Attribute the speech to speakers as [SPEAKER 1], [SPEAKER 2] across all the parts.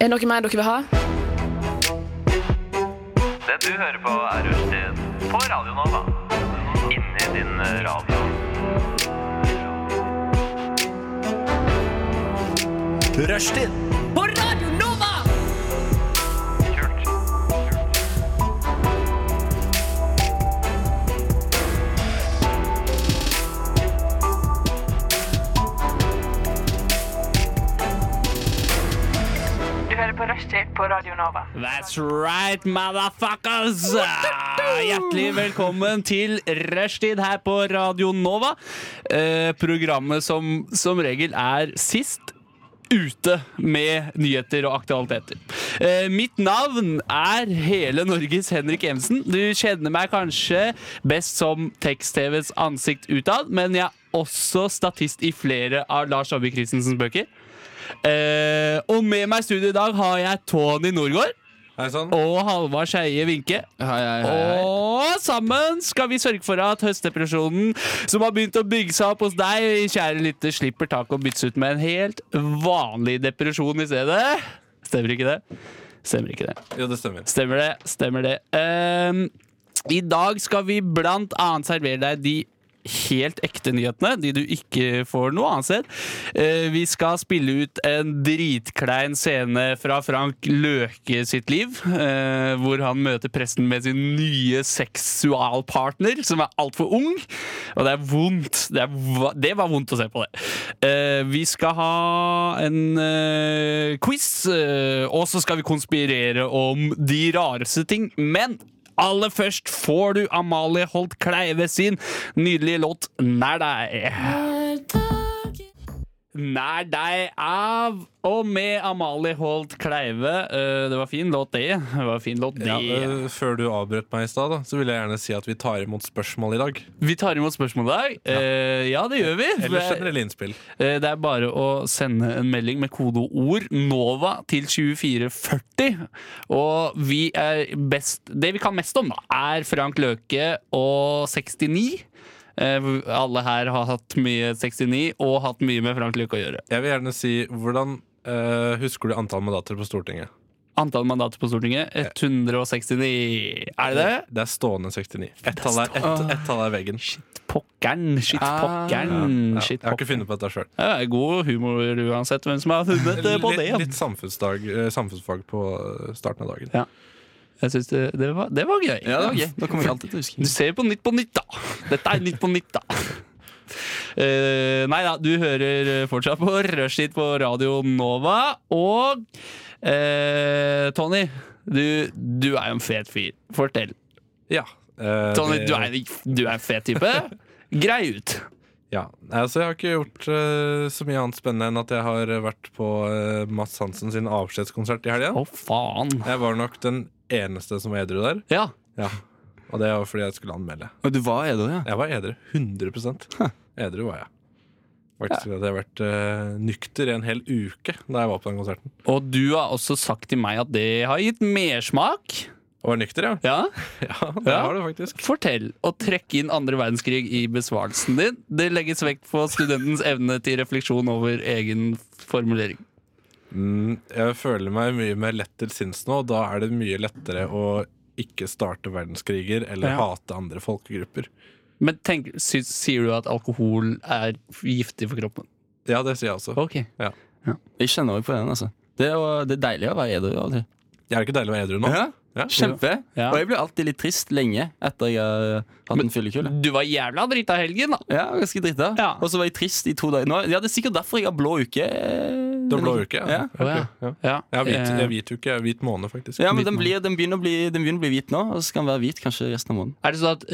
[SPEAKER 1] Er det noe mer dere vil ha?
[SPEAKER 2] Det du hører på er Rushtid på Radio Nova. Inni din radio.
[SPEAKER 3] Rushtid
[SPEAKER 2] Kult.
[SPEAKER 4] Du hører på Rushtid på Radio Nova.
[SPEAKER 3] That's right, motherfuckers! Hjertelig velkommen til Rushtid her på Radio Nova. Eh, programmet som som regel er sist ute med nyheter og aktualiteter. Eh, mitt navn er hele Norges Henrik Evensen. Du kjenner meg kanskje best som tekst-TVs ansikt utad, men jeg er også statist i flere av Lars Aabye Christensens bøker. Eh, og med meg i studio i dag har jeg Tony Norgård.
[SPEAKER 5] Er det sånn?
[SPEAKER 3] og Halvard Skeie Vinke.
[SPEAKER 5] Hei, hei,
[SPEAKER 3] Og sammen skal vi sørge for at høstdepresjonen som har begynt å bygge seg opp hos deg, kjære lytter, slipper tak og byttes ut med en helt vanlig depresjon i stedet. Stemmer ikke det? Stemmer ikke det.
[SPEAKER 5] Jo, det stemmer.
[SPEAKER 3] Stemmer det, stemmer det. Ehm, I dag skal vi blant annet servere deg de helt ekte nyhetene, de du ikke får noe annet sted. Eh, vi skal spille ut en dritklein scene fra Frank Løke sitt liv, eh, hvor han møter presten med sin nye seksualpartner, som er altfor ung. Og det er vondt. Det, er, va- det var vondt å se på det. Eh, vi skal ha en eh, quiz, eh, og så skal vi konspirere om de rareste ting. Men aller først får du Amalie Holt Kleive sin nydelige låt 'Nær deg'. Nær deg av og med Amalie Holt Kleive. Eh, det var fin låt, det. det, var fin låt, det.
[SPEAKER 5] Ja, øh, før du avbrøt meg i stad, da, så vil jeg gjerne si at vi tar imot spørsmål i dag.
[SPEAKER 3] Vi tar imot spørsmål i dag. Eh, ja, det gjør vi.
[SPEAKER 5] Eller generelle innspill.
[SPEAKER 3] Eh, Det er bare å sende en melding med kodeord NOVA til 2440. Og vi er best Det vi kan mest om, da, er Frank Løke og 69. Eh, Alle her har hatt mye 69 og hatt mye med Frank Løke å gjøre.
[SPEAKER 5] Jeg vil gjerne si hvordan øh, husker du antall mandater på Stortinget?
[SPEAKER 3] Antall mandater på Stortinget 169. Er det det?
[SPEAKER 5] Det er stående 69. Ett tall er, ett, ett tall er veggen.
[SPEAKER 3] Pokkeren. Shit, pokkeren.
[SPEAKER 5] Ja,
[SPEAKER 3] Mm,
[SPEAKER 5] jeg
[SPEAKER 3] Shit,
[SPEAKER 5] har ikke
[SPEAKER 3] pokkeren.
[SPEAKER 5] funnet på dette sjøl.
[SPEAKER 3] Det er god humor uansett hvem som har funnet eh, på det.
[SPEAKER 5] Litt, litt samfunnsdag, øh, samfunnsfag på øh, starten av dagen.
[SPEAKER 3] Ja. Jeg synes det, det, var, det var gøy.
[SPEAKER 6] Da kommer vi alltid til å huske.
[SPEAKER 3] Du ser på Nytt på Nytt, da. Dette er Nytt på Nytt, da. Eh, nei da, du hører eh, fortsatt på Rushtid på Radio Nova. Og eh, Tony, du, du er jo en fet fyr. Fortell.
[SPEAKER 5] Ja. øh,
[SPEAKER 3] Tony,
[SPEAKER 5] det-
[SPEAKER 3] du er, du er en fet type. Grei ut.
[SPEAKER 5] Ja, Nei, altså Jeg har ikke gjort øh, så mye annet spennende enn at jeg har vært på uh, Mads Hansen sin avskjedskonsert i helga.
[SPEAKER 3] Å, faen.
[SPEAKER 5] Jeg var nok den eneste som var edru der.
[SPEAKER 3] Ja.
[SPEAKER 5] Ja, Og det var fordi jeg skulle anmelde.
[SPEAKER 6] Og du var edru, ja?
[SPEAKER 5] Jeg var edru. 100 Edru var jeg. Faktisk hadde jeg vært eh, nykter i en hel uke da jeg var på den konserten.
[SPEAKER 3] Og du har også sagt til meg at det har gitt mersmak.
[SPEAKER 5] Og var nykter, ja.
[SPEAKER 3] Ja.
[SPEAKER 5] Ja, det
[SPEAKER 3] Ja.
[SPEAKER 5] var det faktisk.
[SPEAKER 3] Fortell og trekk inn andre verdenskrig i besvarelsen din. Det legges vekt på studentens evne til refleksjon over egen formulering.
[SPEAKER 5] Mm, jeg føler meg mye mer lett til sinns nå, og da er det mye lettere å ikke starte verdenskriger eller
[SPEAKER 3] Ja.
[SPEAKER 5] hate andre folkegrupper.
[SPEAKER 3] Men tenk, sy sier du at alkohol er giftig for kroppen?
[SPEAKER 5] Ja, det sier jeg også.
[SPEAKER 3] Ok.
[SPEAKER 6] Jeg kjenner meg på den, altså. Det er, jo- det er deilig å være edru. av og til.
[SPEAKER 5] Jeg er det ikke deilig å være edru nå.
[SPEAKER 6] Ja,
[SPEAKER 5] Ja.
[SPEAKER 6] kjempe.
[SPEAKER 3] Ja.
[SPEAKER 6] Og jeg blir alltid litt trist lenge etter jeg har hatt en fyllekule.
[SPEAKER 3] Du var jævla drita i helgen, da.
[SPEAKER 6] Ja, ganske drita.
[SPEAKER 3] Ja.
[SPEAKER 6] Og så var jeg trist i to dager. Nå, ja, Det er sikkert derfor jeg har blå uke.
[SPEAKER 5] Det
[SPEAKER 6] Du
[SPEAKER 5] var blå uke. Ja.
[SPEAKER 6] Ja.
[SPEAKER 5] Ok,
[SPEAKER 3] Å,
[SPEAKER 5] ja.
[SPEAKER 3] Ja,
[SPEAKER 5] Jeg har hvit,
[SPEAKER 3] eh,
[SPEAKER 5] jeg har hvit uke. Jeg har hvit måned, faktisk.
[SPEAKER 6] Ja, men den, blir, den, begynner å bli, den begynner å bli hvit nå, og så kan den være hvit kanskje resten av måneden.
[SPEAKER 3] Er det sånn at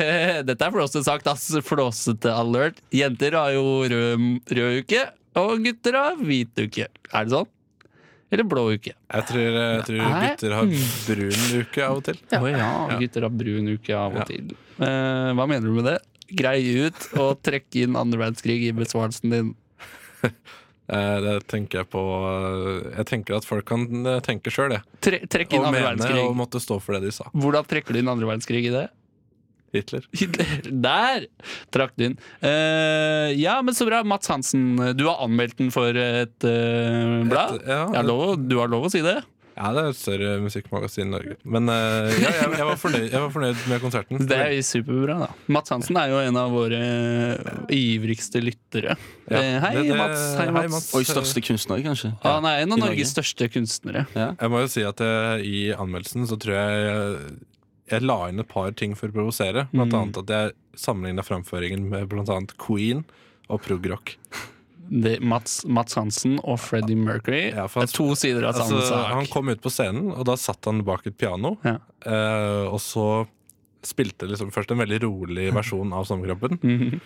[SPEAKER 3] eh, Dette er flåsete sagt, ass. Flåsete alert. Jenter har jo rød, rød uke, og gutter har hvit uke. Er det sånn? Eller blå uke.
[SPEAKER 5] Jeg tror, eh, jeg tror
[SPEAKER 3] Nei.
[SPEAKER 5] gutter har brun uke av og til.
[SPEAKER 3] Å ja, gutter har brun uke av og
[SPEAKER 5] Ja.
[SPEAKER 3] til. Eh, hva mener du med det? Grei ut og trekk inn andre verdenskrig i besvarelsen din.
[SPEAKER 5] Eh, Det tenker jeg på eh, Jeg tenker at folk kan eh, tenke sjøl, det.
[SPEAKER 3] Tre, trekk
[SPEAKER 5] Og
[SPEAKER 3] inn andre
[SPEAKER 5] mene og
[SPEAKER 3] verdenskrig.
[SPEAKER 5] måtte stå for det de sa.
[SPEAKER 3] Hvordan trekker du inn andre verdenskrig i det?
[SPEAKER 5] Hitler.
[SPEAKER 3] Hitler. Der trakk du inn. Eh, ja, men så bra. Mats Hansen, du har anmeldt den for et eh, blad.
[SPEAKER 5] Et- ja,
[SPEAKER 3] Jeg har lov, å- du har lov å si det?
[SPEAKER 5] Ja, det er et større musikkmagasin i Norge. Men eh, ja, jeg, jeg, var fornøyd, jeg var fornøyd med konserten.
[SPEAKER 3] Det er jo superbra, da. Mats Hansen er jo en av våre eh, ivrigste lyttere.
[SPEAKER 5] Ja,
[SPEAKER 3] Eh, hei,
[SPEAKER 5] det- det-
[SPEAKER 3] Mats. Hei,
[SPEAKER 5] hei,
[SPEAKER 3] Mats.
[SPEAKER 5] Mats.
[SPEAKER 6] Oi, største kunstner, kanskje.
[SPEAKER 3] Ja, Han er en av
[SPEAKER 6] I Norge.
[SPEAKER 3] Norges største kunstnere.
[SPEAKER 5] Jeg må jo si at jeg, i anmeldelsen så tror jeg jeg, jeg la inn et par ting for å provosere. Blant
[SPEAKER 3] Mm.
[SPEAKER 5] annet at jeg sammenligna framføringen med blant annet Queen og progrock.
[SPEAKER 3] Det, Mats, Mats Hansen og Freddie Mercury
[SPEAKER 5] Ja, for han-
[SPEAKER 3] er to sider av
[SPEAKER 5] Altså,
[SPEAKER 3] samme sak.
[SPEAKER 5] han kom ut på scenen, og da satt han bak et piano.
[SPEAKER 3] Ja.
[SPEAKER 5] eh, og så spilte liksom først en veldig rolig versjon av Sommerkroppen.
[SPEAKER 3] Mhm.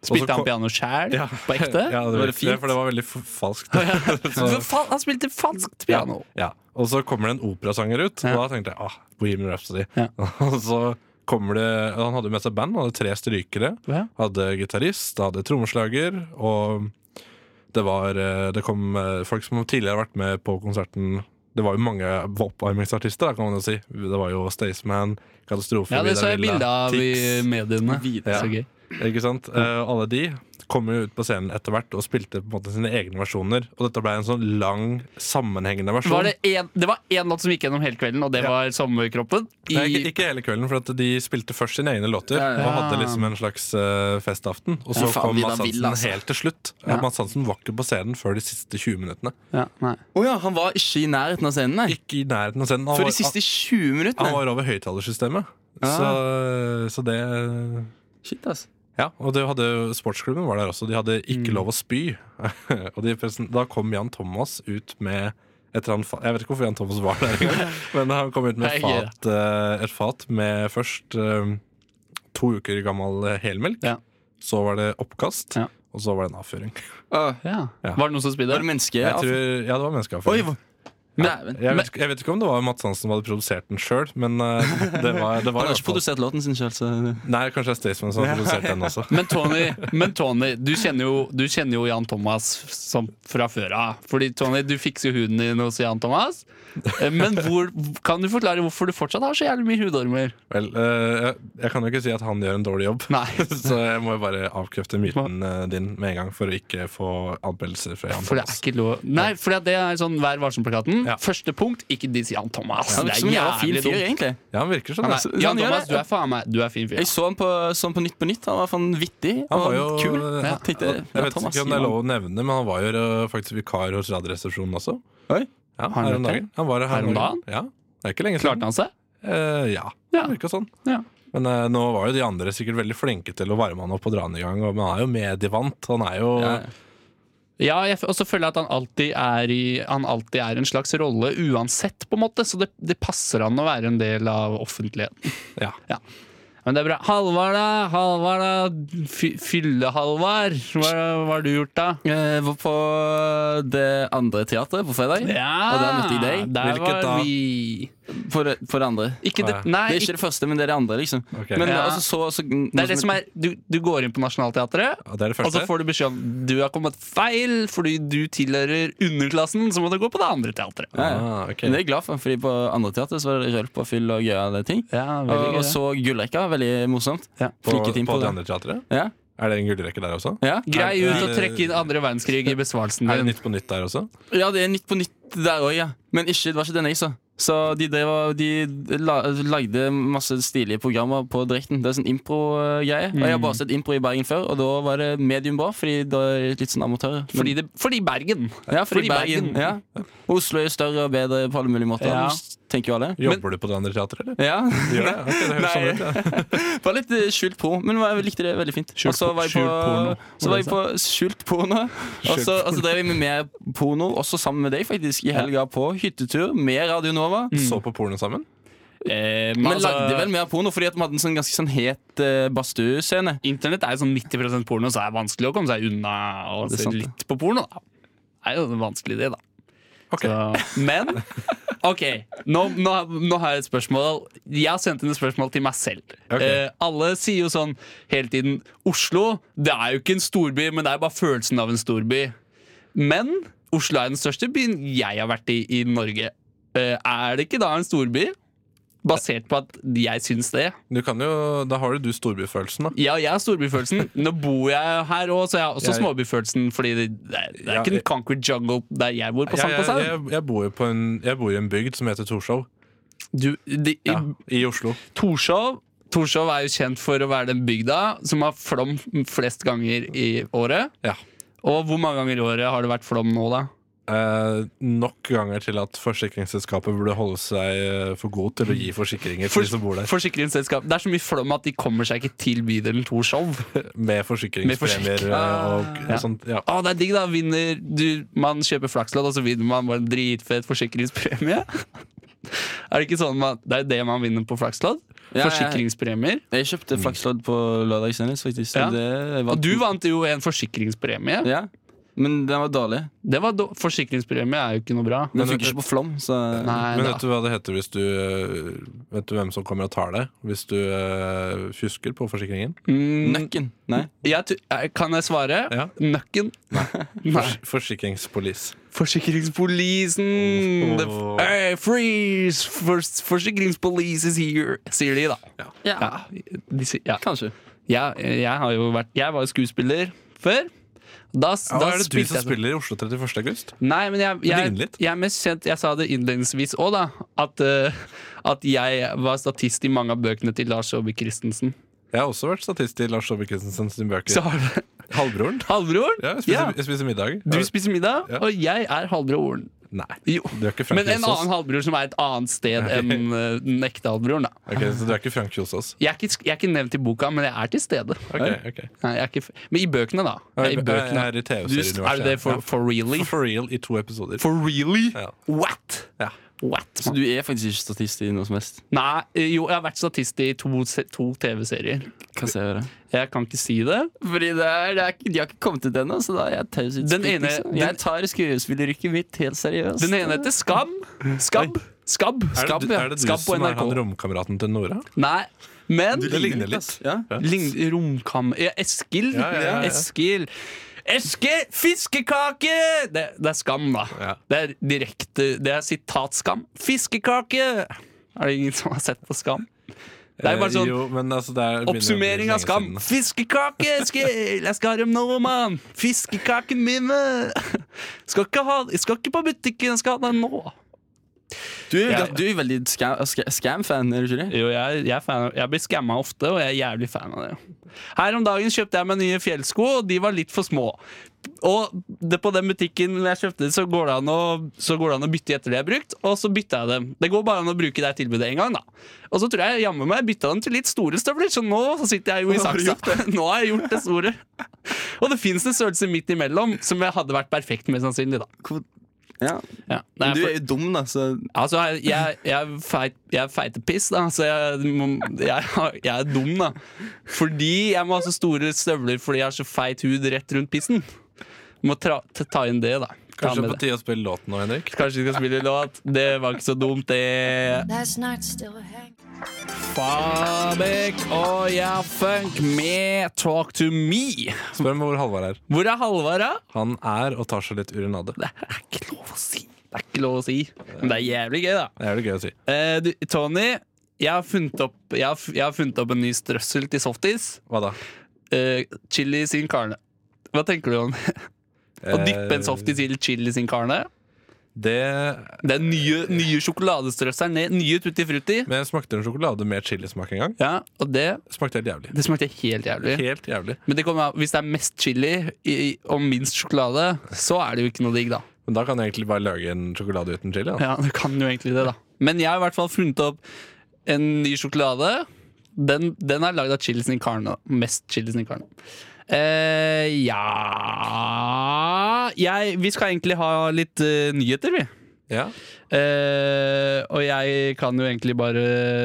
[SPEAKER 5] Og så
[SPEAKER 3] Spilte
[SPEAKER 5] kom-
[SPEAKER 3] han piano sjæl? På ekte?
[SPEAKER 5] Ja, det
[SPEAKER 6] Var
[SPEAKER 5] var
[SPEAKER 6] det
[SPEAKER 5] fint.
[SPEAKER 6] fint?
[SPEAKER 5] for det var veldig f- falskt.
[SPEAKER 3] For fa- Han spilte falskt piano!
[SPEAKER 5] Ja. Og så kommer det en operasanger ut,
[SPEAKER 3] Ja.
[SPEAKER 5] og da tenkte jeg ah, Bohemian Rhapsody.
[SPEAKER 3] Ja.
[SPEAKER 5] Og så kommer det Han hadde jo med seg band, han hadde tre strykere.
[SPEAKER 3] Ja.
[SPEAKER 5] Hadde gitarist, hadde trommeslager, og det var eh, Det kom eh, folk som tidligere har vært med på konserten. Det var jo mange oppvarmingsartister, da, kan man jo si. Det var jo Staysman, Katastrofe,
[SPEAKER 3] Ja, det
[SPEAKER 5] Vidar
[SPEAKER 3] så jeg
[SPEAKER 5] Villa,
[SPEAKER 3] bilde av i
[SPEAKER 5] Tix,
[SPEAKER 3] mediene.
[SPEAKER 5] Ja.
[SPEAKER 3] Så gøy.
[SPEAKER 5] Ikke sant? Eh, alle de kom jo ut på scenen etter hvert og spilte på en måte sine egne versjoner. Og dette ble en sånn lang, sammenhengende versjon.
[SPEAKER 3] Var det, en, det var én låt som gikk gjennom hele kvelden, og det var Sommerkroppen. I,
[SPEAKER 5] Nei, ikke, ikke hele kvelden, for at de spilte først sine egne låter
[SPEAKER 6] Ja, ja.
[SPEAKER 5] og hadde liksom en slags eh, festaften. Og så
[SPEAKER 6] Ja,
[SPEAKER 5] kom
[SPEAKER 6] faen, de da
[SPEAKER 5] Mads Hansen
[SPEAKER 6] vil, altså.
[SPEAKER 5] helt til slutt.
[SPEAKER 3] Ja.
[SPEAKER 5] Mads Hansen var ikke på scenen før de siste 20 minuttene.
[SPEAKER 3] ja, nei.
[SPEAKER 6] Å ja, han var ikke i nærheten av scenen, nei.
[SPEAKER 5] Ikke i nærheten av scenen. Han,
[SPEAKER 6] For
[SPEAKER 5] var,
[SPEAKER 6] de siste 20
[SPEAKER 5] han, han
[SPEAKER 6] minuttene.
[SPEAKER 5] var over høyttalersystemet. Så, så det eh,
[SPEAKER 6] Shit, ass.
[SPEAKER 5] Ja, og det hadde, sportsklubben var der også. De hadde
[SPEAKER 6] Mm.
[SPEAKER 5] ikke lov å spy. og de, presen- da kom Jan Thomas ut med et eller annet fa- Jeg vet ikke hvorfor Jan Thomas var der engang, men han kom ut med et
[SPEAKER 3] Hei,
[SPEAKER 5] fat, eh, et fat med først eh, to uker gammel eh, helmelk.
[SPEAKER 3] Ja.
[SPEAKER 5] Så var det oppkast,
[SPEAKER 3] Ja.
[SPEAKER 5] og så var det en avføring.
[SPEAKER 6] Åh,
[SPEAKER 3] Ja.
[SPEAKER 5] Ja.
[SPEAKER 3] Var det noen som spydde?
[SPEAKER 6] Var det menneske?
[SPEAKER 5] Jeg tror, ja, det var
[SPEAKER 6] altså- Oi,
[SPEAKER 5] menneskeavføring.
[SPEAKER 6] hva- Dæven.
[SPEAKER 5] jeg, vet, ikke- jeg vet ikke om det var Mads Hansen som hadde produsert den sjøl, men eh, det var, det var i
[SPEAKER 6] Han har
[SPEAKER 5] hvert
[SPEAKER 6] ikke
[SPEAKER 5] fall-
[SPEAKER 6] produsert låten sin sjøl, så
[SPEAKER 5] Nei, kanskje det er Staysman som har produsert den også.
[SPEAKER 3] Men Tony, men Tony du, kjenner jo, du kjenner jo Jan Thomas som fra før av. Fordi Tony, du fikser jo huden din hos Jan Thomas. Eh, Men hvor, kan du forklare hvorfor du fortsatt har så jævlig mye hudormer?
[SPEAKER 5] Vel, eh, jeg, jeg kan jo ikke si at han gjør en dårlig jobb.
[SPEAKER 3] Nei,
[SPEAKER 5] Så jeg må jo bare avkrefte myten eh, din med en gang, for å ikke få anmeldelser fra Jan
[SPEAKER 3] for det er
[SPEAKER 5] Thomas.
[SPEAKER 3] ikke lov Nei, for det er sånn Vær varsom-plakaten.
[SPEAKER 5] Ja.
[SPEAKER 3] Første punkt, ikke diss Jan Thomas.
[SPEAKER 6] Han
[SPEAKER 3] det er
[SPEAKER 6] virker som en jævla fin
[SPEAKER 3] jævlig
[SPEAKER 6] fyr,
[SPEAKER 3] dumt.
[SPEAKER 6] egentlig.
[SPEAKER 5] Ja, han virker sånn.
[SPEAKER 3] Nei,
[SPEAKER 5] altså.
[SPEAKER 6] Så- han
[SPEAKER 3] Jan
[SPEAKER 6] gjør
[SPEAKER 3] Thomas,
[SPEAKER 6] det.
[SPEAKER 3] du er faen meg Du er fin fyr.
[SPEAKER 6] Jeg så han på, sånn på Nytt på Nytt. Han var faen vittig
[SPEAKER 5] Han var
[SPEAKER 6] og
[SPEAKER 5] jo,
[SPEAKER 6] kul.
[SPEAKER 5] ja,
[SPEAKER 6] Jeg tenkte,
[SPEAKER 5] jeg vet
[SPEAKER 6] Thomas,
[SPEAKER 5] ikke om det er
[SPEAKER 6] Johan.
[SPEAKER 5] lov å nevne, men han var jo eh, faktisk vikar hos Radioresepsjonen også.
[SPEAKER 6] Oi.
[SPEAKER 5] Ja,
[SPEAKER 3] han
[SPEAKER 5] her om
[SPEAKER 3] vært
[SPEAKER 5] dagen. Han var her,
[SPEAKER 3] Her om
[SPEAKER 5] dagen. Ja, det er ikke lenge
[SPEAKER 3] Klarte han seg?
[SPEAKER 5] Eh, ja, det
[SPEAKER 3] Ja.
[SPEAKER 5] virka sånn.
[SPEAKER 3] Ja.
[SPEAKER 5] Men eh, nå var jo de andre sikkert veldig flinke til å varme han opp og dra han i gang, og, men han er jo medievant. Han er jo
[SPEAKER 6] Ja, ja.
[SPEAKER 3] Ja, jeg f- og så føler jeg at han alltid er i Han alltid er i en slags rolle uansett, på en måte. Så det, det passer han å være en del av offentligheten.
[SPEAKER 5] Ja.
[SPEAKER 3] Men det er bra. Halvard, da? Halvard, da? Fy- Fylle-Halvard? Hva, hva har du gjort, da?
[SPEAKER 6] Jeg var Eh, på det andre teatret på fredag. Og der møtte jeg deg.
[SPEAKER 3] Der
[SPEAKER 5] Hvilket
[SPEAKER 3] var
[SPEAKER 5] da?
[SPEAKER 3] vi.
[SPEAKER 6] På det, på det andre.
[SPEAKER 3] Ikke det
[SPEAKER 5] Å,
[SPEAKER 3] Nei,
[SPEAKER 6] Det er ikke det første, men det er det andre, liksom.
[SPEAKER 5] Ok.
[SPEAKER 6] Men
[SPEAKER 3] Ja.
[SPEAKER 6] altså, så, så,
[SPEAKER 3] det er det som er Du, du går inn på Nationaltheatret,
[SPEAKER 5] Ja, Det er det
[SPEAKER 3] og så
[SPEAKER 5] første.
[SPEAKER 3] får du beskjed om du har kommet feil fordi du tilhører underklassen, så må du gå på det andre teatret.
[SPEAKER 6] ja, ja.
[SPEAKER 5] Ah, ok.
[SPEAKER 6] Men det er jeg glad for, fordi på andre teater så var det rølp og fyll og gøyale ting.
[SPEAKER 3] Ja,
[SPEAKER 6] Og, og så gullrekka. Veldig morsomt.
[SPEAKER 3] Ja.
[SPEAKER 5] På,
[SPEAKER 6] Flinke team
[SPEAKER 5] på
[SPEAKER 6] på
[SPEAKER 5] det
[SPEAKER 6] det.
[SPEAKER 5] andre teatret?
[SPEAKER 6] Ja,
[SPEAKER 5] Er det en gullrekke der også?
[SPEAKER 6] ja.
[SPEAKER 3] Grei
[SPEAKER 5] Er-
[SPEAKER 3] ut
[SPEAKER 5] er-
[SPEAKER 3] å trekke inn andre verdenskrig i besvarelsen
[SPEAKER 5] Er det
[SPEAKER 3] din.
[SPEAKER 5] Nytt på nytt der også?
[SPEAKER 6] ja, det er Nytt på Nytt der òg, ja. Men ikke, det var ikke den jeg så. Så de, drev, og- de la, lagde masse stilige programmer på direkten. Det er sånn impro-greie. Og jeg har bare sett impro i Bergen før, og da var det medium bra, fordi da er jeg litt sånn amatør. Men-
[SPEAKER 3] Fordi, det, fordi Bergen.
[SPEAKER 6] Ja, fordi
[SPEAKER 3] Fordi
[SPEAKER 6] Bergen.
[SPEAKER 3] Bergen.
[SPEAKER 6] Ja. Oslo er større og bedre på alle mulige måter,
[SPEAKER 3] Ja.
[SPEAKER 6] tenker jo alle.
[SPEAKER 5] Jobber du på det andre teatret, eller?
[SPEAKER 6] Ja,
[SPEAKER 5] Gjør det? Ok, det høres
[SPEAKER 6] Nei.
[SPEAKER 5] sånn ut. ja.
[SPEAKER 6] det var litt eh, skjult pro, men jeg likte det veldig fint.
[SPEAKER 3] Skjult
[SPEAKER 6] Og så
[SPEAKER 3] po-
[SPEAKER 6] var jeg på,
[SPEAKER 3] skjult porno,
[SPEAKER 6] så var jeg på skjult porno. Og så og så drev jeg med mer porno, også sammen med deg, faktisk, i helga på hyttetur med Radio Nova.
[SPEAKER 5] Så på porno sammen?
[SPEAKER 3] Eh,
[SPEAKER 6] Men
[SPEAKER 3] altså,
[SPEAKER 6] lagde vel mer porno, fordi at vi hadde en sånn ganske sånn het eh, badstuescene.
[SPEAKER 3] Internett er jo sånn 90 porno, så er det vanskelig å komme seg unna og
[SPEAKER 6] Det er
[SPEAKER 3] se
[SPEAKER 6] sant, det.
[SPEAKER 3] litt på porno. Da. Det er jo en vanskelig idé, da.
[SPEAKER 5] Ok.
[SPEAKER 3] Så, men OK, nå, nå, nå har jeg et spørsmål. Jeg har sendt inn et spørsmål til meg selv.
[SPEAKER 5] Ok.
[SPEAKER 3] Eh, alle sier jo sånn hele tiden Oslo det er jo ikke en storby, men det er bare følelsen av en storby. Men Oslo er den største byen jeg har vært i i Norge. Eh, er det ikke da en storby? basert på at jeg syns det.
[SPEAKER 5] Du kan jo, da har jo du storbyfølelsen, da.
[SPEAKER 3] Ja, jeg har storbyfølelsen. Nå bor jeg her òg, så jeg har også
[SPEAKER 5] Jeg-
[SPEAKER 3] småbyfølelsen. Fordi det, det er, det er
[SPEAKER 5] Ja,
[SPEAKER 3] ikke en
[SPEAKER 5] jeg-
[SPEAKER 3] concrete jungle der jeg bor, på
[SPEAKER 5] Jeg, jeg,
[SPEAKER 3] Sankthanshaugen.
[SPEAKER 5] jeg, jeg bor jo på en, jeg bor i en bygd som heter Torshov.
[SPEAKER 3] Du, de, i
[SPEAKER 5] I Oslo.
[SPEAKER 3] Torshov Torshov er jo kjent for å være den bygda som har flom flest ganger i året.
[SPEAKER 5] Ja.
[SPEAKER 3] Og hvor mange ganger i året har det vært flom nå, da?
[SPEAKER 5] Eh, nok ganger til at forsikringsselskapet burde holde seg eh, for god til å gi forsikringer til de som bor der.
[SPEAKER 3] Forsikringsselskap. Det er så mye flom at de kommer seg ikke til bydelen Torshov.
[SPEAKER 5] Med forsikringspremier
[SPEAKER 3] forsikring.
[SPEAKER 5] eh, og,
[SPEAKER 3] Ja.
[SPEAKER 5] og sånt. Ja.
[SPEAKER 3] Å, det er digg, da! Vinner du, Man kjøper flakslodd, og så vinner man bare en dritfet forsikringspremie. Er det ikke sånn man, Det er jo det man vinner på flakslodd?
[SPEAKER 6] Ja, ja, ja.
[SPEAKER 3] Forsikringspremier.
[SPEAKER 6] Jeg kjøpte flakslodd på lørdag senest, faktisk.
[SPEAKER 3] Ja.
[SPEAKER 6] så Det
[SPEAKER 3] Og du vant jo en forsikringspremie.
[SPEAKER 6] Ja, men den var dårlig.
[SPEAKER 3] Det var do- forsikringspremie er jo ikke noe bra.
[SPEAKER 6] Den
[SPEAKER 5] Men-
[SPEAKER 6] funker ikke på flom, så
[SPEAKER 3] Nei,
[SPEAKER 5] Men
[SPEAKER 3] da.
[SPEAKER 5] vet du hva det heter hvis du eh, Vet du hvem som kommer og tar deg hvis du eh, fjusker på forsikringen?
[SPEAKER 3] Mm,
[SPEAKER 6] Nøkken. Nei.
[SPEAKER 3] jeg, tu- eh, kan jeg svare?
[SPEAKER 5] Ja.
[SPEAKER 3] Nøkken. Nei.
[SPEAKER 5] Forsikringspolis.
[SPEAKER 3] Forsikringspolisen! The f-
[SPEAKER 5] Åh.
[SPEAKER 3] Eh, freeze! Fors- forsikringspolice is here! Sier de, da. Ja, de, sier- ja.
[SPEAKER 6] Kanskje.
[SPEAKER 3] Ja, eh, jeg, har jo vært, jeg var jo skuespiller før. Da,
[SPEAKER 5] Ja,
[SPEAKER 3] da
[SPEAKER 5] er det du
[SPEAKER 3] spilte
[SPEAKER 5] som
[SPEAKER 3] jeg sånn.
[SPEAKER 5] spiller i Oslo 31. august?
[SPEAKER 3] Nei, men jeg,
[SPEAKER 5] ligner
[SPEAKER 3] jeg,
[SPEAKER 5] litt.
[SPEAKER 3] jeg er mest kjent Jeg sa det innledningsvis òg, da. At, eh, at jeg var statist i mange av bøkene til Lars Saabye Christensen.
[SPEAKER 5] Jeg har også vært statist i Lars Saabye Christensen sine bøker.
[SPEAKER 3] Så har du
[SPEAKER 5] Halvbroren.
[SPEAKER 3] halvbroren.
[SPEAKER 5] Ja, jeg spiser, jeg spiser middag.
[SPEAKER 3] Du spiser middag,
[SPEAKER 5] Ja.
[SPEAKER 3] og jeg er halvbroren.
[SPEAKER 5] Nei.
[SPEAKER 3] Jo.
[SPEAKER 5] Du er ikke Frank
[SPEAKER 3] Men en
[SPEAKER 5] Kjosås.
[SPEAKER 3] annen halvbror som er et annet sted enn eh, den ekte halvbroren. da
[SPEAKER 5] Ok, så du er ikke Frank Kjosås?
[SPEAKER 3] jeg er, ikke, sk- jeg er ikke nevnt i boka, men jeg er til stede.
[SPEAKER 5] Ok, ok.
[SPEAKER 3] Nei, jeg er ikke, f- men i bøkene, da. Jeg er I bøkene.
[SPEAKER 5] Jeg er i
[SPEAKER 3] Du, er det det
[SPEAKER 5] TV-serieuniverset.
[SPEAKER 3] for, liksom? for really?
[SPEAKER 5] Ja. For real i to episoder.
[SPEAKER 3] For really?
[SPEAKER 5] Ja.
[SPEAKER 3] What?
[SPEAKER 5] Ja.
[SPEAKER 3] What?
[SPEAKER 6] Så du er faktisk ikke statist i noe som helst.
[SPEAKER 3] Nei, jo, jeg har vært statist i to, se- to TV-serier.
[SPEAKER 6] Hva ser jeg det?
[SPEAKER 3] Jeg kan ikke si det.
[SPEAKER 6] Fordi det er, det er, ikke- de har ikke kommet ut ennå, så da er jeg
[SPEAKER 3] Den ene-
[SPEAKER 6] taushetsplikt. liksom.
[SPEAKER 3] den-
[SPEAKER 6] Jeg tar skuespilleryrket mitt helt seriøst.
[SPEAKER 3] Den ene heter Skam. Skabb. Skabb.
[SPEAKER 5] Er
[SPEAKER 3] Skabb,
[SPEAKER 5] det,
[SPEAKER 3] ja.
[SPEAKER 5] er det du
[SPEAKER 3] Skabb på
[SPEAKER 5] som er han
[SPEAKER 3] NRK.
[SPEAKER 5] romkameraten til Nora?
[SPEAKER 3] Nei, men
[SPEAKER 5] Det ligner litt.
[SPEAKER 6] Ja.
[SPEAKER 3] Lign- Romkam... Ja, Eskil.
[SPEAKER 5] Ja, ja, ja, ja.
[SPEAKER 3] Eskil. Eske fiskekake! Det, det er skam, da.
[SPEAKER 5] Ja.
[SPEAKER 3] Det er direkte Det er sitatskam. Fiskekake! Er det ingen som har sett på Skam? Det er bare
[SPEAKER 5] Eh,
[SPEAKER 3] sånn
[SPEAKER 5] jo, men altså, det er- begynner å bli
[SPEAKER 3] oppsummering
[SPEAKER 5] lenge
[SPEAKER 3] av Skam.
[SPEAKER 5] siden.
[SPEAKER 3] Fiskekake, Eskil! Jeg skal ha dem nå, mann! Fiskekaken min! Skal ikke, ha, jeg skal ikke på butikken, jeg skal ha den nå.
[SPEAKER 6] Du er,
[SPEAKER 3] Ja.
[SPEAKER 6] du er veldig scam- sca- scam-fan, er du ikke det?
[SPEAKER 3] Jo, jeg, jeg, er fan, av- jeg blir skamma ofte, og jeg er jævlig fan av det. Her om dagen kjøpte jeg meg nye fjellsko, og de var litt for små. Og det, på den butikken jeg kjøpte, det, så går det an å, så går det an å bytte etter det jeg har brukt, og så bytta jeg dem. Det går bare an å bruke det tilbudet én gang, da. Og så tror jeg jammen meg bytta dem til litt store støvler, så nå sitter jeg jo i
[SPEAKER 6] har du
[SPEAKER 3] saksa. Nå har jeg gjort det store. Og det fins en størrelse midt imellom som jeg hadde vært perfekt med, sannsynlig, da.
[SPEAKER 6] Hvor- Ja.
[SPEAKER 3] Ja.
[SPEAKER 6] Men du
[SPEAKER 3] Nei,
[SPEAKER 6] er jo dum, da, så
[SPEAKER 3] Altså, jeg, jeg, jeg, er feit, jeg er feitepiss, da. Så jeg, må- jeg, har- jeg er dum, da. Fordi jeg må ha så store støvler fordi jeg har så feit hud rett rundt pissen. Må tra, ta- ta inn det, da. Ta
[SPEAKER 5] Kanskje
[SPEAKER 3] med
[SPEAKER 5] på
[SPEAKER 3] det.
[SPEAKER 5] tide å spille låten nå, Henrik?
[SPEAKER 3] Kanskje vi skal spille låt. Det var ikke så dumt, det.
[SPEAKER 1] Last night still hang.
[SPEAKER 3] Fabek og Ja Funk med Talk to me.
[SPEAKER 5] Spør meg hvor Halvard er.
[SPEAKER 3] Hvor er Halvard, da?
[SPEAKER 5] Han er og tar seg litt urinade.
[SPEAKER 3] Det er ikke lov å si. Det er ikke lov å si. Men det er jævlig gøy, da.
[SPEAKER 5] Det er jo gøy å si.
[SPEAKER 3] Eh, du, Tony, jeg har, funnet opp, jeg, har, f- jeg har funnet opp en ny strøssel til softis.
[SPEAKER 5] Hva da?
[SPEAKER 3] Eh, chili sin carne. Hva tenker du om det? Å dyppe en softis i chili sin carne?
[SPEAKER 5] Eh, Det
[SPEAKER 3] Den nye, nye sjokoladestrøsselen, ned- nye tutti frutti.
[SPEAKER 5] Men jeg smakte en sjokolade med chilismak en gang.
[SPEAKER 3] Ja, og det,
[SPEAKER 5] Smakte helt jævlig.
[SPEAKER 3] det smakte helt jævlig.
[SPEAKER 5] Helt jævlig.
[SPEAKER 3] Men det kommer, av- hvis det er mest chili i, i- og minst sjokolade, så er det jo ikke noe digg, da.
[SPEAKER 5] Men da kan jeg egentlig bare lage en sjokolade uten chili. Da.
[SPEAKER 3] Ja, du kan jo egentlig det, da. Men jeg har i hvert fall funnet opp en ny sjokolade. Den, den er lagd av chili sin carne. da. Mest chili sin carne. Eh, ja jeg, Vi skal egentlig ha litt eh, nyheter, vi.
[SPEAKER 5] Ja.
[SPEAKER 3] Eh, og jeg kan jo egentlig bare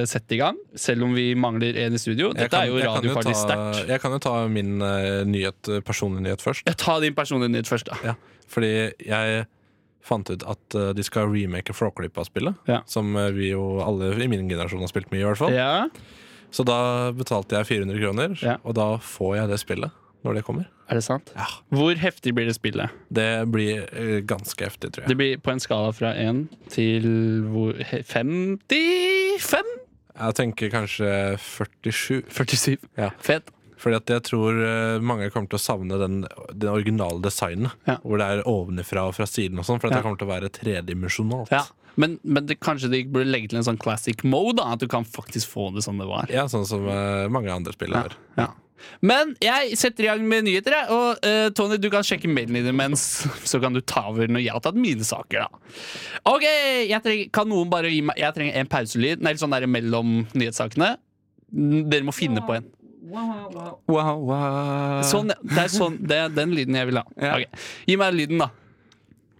[SPEAKER 3] sette i gang, selv om vi mangler en i studio.
[SPEAKER 5] Jeg
[SPEAKER 3] Dette
[SPEAKER 5] kan-
[SPEAKER 3] er jo
[SPEAKER 5] jeg kan
[SPEAKER 3] radiofarlig
[SPEAKER 5] ta-
[SPEAKER 3] sterkt.
[SPEAKER 5] Jeg kan jo ta min eh, nyhet, eh, personlige nyhet først.
[SPEAKER 3] Ta din personlige nyhet først, da.
[SPEAKER 5] Fordi jeg fant ut at eh, de skal remake Flåklypa-spillet.
[SPEAKER 3] Ja.
[SPEAKER 5] Som eh, vi jo alle i min generasjon har spilt mye, i hvert fall.
[SPEAKER 3] Ja.
[SPEAKER 5] Så da betalte jeg 400 kroner,
[SPEAKER 3] Ja.
[SPEAKER 5] og da får jeg det spillet når det kommer.
[SPEAKER 3] Er det sant? Hvor heftig blir det spillet?
[SPEAKER 5] Det blir eh, ganske heftig, tror jeg.
[SPEAKER 3] Det blir på en skala fra 1 til hvor, he- 55?
[SPEAKER 5] Jeg tenker kanskje 47.
[SPEAKER 3] 47.
[SPEAKER 5] Ja.
[SPEAKER 3] Fett.
[SPEAKER 5] Fordi at jeg tror eh, mange kommer til å savne den, den originale designen.
[SPEAKER 3] Ja.
[SPEAKER 5] Hvor det er ovenfra og fra siden og sånn, for
[SPEAKER 3] Ja.
[SPEAKER 5] det kommer til å være tredimensjonalt.
[SPEAKER 3] Ja. Men, men det, kanskje de burde legge til en sånn classic mode? Da, at du kan faktisk få det som det var.
[SPEAKER 5] Ja, sånn som eh, mange andre spill har.
[SPEAKER 3] Ja. Men jeg setter i gang med nyheter, jeg. Og eh, Tony, du kan sjekke mailen din mens, så kan du ta over når jeg har tatt mine saker, da. OK, jeg trenger, kan noen bare gi meg Jeg trenger en pauselyd, nei, sånn der mellom nyhetssakene. N- Dere må finne på en.
[SPEAKER 6] Wow, wow.
[SPEAKER 3] Sånn, ja. det er sånn, det er den lyden jeg vil ha.
[SPEAKER 6] Ja.
[SPEAKER 3] Ok. Gi meg lyden, da.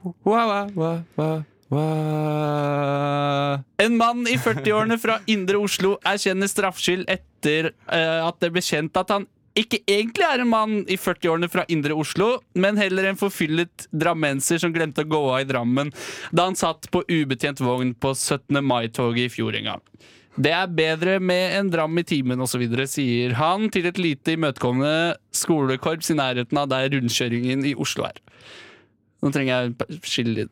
[SPEAKER 6] Wow, wow, wow, wow, wow.
[SPEAKER 3] En mann i 40-årene fra Indre Oslo erkjenner straffskyld etter eh, at det ble kjent at han ikke egentlig er en mann i 40-årene fra Indre Oslo, men heller en forfyllet drammenser som glemte å gå av i Drammen da han satt på ubetjent vogn på 17. mai-toget i fjor en gang. Det er bedre med en dram i timen osv., sier han til et lite imøtekommende skolekorps i nærheten av der rundkjøringen i Oslo er. Nå trenger jeg skille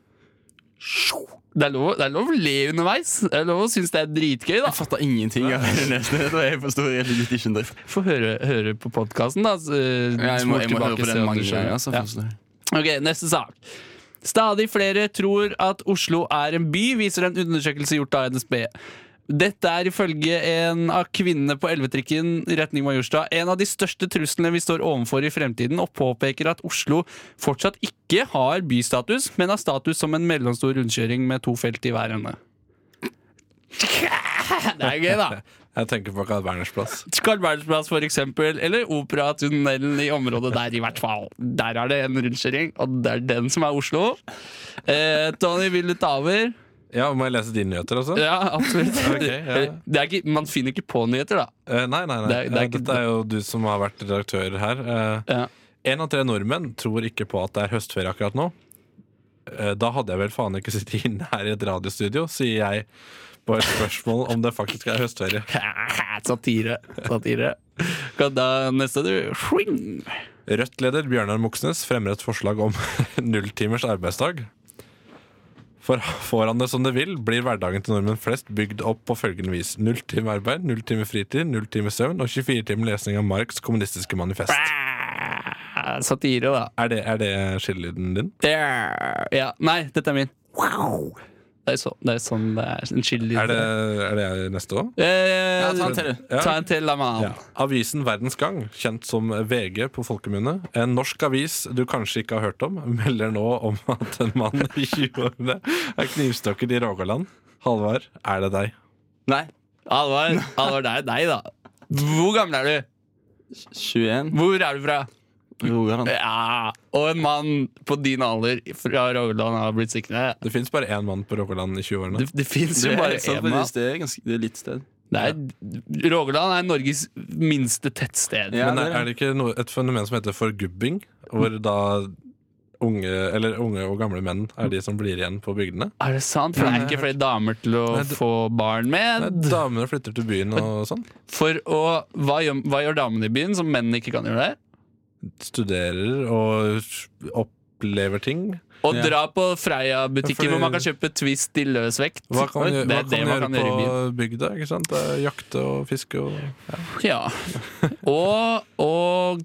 [SPEAKER 3] det er, lov, det er lov å le underveis. Det er lov å synes det er dritgøy, da.
[SPEAKER 6] Jeg fatter ingenting av det neste. Det var jeg forstår egentlig litt ikke en drift.
[SPEAKER 3] Få høre, høre på podkasten, da. så, eh,
[SPEAKER 6] Ja, jeg, må,
[SPEAKER 3] spol
[SPEAKER 6] jeg må høre
[SPEAKER 3] tilbake,
[SPEAKER 6] på
[SPEAKER 3] se om
[SPEAKER 6] den
[SPEAKER 3] du
[SPEAKER 6] mange
[SPEAKER 3] skjønner.
[SPEAKER 6] ganger. Altså,
[SPEAKER 3] Ja.
[SPEAKER 6] forstår jeg.
[SPEAKER 3] Ok, neste sak. Stadig flere tror at Oslo er en by, viser en undersøkelse gjort av NSB. Dette er ifølge en av kvinnene på elvetrikken i retning Majorstad en av de største truslene vi står overfor i fremtiden, og påpeker at Oslo fortsatt ikke har bystatus, men har status som en mellomstor rundkjøring med to felt i hver ende. Det er gøy, da.
[SPEAKER 5] Jeg tenker på Carl Berners plass.
[SPEAKER 3] Carl Berners plass, for eksempel, eller Operatunnelen i området der, i hvert fall. Der er det en rundkjøring, og det er den som er Oslo. Eh, Tony, vil du ta over?
[SPEAKER 5] Ja, Må jeg lese dine nyheter også?
[SPEAKER 3] Ja, absolutt.
[SPEAKER 5] Ok, ja.
[SPEAKER 3] Det er ikke, man finner ikke på nyheter, da.
[SPEAKER 5] Eh, nei, nei, nei.
[SPEAKER 3] Det er- det er
[SPEAKER 5] Eh,
[SPEAKER 3] ikke-
[SPEAKER 5] Dette er jo du som har vært redaktør her. Eh,
[SPEAKER 3] Ja.
[SPEAKER 5] En av tre nordmenn tror ikke på at det er høstferie akkurat nå. Eh, da hadde jeg vel faen ikke sittet inne her i et radiostudio, sier jeg på et spørsmål om det faktisk er høstferie.
[SPEAKER 3] Satire. Satire. Kan da neste, du. Swing.
[SPEAKER 5] Rødt-leder Bjørnar Moxnes fremmer et forslag om nulltimers arbeidsdag. For får han det som det vil, blir hverdagen til nordmenn flest bygd opp på følgende vis. Null time arbeid, null time fritid, null time søvn og 24 timer lesning av Marx' kommunistiske manifest.
[SPEAKER 3] Ah, Satire, da.
[SPEAKER 5] Er det, er det skillelyden din?
[SPEAKER 3] There. Ja. Nei, dette er min. Wow. Det er, så, det er sånn det er. En chili.
[SPEAKER 5] Er det, er det jeg neste òg?
[SPEAKER 3] eh,
[SPEAKER 6] Ja, ta en til, du.
[SPEAKER 5] Ja.
[SPEAKER 3] Ta en til, da, mann.
[SPEAKER 5] Ja. Avisen Verdens Gang, kjent som VG på folkemunne, en norsk avis du kanskje ikke har hørt om, melder nå om at en mann i 20-årene er knivstukket i Rogaland. Halvard, er det deg?
[SPEAKER 6] Nei.
[SPEAKER 3] Alvar, Alvar, det er deg, da. Hvor gammel er du?
[SPEAKER 6] 21.
[SPEAKER 3] Hvor er du fra?
[SPEAKER 6] Rogaland.
[SPEAKER 3] Ja. Og en mann på din alder fra Rogaland har blitt siktende.
[SPEAKER 5] Det fins bare én mann på Rogaland i 20-årene.
[SPEAKER 3] Det, det fins
[SPEAKER 6] Det
[SPEAKER 3] jo
[SPEAKER 6] er
[SPEAKER 3] bare
[SPEAKER 6] bare sant,
[SPEAKER 3] én
[SPEAKER 6] men
[SPEAKER 3] mann.
[SPEAKER 6] det er ganske, det er litt sted.
[SPEAKER 3] Det er- Rogaland er Norges minste tettsted.
[SPEAKER 6] Ja,
[SPEAKER 5] Men er,
[SPEAKER 6] det
[SPEAKER 5] er det ikke noe, et fenomen som heter forgubbing? Hvor da unge, eller unge og gamle menn er de som blir igjen på bygdene?
[SPEAKER 3] Er det sant? For det er ikke flere damer til å
[SPEAKER 5] Nei, det-
[SPEAKER 3] få barn
[SPEAKER 5] Nei,
[SPEAKER 3] med.
[SPEAKER 5] Damene flytter til byen og sånn.
[SPEAKER 3] For å, hva, gjør, hva gjør damene i byen som mennene ikke kan gjøre der?
[SPEAKER 5] Studerer og opplever ting.
[SPEAKER 3] Å
[SPEAKER 6] Ja.
[SPEAKER 3] dra på
[SPEAKER 5] Ja,
[SPEAKER 3] Freia-butikken
[SPEAKER 5] fordi-
[SPEAKER 3] hvor man kan kjøpe Twist i løsvekt.
[SPEAKER 5] Hva kan
[SPEAKER 3] det
[SPEAKER 5] man,
[SPEAKER 3] er
[SPEAKER 5] hva
[SPEAKER 3] det
[SPEAKER 5] kan
[SPEAKER 3] man
[SPEAKER 5] man
[SPEAKER 3] kan gjøre i
[SPEAKER 5] gjøre
[SPEAKER 3] byen.
[SPEAKER 5] på bygda? ikke sant? Det er Jakte og fiske og
[SPEAKER 3] Ja. Og, og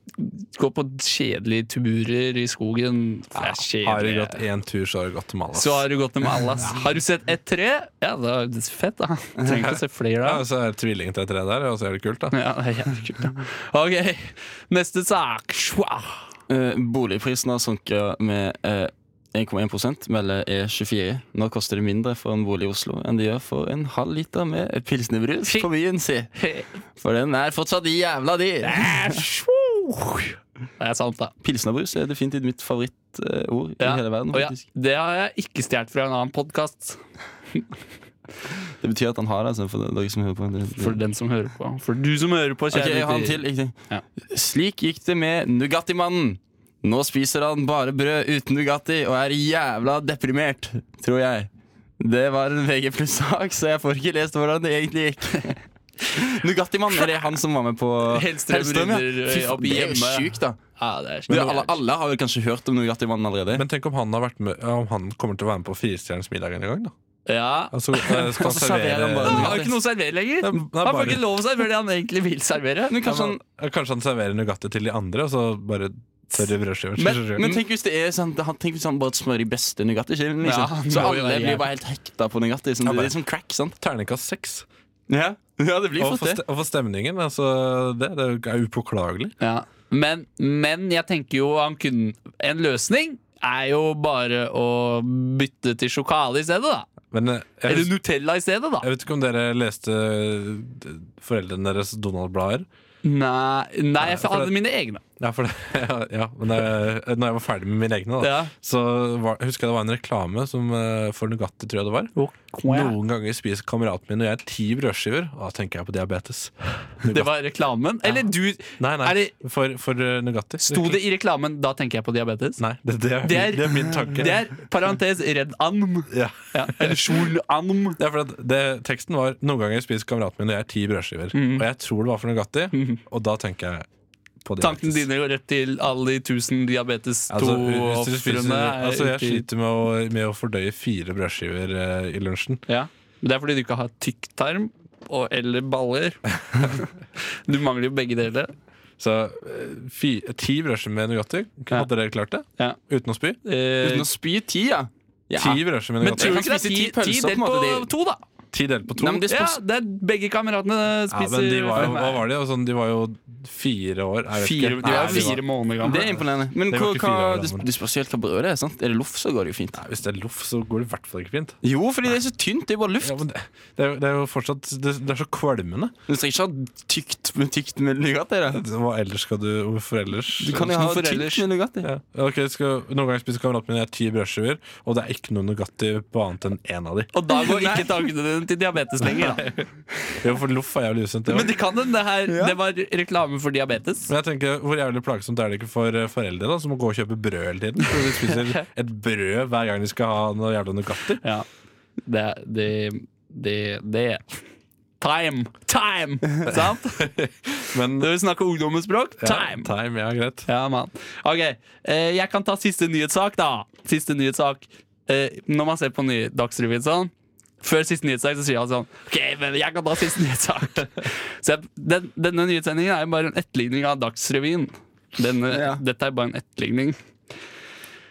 [SPEAKER 3] gå på kjedelige turer i skogen. For det er
[SPEAKER 5] Har du gått
[SPEAKER 3] kjedelig.
[SPEAKER 5] én tur, så har du gått til Malas.
[SPEAKER 3] Så har du gått med alle. ass. Har du sett et tre? Ja, da er det fett, da. Du trenger ikke å se flere,
[SPEAKER 5] Ja,
[SPEAKER 3] da.
[SPEAKER 5] så er det tvilling til et tre der, og så er det kult, da.
[SPEAKER 3] Ja, det er jævlig kult, da. Ok, neste sak. Schwa.
[SPEAKER 6] Eh, boligprisen har sunket med eh, 1,1 melder E24. Nå koster det mindre for en bolig i Oslo enn det gjør for en halv liter med pilsnerbrus på byen, si. For den er fortsatt jævla dyr.
[SPEAKER 3] Det er sant, da.
[SPEAKER 6] Pilsnerbrus er definitivt mitt favorittord
[SPEAKER 3] Ja.
[SPEAKER 6] i hele verden.
[SPEAKER 3] Og ja,
[SPEAKER 6] faktisk
[SPEAKER 3] det har jeg ikke stjålet fra en annen podkast.
[SPEAKER 6] Det betyr at han har det. Altså, for dere som hører på det, det.
[SPEAKER 3] For den som hører på. For du som hører på,
[SPEAKER 6] Mm. Ok, jeg
[SPEAKER 3] kjære
[SPEAKER 6] har en
[SPEAKER 3] lytter.
[SPEAKER 6] til. Ikke?
[SPEAKER 3] Ja.
[SPEAKER 6] Slik gikk det med Nugatti-mannen. Nå spiser han bare brød uten Nugatti og er jævla deprimert, tror jeg. Det var en VG pluss-sak, så jeg får ikke lest hvordan det egentlig gikk. Nugatti-mannen, er det han som var med på
[SPEAKER 3] Hellstrøm rydder,
[SPEAKER 6] Fy
[SPEAKER 3] eh, opp
[SPEAKER 6] faen, det er
[SPEAKER 3] hjemme.
[SPEAKER 6] jo sjukt, da.
[SPEAKER 3] Ja, det er
[SPEAKER 6] Du,
[SPEAKER 3] sjukt.
[SPEAKER 6] alle, alle har vel kanskje hørt om Nugatti-mannen allerede?
[SPEAKER 5] Men tenk om han, har vært med, om han kommer til å være med på Firestjerners middag en gang, da.
[SPEAKER 3] Ja.
[SPEAKER 5] Altså, eh, skal
[SPEAKER 6] Og så serverer han bare
[SPEAKER 3] Han
[SPEAKER 5] servere
[SPEAKER 3] har jo ikke noe å servere lenger.
[SPEAKER 5] Det er- det
[SPEAKER 3] Han
[SPEAKER 5] er
[SPEAKER 3] får
[SPEAKER 5] bare-
[SPEAKER 3] ikke lov å servere det han egentlig vil servere.
[SPEAKER 6] Men kanskje han
[SPEAKER 5] Sånn, Ja, Kanskje han serverer Nugatti til de andre, og så bare tørre brødskiver.
[SPEAKER 6] Men, men tenk hvis det er sånn han- Tenk hvis han bare smører de beste Nugatti-skivene.
[SPEAKER 3] Ja,
[SPEAKER 6] Liksom.
[SPEAKER 3] han
[SPEAKER 6] så
[SPEAKER 3] må jo
[SPEAKER 6] alle
[SPEAKER 3] være
[SPEAKER 6] blir bare helt hekta på Nugatti. Sånn,
[SPEAKER 5] Ja,
[SPEAKER 6] det
[SPEAKER 5] bare-
[SPEAKER 6] er som crack, sant?
[SPEAKER 5] Terningkast seks.
[SPEAKER 6] Ja, ja det blir
[SPEAKER 5] Og
[SPEAKER 6] fort
[SPEAKER 5] for,
[SPEAKER 6] det.
[SPEAKER 5] ste og for stemningen, altså det, det er upåklagelig.
[SPEAKER 3] Ja. Men, men jeg tenker jo han kunne En løsning er jo bare å bytte til sjokale i stedet, da.
[SPEAKER 5] Men eh, jeg,
[SPEAKER 3] Eller
[SPEAKER 5] hus
[SPEAKER 3] Nutella i stedet, da.
[SPEAKER 5] jeg vet ikke om dere leste eh, foreldrene deres Donald-blader.
[SPEAKER 3] Nei, nei jeg
[SPEAKER 5] for
[SPEAKER 3] hadde
[SPEAKER 5] det-
[SPEAKER 3] mine egne.
[SPEAKER 5] Ja, for det, ja, men det, når jeg var ferdig med mine egne, da,
[SPEAKER 3] Ja.
[SPEAKER 5] så var, husker jeg det var en reklame som, eh, for Nugatti, tror jeg det var.
[SPEAKER 3] No.
[SPEAKER 5] Noen ganger spiser kameraten min og jeg ti brødskiver, og da tenker jeg på diabetes.
[SPEAKER 3] Det var reklamen. Eller du
[SPEAKER 5] Nei, nei,
[SPEAKER 3] Er det-
[SPEAKER 5] for, for eh, Nugatti.
[SPEAKER 3] Sto det i reklamen 'da tenker jeg på diabetes'?
[SPEAKER 5] Nei, det, det, er,
[SPEAKER 3] Det er-
[SPEAKER 5] det er min tanke.
[SPEAKER 3] Det er parentes redd anm.
[SPEAKER 5] ja.
[SPEAKER 3] Ja. Eller skjul anm.
[SPEAKER 5] Det er fordi at det, teksten var Noen ganger spiser kameraten min og jeg ti brødskiver.
[SPEAKER 3] Mm.
[SPEAKER 5] Og jeg tror det var for Nugatti, og da tenker jeg på
[SPEAKER 3] Tankene
[SPEAKER 5] diabetes.
[SPEAKER 3] dine går rett til alle de tusen diabetes
[SPEAKER 5] Altså, hvis du spiser,
[SPEAKER 3] 2-ofrene.
[SPEAKER 5] altså jeg sliter med å, med å fordøye fire brødskiver eh, i lunsjen.
[SPEAKER 3] Ja. Men det er fordi du ikke har tykktarm og, eller baller. du mangler jo begge deler.
[SPEAKER 5] Så eh, fi, ti brødskiver med Nugatti,
[SPEAKER 3] Ja.
[SPEAKER 5] hadde dere klart det?
[SPEAKER 3] Ja.
[SPEAKER 5] Uten å spy?
[SPEAKER 3] Eh,
[SPEAKER 6] Uten å spy ti, ja. ja.
[SPEAKER 5] Ti brødskiver med
[SPEAKER 3] men
[SPEAKER 5] Nugatti.
[SPEAKER 3] tror du
[SPEAKER 6] kan
[SPEAKER 3] ikke det er
[SPEAKER 6] spise
[SPEAKER 3] ti,
[SPEAKER 6] ti
[SPEAKER 3] ti
[SPEAKER 6] pølser, på en
[SPEAKER 3] delt på,
[SPEAKER 6] måte, det-
[SPEAKER 3] to, da?
[SPEAKER 5] Ti delt på to.
[SPEAKER 6] Nei, men det
[SPEAKER 3] Ja,
[SPEAKER 6] spørs-
[SPEAKER 3] det er begge kameratene
[SPEAKER 5] ja,
[SPEAKER 3] spiser
[SPEAKER 5] men de var jo, hva var de? Sånn, de var jo fire år. Jeg vet
[SPEAKER 3] fire,
[SPEAKER 5] ikke.
[SPEAKER 3] de var
[SPEAKER 5] Nei,
[SPEAKER 3] jo fire måneder
[SPEAKER 6] Det er
[SPEAKER 3] gamle.
[SPEAKER 6] imponerende. Men
[SPEAKER 5] Det
[SPEAKER 6] hva,
[SPEAKER 5] var ikke fire
[SPEAKER 6] hva,
[SPEAKER 5] år
[SPEAKER 6] det,
[SPEAKER 5] gammel.
[SPEAKER 6] det spørs helt hva brødet er. sant? Er det loff, så går det jo fint.
[SPEAKER 5] Nei, hvis det er loff, så går det i hvert fall ikke fint.
[SPEAKER 6] Jo, fordi det er så tynt. Det er bare luft.
[SPEAKER 5] Ja, men det, det, er, jo- det er jo fortsatt Det, det er så kvalmende.
[SPEAKER 6] Du trenger ikke ha tykt med tykt med Nugatti. da.
[SPEAKER 5] Hva ellers skal du Hvorfor ellers?
[SPEAKER 6] Du kan jo ha
[SPEAKER 3] Hvorfor
[SPEAKER 6] tykt
[SPEAKER 3] ellers?
[SPEAKER 6] med Nugatti.
[SPEAKER 5] ja. Ok, skal, Noen ganger spiser kameraten min jeg ti brødskiver, og det er ikke noe Nugatti på annet enn én av de.
[SPEAKER 3] Og da går ikke tankene dine til diabetes lenger. Da.
[SPEAKER 5] Jo, for loff er jævlig usunt. det
[SPEAKER 3] Men
[SPEAKER 5] også.
[SPEAKER 3] det kan hende det her Det var reklame for diabetes.
[SPEAKER 5] Men jeg tenker, Hvor jævlig plagsomt er det ikke for eh, foreldre da, som må gå og kjøpe brød hele tiden? For de spiser et brød hver gang de skal ha noe jævla Nugatti.
[SPEAKER 3] Ja. Det Det, det, det. Time! Time! Sant?
[SPEAKER 5] Men
[SPEAKER 3] Når vi snakker ungdommens språk,
[SPEAKER 5] ja,
[SPEAKER 3] time!
[SPEAKER 5] time, ja, greit.
[SPEAKER 3] Ja, mann. Ok, eh, jeg kan ta siste nyhetssak, da. Siste nyhetssak. Eh, når man ser på ny Dagsrevyen sånn, før siste nyhetssak, så sier han sånn OK, men jeg kan ta siste nyhetssak. så jeg, den, denne nyhetssendingen er jo bare en etterligning av Dagsrevyen. Denne,
[SPEAKER 6] Ja.
[SPEAKER 3] Dette er bare en etterligning.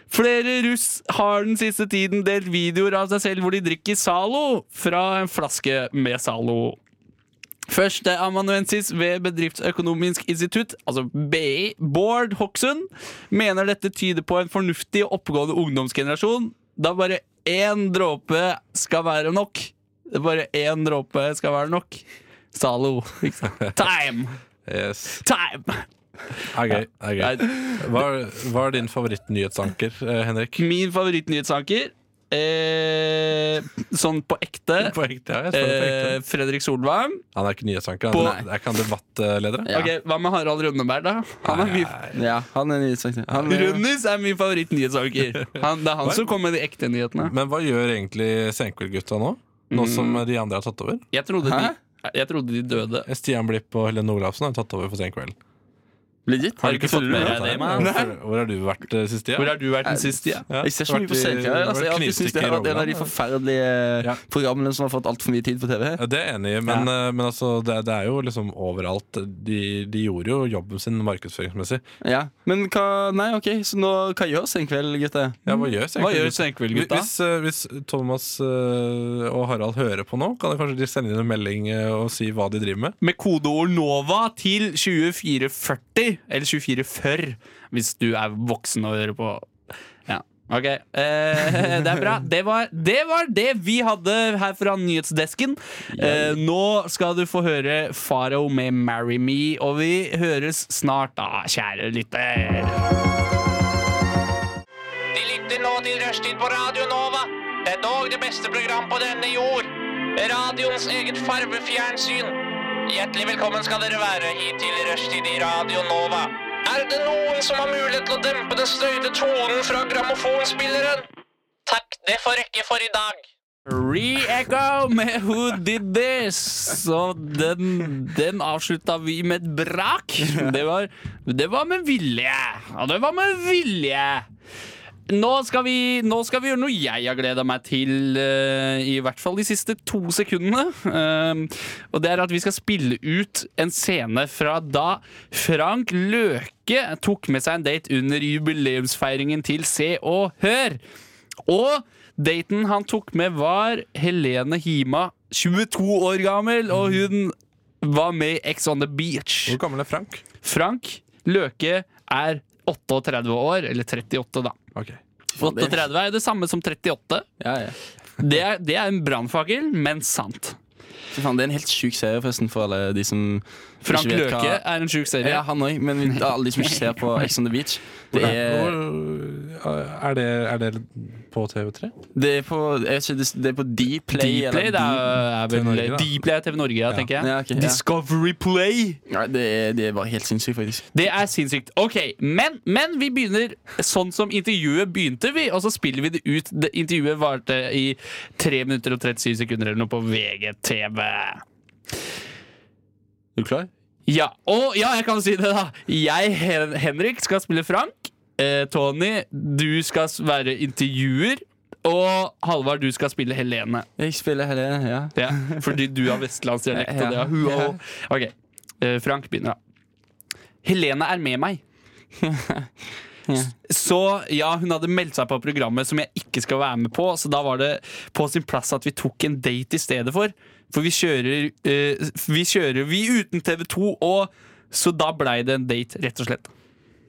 [SPEAKER 3] Flere russ har den siste tiden delt videoer av seg selv hvor de drikker Zalo fra en flaske med Zalo. Førsteamanuensis ved Bedriftsøkonomisk institutt, altså BI, Bård Hokksund, mener dette tyder på en fornuftig og oppegående ungdomsgenerasjon, da bare én dråpe skal være nok. Det er Bare én dråpe skal være nok. Zalo. ikke sant? Time!
[SPEAKER 5] Yes.
[SPEAKER 3] Time!
[SPEAKER 5] Er gøy. Er gøy.
[SPEAKER 3] Nei, Mm.
[SPEAKER 5] Hva, er- hva er din favorittnyhetsanker, eh, Henrik?
[SPEAKER 3] min favorittnyhetsanker, eh, sånn på ekte,
[SPEAKER 5] På ekte, ja, jeg spør på ekte.
[SPEAKER 3] eh, Fredrik Solvang.
[SPEAKER 5] Han er ikke nyhetsanker,
[SPEAKER 3] På-
[SPEAKER 5] han er, er ikke han debattleder.
[SPEAKER 6] Ja.
[SPEAKER 3] Ok, Hva med Harald Rønneberg, da? Han er min
[SPEAKER 6] Ja, han er nyhetsaktig. Han er-
[SPEAKER 3] Rundis er min favorittnyhetsanker. Han, det er han som kommer med de ekte nyhetene.
[SPEAKER 5] Men hva gjør egentlig Senkveld-gutta nå? Nå som
[SPEAKER 3] Mm.
[SPEAKER 5] de andre har tatt over?
[SPEAKER 3] Jeg trodde,
[SPEAKER 6] Hæ?
[SPEAKER 3] de, jeg trodde de døde.
[SPEAKER 5] Stian Blipp og Helene Olafsen har tatt over for Senkveld.
[SPEAKER 6] Legit.
[SPEAKER 3] Har du ikke fått med deg det, mann?
[SPEAKER 5] Hvor, hvor har du vært eh, siste
[SPEAKER 3] Hvor
[SPEAKER 5] tida?
[SPEAKER 3] har du vært den siste? Ja?
[SPEAKER 5] Ja,
[SPEAKER 6] Jeg ser ikke mye
[SPEAKER 5] vært
[SPEAKER 6] på
[SPEAKER 5] i-
[SPEAKER 6] senkveld. Altså, jeg har alltid syntes det har
[SPEAKER 5] knivstikker
[SPEAKER 6] vært en av de
[SPEAKER 5] i Rogaland.
[SPEAKER 6] forferdelige
[SPEAKER 5] Ja.
[SPEAKER 6] programmene som har fått altfor mye tid på TV.
[SPEAKER 5] Ja, det er jeg enig i, men, eh, men altså, det, er- det er jo liksom overalt. De, de gjorde jo jobben sin markedsføringsmessig.
[SPEAKER 6] Ja. Men hva Nei, OK, så nå, hva gjør senkveld, gutter?
[SPEAKER 5] Ja, hva gjør
[SPEAKER 3] Hva gjør
[SPEAKER 5] Senkveld-gutta?
[SPEAKER 3] Senkveld-gutta?
[SPEAKER 5] Hvis, eh, hvis Thomas eh, og Harald hører på nå, kan de kanskje de sende inn en melding eh, og si hva de driver med?
[SPEAKER 3] Med kodeord NOVA til 2440, eller 2440, hvis du er voksen og hører på. Ja, ok. Eh, det er bra. Det var, det var det vi hadde her fra nyhetsdesken. Eh, nå skal du få høre Faro med 'Marry Me', og vi høres snart da, kjære lytter.
[SPEAKER 1] De lytter nå til Rushtid på Radio Nova. Det er dog det beste program på denne jord. Radioens eget farvefjernsyn. Hjertelig velkommen skal dere være hit til Rushtid i Radio Nova. Er det noen som har mulighet til å dempe den støyte tonen fra grammofonspilleren? Takk, det får rekke for i dag.
[SPEAKER 3] Re-echo med Who Did This? Så den, den avslutta vi med et brak. Det var, det var med vilje. Og det var med vilje. nå skal, vi, nå skal vi gjøre noe jeg har gleda meg til eh, i hvert fall de siste to sekundene. Eh, og det er at vi skal spille ut en scene fra da Frank Løke tok med seg en date under jubileumsfeiringen til Se og Hør. Og daten han tok med, var Helene Hima, 22 år gammel, og hun var med i Ex on the Beach.
[SPEAKER 5] Hvor gammel er Frank?
[SPEAKER 3] Frank Løke er 38 år, eller 38 da.
[SPEAKER 5] Ok.
[SPEAKER 3] 38 er jo det samme som 38.
[SPEAKER 6] Ja, ja.
[SPEAKER 3] Det er, det er en brannfakkel, men sant.
[SPEAKER 6] Fy faen, det er en helt sjuk serie, forresten, for alle de som
[SPEAKER 3] Frank
[SPEAKER 6] ikke vet
[SPEAKER 3] Løke er en sjuk serie.
[SPEAKER 6] Ja, han òg, men vi- alle de som ikke ser på Ex on the Beach. Det er,
[SPEAKER 5] Hvor- Er det, er det på TV3?
[SPEAKER 6] det er på jeg vet ikke, det det er på Dplay eller
[SPEAKER 3] Dplay det er, er vel
[SPEAKER 5] TV Norge, da.
[SPEAKER 3] Dplay er TV Norge, ja, tenker jeg.
[SPEAKER 6] Ja, ok, ja.
[SPEAKER 3] Discovery Play!
[SPEAKER 6] Nei, det er, det er bare helt sinnssykt, faktisk.
[SPEAKER 3] Det er sinnssykt. Ok, men, men vi begynner sånn som intervjuet begynte, vi, og så spiller vi det ut. Det intervjuet varte i 3 minutter og 37 sekunder eller noe på VGTV.
[SPEAKER 6] Er du klar?
[SPEAKER 3] Ja, og ja, jeg kan si det, da. Jeg, Hen- Henrik, skal spille Frank. Eh, Tony, du skal s- være intervjuer. Og Halvard, du skal spille Helene.
[SPEAKER 6] Jeg spiller Helene, ja.
[SPEAKER 3] Ja, fordi du har vestlandsdialekt, og det har hun òg. Ok, eh, Frank begynner, da. Helene er med meg. S- Så ja, hun hadde meldt seg på programmet som jeg ikke skal være med på, så da var det på sin plass at vi tok en date i stedet for. For vi kjører eh, Vi kjører vi uten TV2, og så da blei det en date, rett og slett.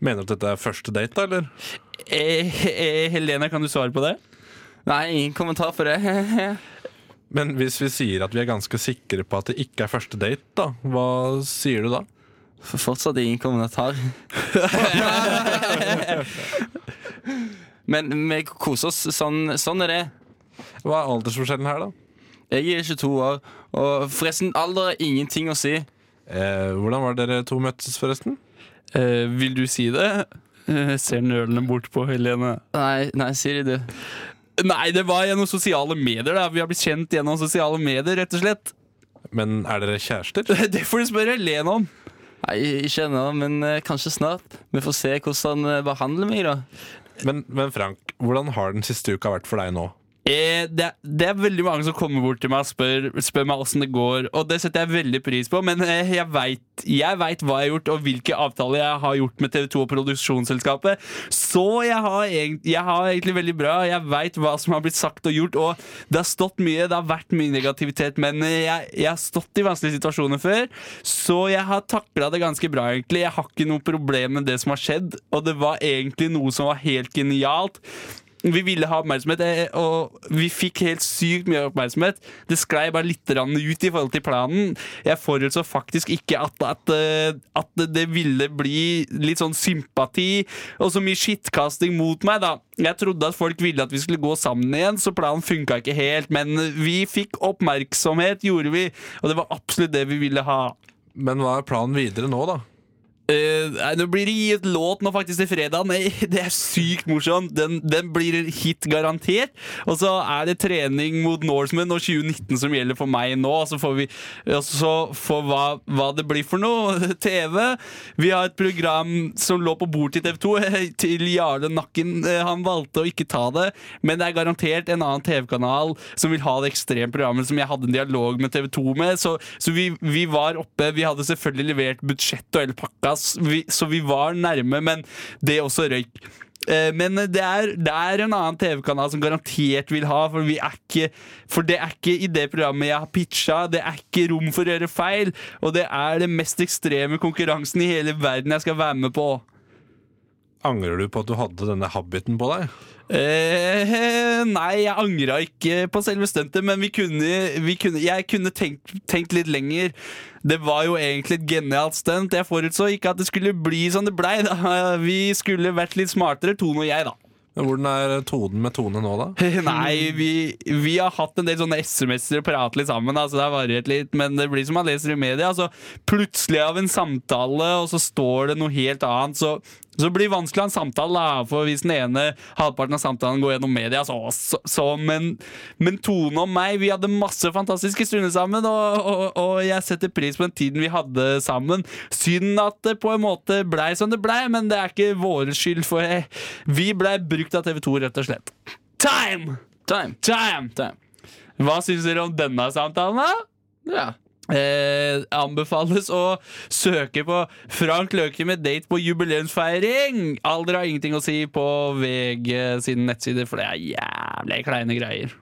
[SPEAKER 5] Mener du at dette er første date, da, eller?
[SPEAKER 3] Eh, eh, Helene, kan du svare på det?
[SPEAKER 6] Nei, ingen kommentar for det.
[SPEAKER 5] Men hvis vi sier at vi er ganske sikre på at det ikke er første date, da, hva sier du da?
[SPEAKER 6] For fortsatt ingen kommentar. Men vi koser oss. Sånn, sånn er det.
[SPEAKER 5] Hva er aldersforskjellen her, da?
[SPEAKER 6] Jeg er 22 år, og forresten, alder er ingenting å si.
[SPEAKER 5] Eh, hvordan var dere to møttes, forresten?
[SPEAKER 3] Eh, vil du si det? Eh, ser nølende bort på Helene.
[SPEAKER 6] Nei, nei sier de det.
[SPEAKER 3] Nei, det var gjennom sosiale medier. da Vi har blitt kjent gjennom sosiale medier, rett og slett.
[SPEAKER 5] Men er dere kjærester?
[SPEAKER 3] Det får du spørre Helene om.
[SPEAKER 6] Nei, ikke ennå, men eh, kanskje snart. Vi får se hvordan han eh, behandler meg, da.
[SPEAKER 5] Men, men Frank, hvordan har den siste uka vært for deg nå?
[SPEAKER 3] Eh, det, er- det er veldig mange som kommer bort til meg og spør, spør meg åssen det går, og det setter jeg veldig pris på, men eh, jeg veit jeg vet hva jeg har gjort, og hvilke avtaler jeg har gjort med TV2 og produksjonsselskapet. Så jeg har, egent, jeg har egentlig veldig bra, og jeg veit hva som har blitt sagt og gjort, og det har stått mye, det har vært mye negativitet, men eh, jeg, jeg har stått i vanskelige situasjoner før, så jeg har takla det ganske bra, egentlig. Jeg har ikke noe problem med det som har skjedd, og det var egentlig noe som var helt genialt. Vi ville ha oppmerksomhet, eh, og vi fikk helt sykt mye oppmerksomhet. Det sklei bare litt grann ut i forhold til planen. Jeg forutså faktisk ikke at, at, eh, at det- det ville bli litt sånn sympati og så mye skittkasting mot meg, da. Jeg trodde at folk ville at vi skulle gå sammen igjen, så planen funka ikke helt. Men vi fikk oppmerksomhet, gjorde vi, og det var absolutt det vi ville ha.
[SPEAKER 5] Men hva er planen videre nå, da?
[SPEAKER 3] Eh, nei, nå blir det gitt låt nå faktisk til fredag. Nei, det er sykt morsomt. Den, den blir hit garantert. Og så er det trening mot Norseman og 2019 som gjelder for meg nå. Og så får vi og så får hva, hva det blir for noe. TV. Vi har et program som lå på bord til TV 2, til Jarle Nakken. Eh, Han valgte å ikke ta det, men det er garantert en annen TV-kanal som vil ha det ekstreme programmet som jeg hadde en dialog med TV 2 med. Så, så vi, vi var oppe. Vi hadde selvfølgelig levert budsjett og hele pakka, s- vi, så vi var nærme, men det også røyk. Eh, Men det er, det er en annen TV-kanal som garantert vil ha, for, vi er ikke, for det er ikke i det programmet jeg har pitcha. Det er ikke rom for å gjøre feil, og det er den mest ekstreme konkurransen i hele verden jeg skal være med på.
[SPEAKER 5] Angrer du på at du hadde denne habiten på deg?
[SPEAKER 3] Eh, nei, jeg angra ikke på selve stuntet, men vi kunne, vi kunne, jeg kunne tenkt, tenkt litt lenger. Det var jo egentlig et genialt stunt. Jeg forutså ikke at det skulle bli som det blei. da. Vi skulle vært litt smartere, Tone og jeg, da.
[SPEAKER 5] Men Hvordan er tonen med Tone nå, da?
[SPEAKER 3] Nei, vi, vi har hatt en del sånne SMS-er og pratet litt sammen, da, så det har variert litt. Men det blir som man leser i media. Altså, plutselig av en samtale, og så står det noe helt annet. Så, Så blir det vanskelig å ha en samtale, da, for hvis den ene halvparten av samtalen går gjennom media, så, så, så men, men Tone og meg, vi hadde masse fantastiske stunder sammen, og, og, og jeg setter pris på den tiden vi hadde sammen. Synd at det på en måte blei som det blei, men det er ikke vår skyld, for jeg, vi blei brukt av TV 2, rett og slett. Time!
[SPEAKER 6] Time.
[SPEAKER 3] Time!
[SPEAKER 6] Time.
[SPEAKER 3] Hva syns dere om denne samtalen, da?
[SPEAKER 6] Ja.
[SPEAKER 3] Eh, anbefales å søke på Frank Løke med date på jubileumsfeiring. Alder har ingenting å si på VG sine nettsider, for det er jævlig kleine greier.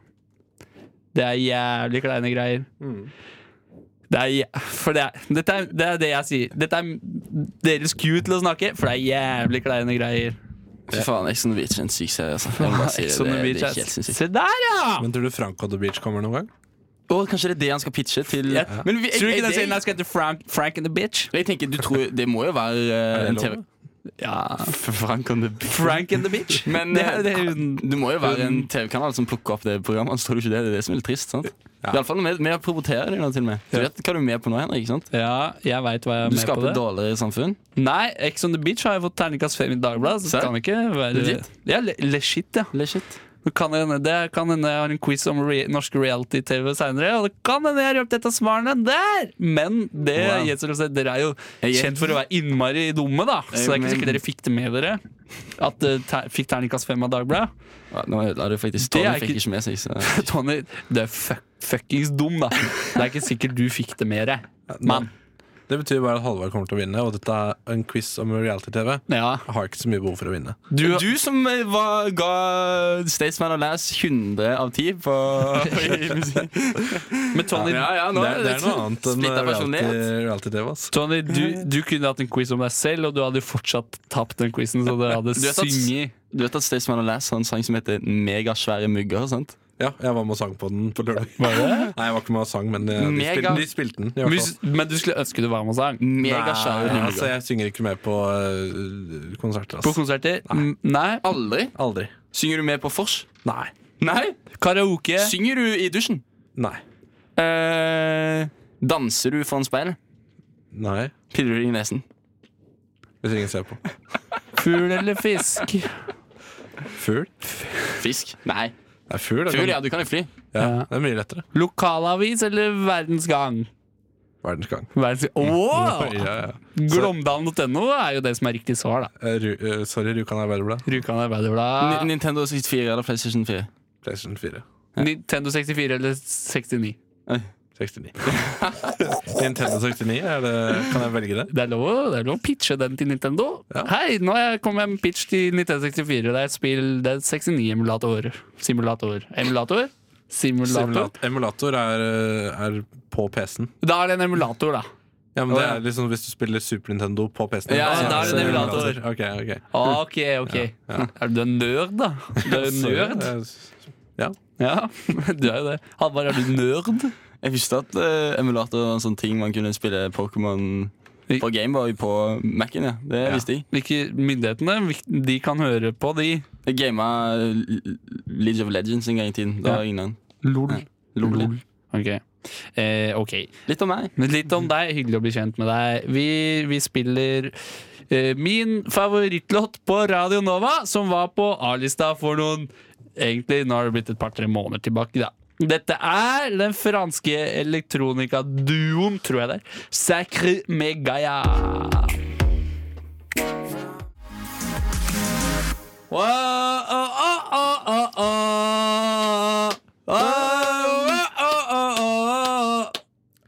[SPEAKER 3] Det er jævlig kleine greier.
[SPEAKER 6] Mm.
[SPEAKER 3] Det er, jæ- for det er, dette er, det er det jeg sier. Dette er deres cue til å snakke, for det er jævlig kleine greier.
[SPEAKER 6] Fy faen, Ex on the Beach er sånn en syk serie. Altså. Jeg må bare si det,
[SPEAKER 3] Ex on
[SPEAKER 6] det,
[SPEAKER 3] the
[SPEAKER 6] det,
[SPEAKER 3] Beach
[SPEAKER 6] er
[SPEAKER 3] er-
[SPEAKER 6] helt sinnssykt.
[SPEAKER 3] Se der, ja!
[SPEAKER 5] Men tror du Frank on the Beach kommer noen gang?
[SPEAKER 6] Og kanskje det er det han skal pitche til
[SPEAKER 3] Jeg-
[SPEAKER 6] Men vi,
[SPEAKER 3] Tror du
[SPEAKER 6] er
[SPEAKER 3] ikke den
[SPEAKER 6] det-
[SPEAKER 3] serien her skal hete Frank, Frank and the Bitch?
[SPEAKER 6] Jeg tenker, du tror, Det må jo være eh,
[SPEAKER 5] det
[SPEAKER 6] en
[SPEAKER 5] lov?
[SPEAKER 6] TV
[SPEAKER 3] Ja,
[SPEAKER 6] Frank on the Beach.
[SPEAKER 3] Frank and the Bitch.
[SPEAKER 6] Men eh,
[SPEAKER 3] det er, det er,
[SPEAKER 6] det må jo være en TV-kanal som plukker opp det programmet. Så tror du ikke Det det er det som er litt trist, sant? I alle fall med, med å promotere det nå, til og med. Du vet hva du er med på nå, Henrik? sant?
[SPEAKER 3] ja, jeg veit hva jeg er
[SPEAKER 6] Du
[SPEAKER 3] med på.
[SPEAKER 6] skaper
[SPEAKER 3] det
[SPEAKER 6] et dårligere samfunn.
[SPEAKER 3] Nei, Ex on the Beach har jeg fått terningkast fem i Dagbladet. Så det
[SPEAKER 6] Serr?
[SPEAKER 3] kan ikke være
[SPEAKER 6] Legit?
[SPEAKER 3] Ja, le legit, ja.
[SPEAKER 6] Legit.
[SPEAKER 3] Det kan hende det kan hende jeg har en quiz om re norsk reality-TV seinere, og det kan hende jeg har røpt et av svarene der! Men det,
[SPEAKER 6] Wow.
[SPEAKER 3] gjenstår å se. dere er jo
[SPEAKER 6] Jeg gjetter.
[SPEAKER 3] kjent for å være innmari dumme, da. Så det er ikke
[SPEAKER 6] men-
[SPEAKER 3] sikkert dere fikk det med dere. At dere ter fikk terningkast fem av Dagbladet.
[SPEAKER 6] Ja, Nå ødela du faktisk
[SPEAKER 3] Det er
[SPEAKER 6] Tony fikk
[SPEAKER 3] ikke-
[SPEAKER 6] ikke med seg, så
[SPEAKER 3] Tony, du er fuck fuckings dum, da. Det er ikke sikkert du fikk det med deg. Mann.
[SPEAKER 5] Det betyr bare at Halvard kommer til å vinne, og dette er en quiz om reality-TV.
[SPEAKER 3] Ja.
[SPEAKER 5] Jeg har ikke så mye behov for å vinne.
[SPEAKER 3] Du,
[SPEAKER 6] Du som eh, var, ga Staysman og Lass 100 av 10 på i musikk.
[SPEAKER 3] men Tony,
[SPEAKER 6] Ja, ja, nå
[SPEAKER 5] det, er, det er noe annet enn
[SPEAKER 6] splittet personlighet.
[SPEAKER 5] reality- reality-TV. ass.
[SPEAKER 3] Tony, du, du kunne hatt en quiz om deg selv, og du hadde fortsatt tapt den quizen. Så dere hadde
[SPEAKER 6] Du vet at-
[SPEAKER 3] synget.
[SPEAKER 6] Du vet at Staysman og Lass har en sang som heter 'Megasvære mugger'? sant?
[SPEAKER 5] Ja, jeg var med og sang på den på lørdag. Nei, jeg var ikke med og sang, men eh, de
[SPEAKER 6] Mega-
[SPEAKER 5] spilte, de spilte den. i hvert fall.
[SPEAKER 3] Mus- Men du skulle ønske du var med og sang?
[SPEAKER 6] Megasvære
[SPEAKER 5] Nei,
[SPEAKER 6] mugger.
[SPEAKER 5] altså, jeg synger ikke med på eh, konserter.
[SPEAKER 3] På
[SPEAKER 5] Ass.
[SPEAKER 3] konserter? Nei. Nei.
[SPEAKER 6] Aldri?
[SPEAKER 5] Aldri.
[SPEAKER 6] Synger du med på vors?
[SPEAKER 5] Nei.
[SPEAKER 6] Nei?
[SPEAKER 3] Karaoke?
[SPEAKER 6] Synger du i dusjen?
[SPEAKER 5] Nei.
[SPEAKER 6] Eh, danser du foran speilet?
[SPEAKER 5] Nei.
[SPEAKER 6] Piller du i nesen?
[SPEAKER 5] Hvis ingen ser på.
[SPEAKER 3] Fugl eller fisk?
[SPEAKER 5] Fugl?
[SPEAKER 6] Fisk? Nei.
[SPEAKER 5] Det er fugl. det
[SPEAKER 6] Fugl, ja.
[SPEAKER 5] kan-
[SPEAKER 6] Du kan jo fly.
[SPEAKER 5] Ja, det er mye lettere.
[SPEAKER 3] Lokalavis eller Verdens Gang?
[SPEAKER 5] Verdensgang.
[SPEAKER 3] Verdens... Wow!
[SPEAKER 5] Ja, ja.
[SPEAKER 3] Glåmdalen.no er jo det som er riktig svar, da.
[SPEAKER 5] Eh, Ru, eh, sorry, Rjukan Arbeiderblad.
[SPEAKER 3] Rjukan
[SPEAKER 6] Ni-
[SPEAKER 3] Arbeiderblad.
[SPEAKER 6] Nintendo 64 eller PlayStation 4?
[SPEAKER 5] PlayStation 4.
[SPEAKER 3] Nintendo 64 eller 69?
[SPEAKER 5] 69. Nintendo 69, er det, kan jeg velge det?
[SPEAKER 3] Det er lov, å- det er lov å pitche den til Nintendo.
[SPEAKER 5] Ja.
[SPEAKER 3] Hei, nå er- kom jeg med en pitch til 1964. Det er et spill, det er 69-emulator. Simulator. Emulator? Simulator.
[SPEAKER 5] Simulat emulator er, eh, er på PC-en.
[SPEAKER 3] Da er det en emulator, da.
[SPEAKER 5] Ja, men
[SPEAKER 6] Å,
[SPEAKER 5] det
[SPEAKER 6] ja.
[SPEAKER 5] er liksom hvis du spiller Super Nintendo på PC-en.
[SPEAKER 6] Ja,
[SPEAKER 5] så
[SPEAKER 6] da er det en
[SPEAKER 3] emulator.
[SPEAKER 5] Ok, ok.
[SPEAKER 3] Ok, ok. Er du en nerd, da? Du er en nerd.
[SPEAKER 5] Sorry, jeg- Ja.
[SPEAKER 3] Ja, du er jo det. Halvard, er du nerd?
[SPEAKER 6] Jeg visste at eh, emulator var en sånn ting man kunne spille Pokémon
[SPEAKER 3] I-
[SPEAKER 6] på Gameboy på Mac-en. ja Det visste jeg.
[SPEAKER 3] Hvilke myndighetene? hvil- De kan høre på, de.
[SPEAKER 6] Jeg gama eh, League of Legends en gang i tiden. Da
[SPEAKER 3] Ja.
[SPEAKER 6] var jeg ingen
[SPEAKER 3] Lol.
[SPEAKER 6] Lol.
[SPEAKER 3] Lol. Ok. Eh, ok.
[SPEAKER 6] Litt om meg.
[SPEAKER 3] Men litt om deg. Hyggelig å bli kjent med deg. Vi, vi spiller eh, min favorittlåt på Radio Nova, som var på A-lista for noen Egentlig, nå har det blitt et par-tre måneder tilbake, da. Dette er den franske elektronikaduoen, tror jeg det er. Sacré Megaya. Wow, oh, oh, oh, oh, oh. Oh, oh, oh, oh, oh.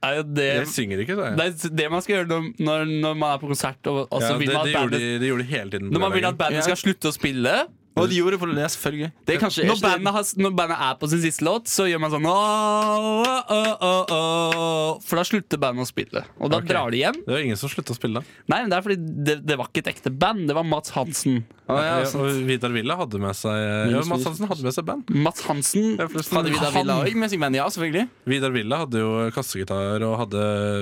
[SPEAKER 3] Er jo det
[SPEAKER 5] Jeg synger ikke, sa jeg.
[SPEAKER 3] det er det man skal gjøre når, når, når man er på konsert. Og, og så
[SPEAKER 5] Ja, det,
[SPEAKER 3] vil
[SPEAKER 5] det,
[SPEAKER 3] man at
[SPEAKER 5] gjorde
[SPEAKER 3] bandet,
[SPEAKER 5] de, det gjorde de hele tiden. på
[SPEAKER 3] når man vil
[SPEAKER 5] lørdagen.
[SPEAKER 3] at bandet skal slutte å spille
[SPEAKER 6] Og de gjorde det på det, selvfølgelig. Det er kanskje
[SPEAKER 3] når bandet, har, når bandet er på sin siste låt, så gjør man sånn «Åh, åh, åh, åh, åh», For da slutter bandet å spille. Og da
[SPEAKER 5] Ok.
[SPEAKER 3] drar de hjem.
[SPEAKER 5] Det var ingen som slutta å spille. da.
[SPEAKER 3] Nei, men Det er fordi det, det var ikke et ekte band. Det var Mats Hansen.
[SPEAKER 5] Ja, og Vidar Villa hadde med seg ja, Mads Hansen hadde med seg band.
[SPEAKER 3] Mats Hansen
[SPEAKER 6] Hadde Vidar Villa òg med seg band? Ja, selvfølgelig.
[SPEAKER 5] Vidar Villa hadde jo kassegitar og hadde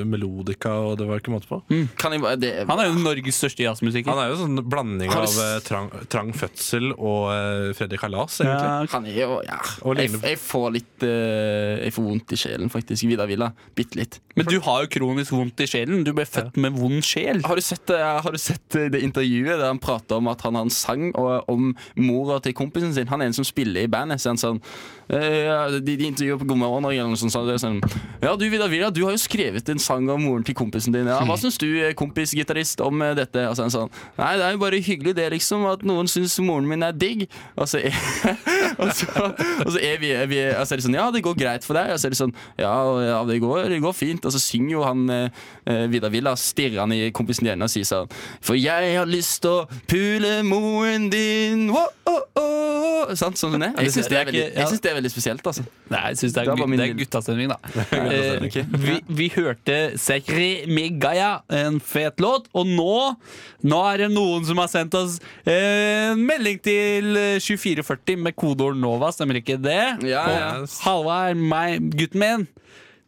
[SPEAKER 5] melodika, og det var ikke måte på.
[SPEAKER 6] Kan jeg bare det,
[SPEAKER 3] Han er jo Norges største jazzmusiker.
[SPEAKER 5] Han er jo sånn blanding
[SPEAKER 6] Har du
[SPEAKER 5] av
[SPEAKER 6] s-
[SPEAKER 5] eh, trang, trang fødsel og og eh, Freddy Kalas, egentlig.
[SPEAKER 3] Ja,
[SPEAKER 6] Han er jo ja.
[SPEAKER 5] Og
[SPEAKER 6] jeg,
[SPEAKER 5] ligner-
[SPEAKER 6] jeg får litt eh, Jeg får vondt i sjelen, faktisk. Vidar Villa. Bitte litt.
[SPEAKER 3] Men du har jo kronisk vondt i sjelen. Du ble født med vond sjel.
[SPEAKER 6] Har du sett, eh, har du sett eh, det intervjuet der han prater om at han har en sang og, eh, om mora til kompisen sin? Han er en som spiller i bandet. Så han sånn, eh, de, de intervjuer på Gomma Norge eller noe sånt. Så det er sånn, ja, du Vidar Villa, du har jo skrevet en sang om moren til kompisen din. Ja, hva syns du, eh, kompisgitarist, om eh, dette? Og så er han sånn, nei, det er jo bare hyggelig det, liksom, at noen syns moren min er digg. Og så er, og så, og så er vi, er vi og så er det sånn, ja, det går greit for deg. Og så er det sånn, ja, ja det, går, det går fint. Og så synger jo han eh, eh, Vidar Villa, stirrer han i kompisen din og sier sånn For jeg har lyst å pule moren din. Wow, oh, oh. Sant, sånn som det. er. Jeg syns det, er veldig-
[SPEAKER 3] ikke- ja.
[SPEAKER 6] jeg synes det er veldig spesielt, altså.
[SPEAKER 3] Nei, jeg synes det er,
[SPEAKER 6] Det var
[SPEAKER 3] gu-
[SPEAKER 6] min
[SPEAKER 3] det er
[SPEAKER 6] lille-
[SPEAKER 3] guttastemning, da. Eh,
[SPEAKER 6] Ok.
[SPEAKER 3] vi, vi hørte Sekri Migaya, en fet låt. Og nå, nå er det noen som har sendt oss eh, en melding til eh, 2440 med kodeord NOVA, stemmer ikke det?
[SPEAKER 6] Ja, ja.
[SPEAKER 3] Og Halvard, meg, gutten min,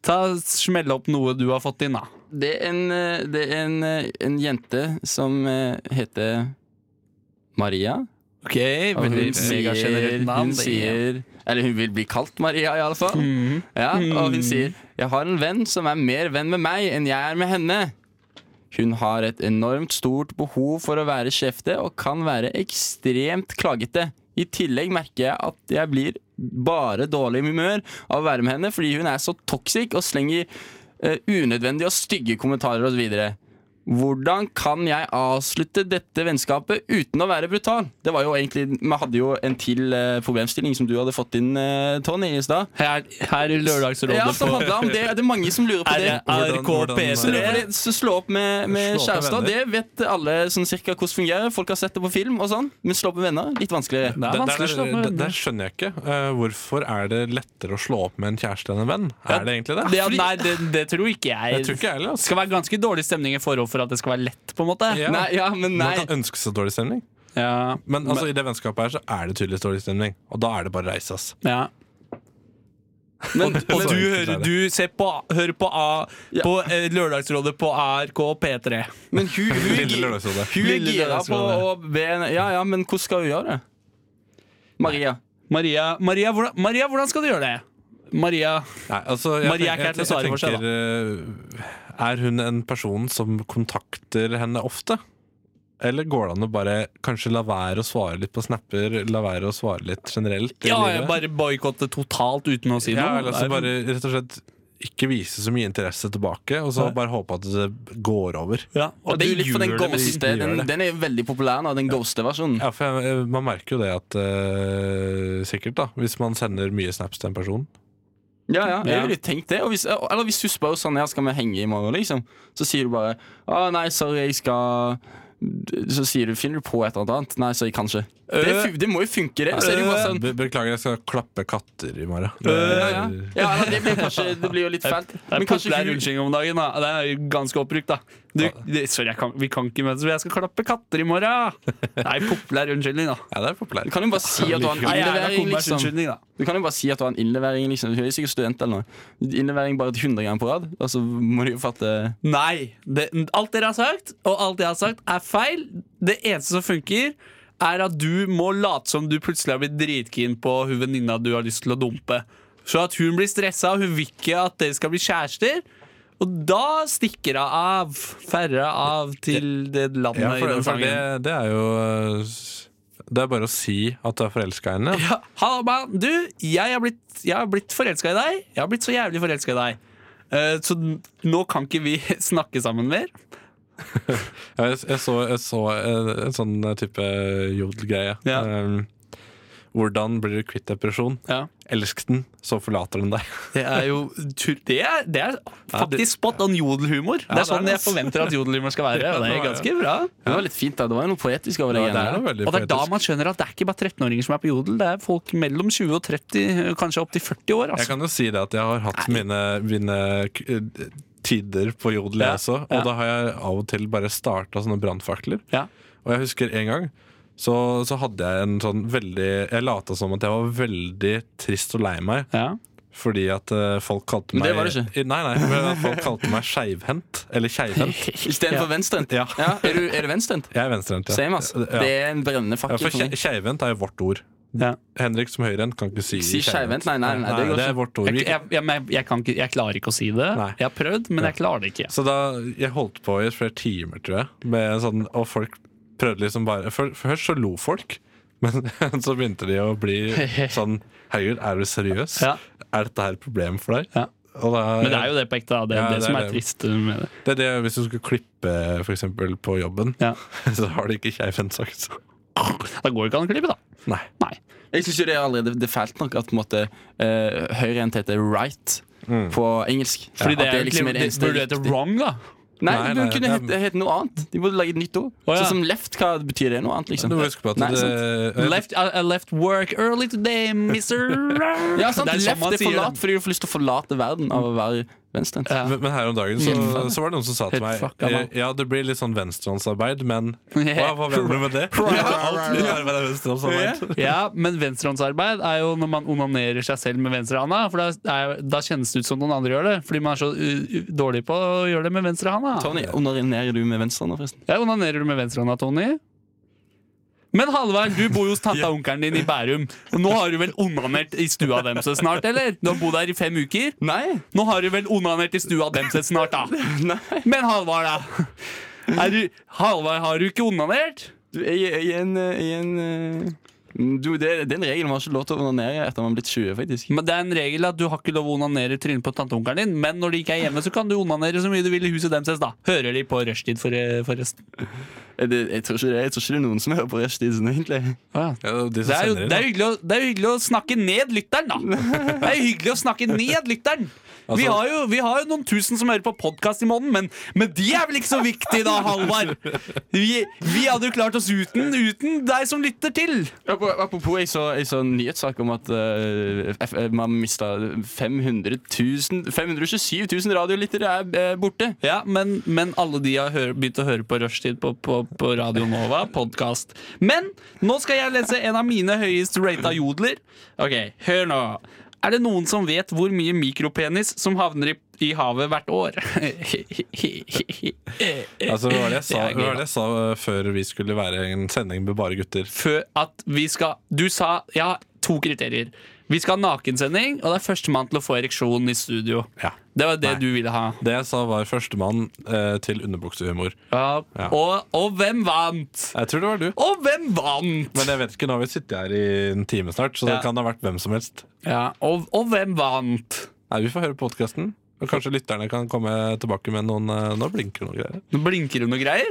[SPEAKER 3] ta smell opp noe du har fått inn, da.
[SPEAKER 6] Det er en, eh, det er en, eh, en jente som eh, heter Maria.
[SPEAKER 3] Ok,
[SPEAKER 6] Og hun
[SPEAKER 3] veldig megasjenerøst
[SPEAKER 6] sier,
[SPEAKER 3] navn.
[SPEAKER 6] hun
[SPEAKER 3] det er-
[SPEAKER 6] sier Mm. Eller hun vil bli kalt Maria, i alle fall. Ja, og hun sier Jeg har en venn som er mer venn med meg enn jeg er med henne. Hun har et enormt stort behov for å være kjefte og kan være ekstremt klagete. I tillegg merker jeg at jeg blir bare dårlig i humør av å være med henne fordi hun er så toxic og slenger eh, unødvendige og stygge kommentarer osv. Hvordan kan jeg avslutte dette vennskapet uten å være brutal? Det var jo egentlig, Vi hadde jo en til eh, problemstilling som du hadde fått inn, eh, Tony, i stad.
[SPEAKER 3] Her, her i Lørdagsrådet
[SPEAKER 6] Ja, som
[SPEAKER 3] på
[SPEAKER 6] handla om det. Det er mange som lurer på det.
[SPEAKER 5] Hvordan- hvordan-
[SPEAKER 6] Så det
[SPEAKER 5] Hvordan-
[SPEAKER 3] RKP3.
[SPEAKER 6] var det- Så slå opp med, med
[SPEAKER 5] Slå opp med
[SPEAKER 6] kjærester. Det
[SPEAKER 5] venner.
[SPEAKER 6] vet alle sånn cirka hvordan fungerer. Folk har sett det på film og sånn. Men slå opp med venner, litt
[SPEAKER 3] Det
[SPEAKER 6] vanskeligere.
[SPEAKER 3] er
[SPEAKER 5] Der,
[SPEAKER 3] vanskelig å slå
[SPEAKER 5] der,
[SPEAKER 3] med
[SPEAKER 5] der, der skjønner jeg ikke. Eh, hvorfor er det lettere å slå opp med en kjæreste enn en venn? Er det egentlig det?
[SPEAKER 3] det, Nei, det, det tror ikke jeg.
[SPEAKER 5] Jeg tror ikke jeg heller.
[SPEAKER 3] Det
[SPEAKER 5] Altså.
[SPEAKER 3] skal være ganske dårlig stemning i forhold for at det skal være lett, på en måte.
[SPEAKER 5] Ja.
[SPEAKER 6] Nei, ja, men nei.
[SPEAKER 5] Man kan ønske seg dårlig stemning,
[SPEAKER 3] Ja,
[SPEAKER 5] men altså, i det vennskapet her så er det tydeligvis dårlig stemning. Og da er det bare å reise, ass.
[SPEAKER 3] ja.
[SPEAKER 6] Men,
[SPEAKER 3] Og
[SPEAKER 5] så
[SPEAKER 3] du,
[SPEAKER 5] enkelt er
[SPEAKER 3] hører,
[SPEAKER 5] det.
[SPEAKER 3] du ser på, hører på, A,
[SPEAKER 6] Ja.
[SPEAKER 3] på eh, Lørdagsrådet på ARK P3.
[SPEAKER 6] men hun, hun,
[SPEAKER 5] Lille lørdagsrådet.
[SPEAKER 6] hun er
[SPEAKER 3] Lille
[SPEAKER 6] gira på
[SPEAKER 3] lørdagsrådet.
[SPEAKER 6] å be en- Ja, ja, men hvordan skal hun gjøre det? Maria.
[SPEAKER 3] Maria, Maria, hvordan, Maria, hvordan skal du gjøre det? Maria
[SPEAKER 5] Nei, altså,
[SPEAKER 3] Maria er ikke her til å svare for seg, da.
[SPEAKER 5] tenker, eh, Er hun en person som kontakter henne ofte? Eller går det an å bare kanskje la være å svare litt på snapper? La være å svare litt generelt? i
[SPEAKER 3] Ja, jeg
[SPEAKER 5] livet?
[SPEAKER 3] bare boikotte totalt uten å si
[SPEAKER 5] ja,
[SPEAKER 3] noe. sånn?
[SPEAKER 5] eller altså bare rett og slett ikke vise så mye interesse tilbake, og så bare håpe at det går over.
[SPEAKER 3] ja.
[SPEAKER 6] Og
[SPEAKER 3] Og det
[SPEAKER 6] du litt for den
[SPEAKER 3] gjør det mest.
[SPEAKER 6] ghoste.
[SPEAKER 5] gjør
[SPEAKER 6] Den,
[SPEAKER 5] det.
[SPEAKER 6] den er jo veldig populær nå, den ghoste-versjonen.
[SPEAKER 5] Ja, for jeg, Man merker jo det at eh, Sikkert, da. Hvis man sender mye snaps til en person.
[SPEAKER 6] Ja, ja, jeg
[SPEAKER 3] Ja.
[SPEAKER 6] ville tenkt det. Og hvis, eller hvis hun spør sånn, ja, skal vi henge i morgen, liksom, så sier du bare Å, nei, sorry, jeg skal Så sier du, finner du på et eller annet? Nei, sorry, kanskje. Det,
[SPEAKER 5] Øh.
[SPEAKER 6] fu- det må jo funke, det. Så er det jo bare sånn
[SPEAKER 5] Be beklager, jeg skal klappe katter i morgen.
[SPEAKER 6] ja, ja. ja, eller det blir kanskje Det blir jo litt fælt.
[SPEAKER 3] Det er
[SPEAKER 6] Men kanskje
[SPEAKER 3] populær
[SPEAKER 6] hun
[SPEAKER 3] unnskyldning om dagen. da Det er jo ganske oppbrukt, da. Du, det, sorry, jeg kan, vi kan ikke møtes, men jeg skal klappe katter i morgen! Nei, populær unnskyldning, da.
[SPEAKER 5] Ja, det er
[SPEAKER 6] Du
[SPEAKER 5] populært.
[SPEAKER 6] kan jo bare si at du har en
[SPEAKER 3] Nei,
[SPEAKER 5] sånn-
[SPEAKER 3] jævla
[SPEAKER 6] innlevering,
[SPEAKER 3] kompers
[SPEAKER 6] liksom.
[SPEAKER 3] unnskyldning, da.
[SPEAKER 6] Du kan jo bare si at du har en innlevering, liksom. Hun er sikkert student eller noe. Innlevering bare 100 ganger på rad. Og så må du jo fatte
[SPEAKER 3] Nei. Det, alt dere har sagt, og alt jeg har sagt, er feil. Det eneste som funker, er at du må late som du plutselig har blitt dritkeen på hun venninna du har lyst til å dumpe. Så at hun blir stressa, og hun vil ikke at dere skal bli kjærester. Og da stikker hun av. Færre av til det landet
[SPEAKER 5] Ja,
[SPEAKER 3] i
[SPEAKER 5] for,
[SPEAKER 3] den
[SPEAKER 5] for det,
[SPEAKER 3] sangen.
[SPEAKER 5] det er jo eh, s- Det er bare å si at du er forelska i henne.
[SPEAKER 3] Ja, Hallo, mann. Du, jeg har blitt, jeg har blitt forelska i deg. Jeg har blitt så jævlig forelska i deg. Eh, så n- nå kan ikke vi snakke sammen mer.
[SPEAKER 5] Jeg, jeg så, jeg så en, en sånn type jodelgreie.
[SPEAKER 3] Ja.
[SPEAKER 5] Um, hvordan blir du kvitt depresjon?
[SPEAKER 3] Ja.
[SPEAKER 5] Elsk den, så forlater den deg.
[SPEAKER 3] Det er jo tu- Det er, det er faktisk spot on jodelhumor. Det
[SPEAKER 5] det
[SPEAKER 3] er
[SPEAKER 5] er
[SPEAKER 3] sånn
[SPEAKER 5] det,
[SPEAKER 3] jeg
[SPEAKER 5] ass.
[SPEAKER 3] forventer at jodelhumor skal være. Og det er ganske bra
[SPEAKER 6] Det var litt fint, da. Det var jo noe poetisk over det.
[SPEAKER 5] det er
[SPEAKER 6] greiene
[SPEAKER 5] noe
[SPEAKER 6] der.
[SPEAKER 5] veldig
[SPEAKER 3] Og det er da
[SPEAKER 5] poetisk.
[SPEAKER 3] man skjønner at det er ikke bare 13-åringer som er på jodel. Det er folk mellom 20 og 30, kanskje opptil 40 år.
[SPEAKER 5] Jeg
[SPEAKER 3] Altså.
[SPEAKER 5] kan jo si det at jeg har hatt mine, mine k- eh, tider på jodel,
[SPEAKER 3] Ja,
[SPEAKER 5] jeg også. Og
[SPEAKER 3] ja.
[SPEAKER 5] da har jeg av og til bare starta sånne brannfakler.
[SPEAKER 3] Ja.
[SPEAKER 5] Og jeg husker en gang så, så hadde jeg en sånn veldig Jeg lata som at jeg var veldig trist og lei meg.
[SPEAKER 3] Ja.
[SPEAKER 5] Fordi at eh, folk kalte
[SPEAKER 6] Men
[SPEAKER 5] meg
[SPEAKER 6] det var det
[SPEAKER 5] Nei, nei, men at folk kalte meg skeivhendt. Eller keivhendt.
[SPEAKER 6] Istedenfor venstrehendt.
[SPEAKER 5] Ja.
[SPEAKER 6] Ja, er du, er du venstrehendt?
[SPEAKER 5] Jeg er venstrehendt.
[SPEAKER 6] Same, ass.
[SPEAKER 5] Ja.
[SPEAKER 6] Det er en brennende
[SPEAKER 5] Ja,
[SPEAKER 6] fakkel
[SPEAKER 5] for
[SPEAKER 6] for
[SPEAKER 5] ke-
[SPEAKER 6] meg.
[SPEAKER 5] keivhendt er jo vårt ord.
[SPEAKER 3] Ja.
[SPEAKER 5] Henrik som høyrehendt kan ikke si,
[SPEAKER 6] Si skeivhendt? Nei, nei, nei, det går
[SPEAKER 5] det er
[SPEAKER 6] ikke.
[SPEAKER 5] vårt ord.
[SPEAKER 3] Jeg,
[SPEAKER 5] Vi-
[SPEAKER 3] jeg, jeg, men jeg, kan ikke, jeg klarer ikke å si det.
[SPEAKER 5] Nei.
[SPEAKER 3] Jeg har prøvd, men jeg klarer det ikke.
[SPEAKER 5] Så da, jeg holdt på i flere timer, tror jeg, med sånn, og folk prøvde liksom bare for, Først så lo folk, men så begynte de å bli sånn Herregud, er du seriøs?
[SPEAKER 3] Ja.
[SPEAKER 5] Er dette her et problem for deg?
[SPEAKER 3] Ja.
[SPEAKER 5] Og da,
[SPEAKER 3] Men det er jo det på ekte. da. Det er
[SPEAKER 5] Ja,
[SPEAKER 3] det,
[SPEAKER 5] det er
[SPEAKER 3] som er
[SPEAKER 5] det.
[SPEAKER 3] trist med det.
[SPEAKER 5] det er det, hvis du skulle klippe for eksempel på jobben,
[SPEAKER 3] Ja.
[SPEAKER 5] så har det ikke keifen sagt.
[SPEAKER 3] Da går det ikke an å klippe, da.
[SPEAKER 5] Nei.
[SPEAKER 3] Nei.
[SPEAKER 6] Jeg syns det er allerede det er fælt nok at på en måte, eh, høyrehendt heter right på engelsk.
[SPEAKER 3] Fordi
[SPEAKER 6] At
[SPEAKER 3] det, er egentlig-
[SPEAKER 6] liksom
[SPEAKER 3] det
[SPEAKER 6] eneste
[SPEAKER 3] burde hete
[SPEAKER 6] riktige.
[SPEAKER 3] wrong, da.
[SPEAKER 6] Nei,
[SPEAKER 5] Nei,
[SPEAKER 6] det
[SPEAKER 5] nei,
[SPEAKER 6] kunne
[SPEAKER 5] det er-
[SPEAKER 6] hete, hete noe annet. De burde lage et nytt ord.
[SPEAKER 3] Å, ja.
[SPEAKER 6] Sånn som left, hva betyr det? Noe annet, liksom.
[SPEAKER 5] Du må huske på at
[SPEAKER 6] Nei,
[SPEAKER 5] det,
[SPEAKER 6] sant.
[SPEAKER 3] Left, uh, I, I left work early today, mister
[SPEAKER 6] Ja, sant.
[SPEAKER 3] Det er sånn
[SPEAKER 6] left
[SPEAKER 3] man
[SPEAKER 6] er
[SPEAKER 3] sier
[SPEAKER 6] forlatt fordi du får lyst til å forlate verden av å være venstrehendt.
[SPEAKER 3] Ja.
[SPEAKER 5] men, men her om dagen så, så var det noen som sa til
[SPEAKER 3] Helt
[SPEAKER 5] meg
[SPEAKER 3] fucka
[SPEAKER 5] eh,
[SPEAKER 3] meg.
[SPEAKER 5] Ja, det blir litt sånn venstrehåndsarbeid, men hva, hva mener du med det? Alt blir arbeid er venstrehåndsarbeid.
[SPEAKER 3] Ja, men venstrehåndsarbeid er jo når man onanerer seg selv med venstrehånda. For da, er, da kjennes det ut som noen andre gjør det, fordi man er så uh, uh, dårlig på å gjøre det med venstrehånda.
[SPEAKER 6] Tony, onanerer du med venstre nå, forresten?
[SPEAKER 3] Ja, onanerer du med venstrehånda, Tony? Men Hallvard, du bor jo hos tanta og onkelen din i Bærum. Og nå har du vel onanert i stua deres snart, eller? Du har bodd her i fem uker.
[SPEAKER 6] Nei!
[SPEAKER 3] Nå har du vel onanert i stua deres snart, da.
[SPEAKER 6] Nei.
[SPEAKER 3] Men Halvard, da. Er du, Halvard, har du ikke onanert?
[SPEAKER 6] Du, jeg, jeg, jeg, er en, eh, jeg, er en, eh, du, det, det er en regel man har ikke lov til å onanere etter man har blitt 20, faktisk.
[SPEAKER 3] Men det er en regel at du har ikke lov å onanere i trynet på tanteonkelen din, men når de ikke er hjemme, så kan du onanere så mye du vil i huset deres, da. Hører de på rushtid, for, forresten?
[SPEAKER 6] Eh, Det, jeg, tror ikke det, jeg tror ikke det er noen som hører på Rushtidsen, egentlig.
[SPEAKER 3] Ah, ja.
[SPEAKER 5] Ja, de som
[SPEAKER 3] Det er, jo,
[SPEAKER 5] sender inn,
[SPEAKER 3] det, er jo hyggelig å, det er jo hyggelig å snakke ned lytteren, da! Det er jo hyggelig å snakke ned lytteren! Vi
[SPEAKER 5] Altså-
[SPEAKER 3] har jo, vi har jo noen tusen som hører på podkast i måneden, men, men de er vel ikke så viktige, da, Halvard? Vi, vi hadde jo klart oss uten, uten deg som lytter til!
[SPEAKER 6] Apropos, apropos jeg, så, jeg så en nyhetssak om at eh, F- eh, man mista 500 000 527 000 radiolyttere er eh, borte.
[SPEAKER 3] Ja, men, men alle de har hør, begynt å høre på Rushtid på, på, på Radio Nova, podkast. Men nå skal jeg lese en av mine høyest rata jodler. Ok, hør nå. Er det noen som vet hvor mye mikropenis som havner i, i havet hvert år?
[SPEAKER 5] Altså, hva var det jeg sa,
[SPEAKER 3] Det er gøy,
[SPEAKER 5] hva var det jeg sa eh, før vi skulle være en sending med bare gutter?
[SPEAKER 3] Før at vi skal Du sa ja, to kriterier. Vi skal ha nakensending, og det er førstemann til å få ereksjon i studio.
[SPEAKER 5] Ja.
[SPEAKER 3] Det var det
[SPEAKER 5] Nei.
[SPEAKER 3] du ville ha.
[SPEAKER 5] Det jeg sa, var førstemann eh, til underbuksehumor.
[SPEAKER 3] Ja.
[SPEAKER 5] Ja.
[SPEAKER 3] Og, og hvem vant?
[SPEAKER 5] Jeg tror det var du.
[SPEAKER 3] Og hvem vant?
[SPEAKER 5] Men jeg vet ikke, nå har vi sittet her i en time snart, så
[SPEAKER 3] Ja.
[SPEAKER 5] det kan ha vært hvem som helst.
[SPEAKER 3] Ja, og, og hvem vant?
[SPEAKER 5] Nei, Vi får høre podkasten. Og kanskje lytterne kan komme tilbake med noen eh, Nå blinker noen greier.
[SPEAKER 3] Nå blinker det noen greier.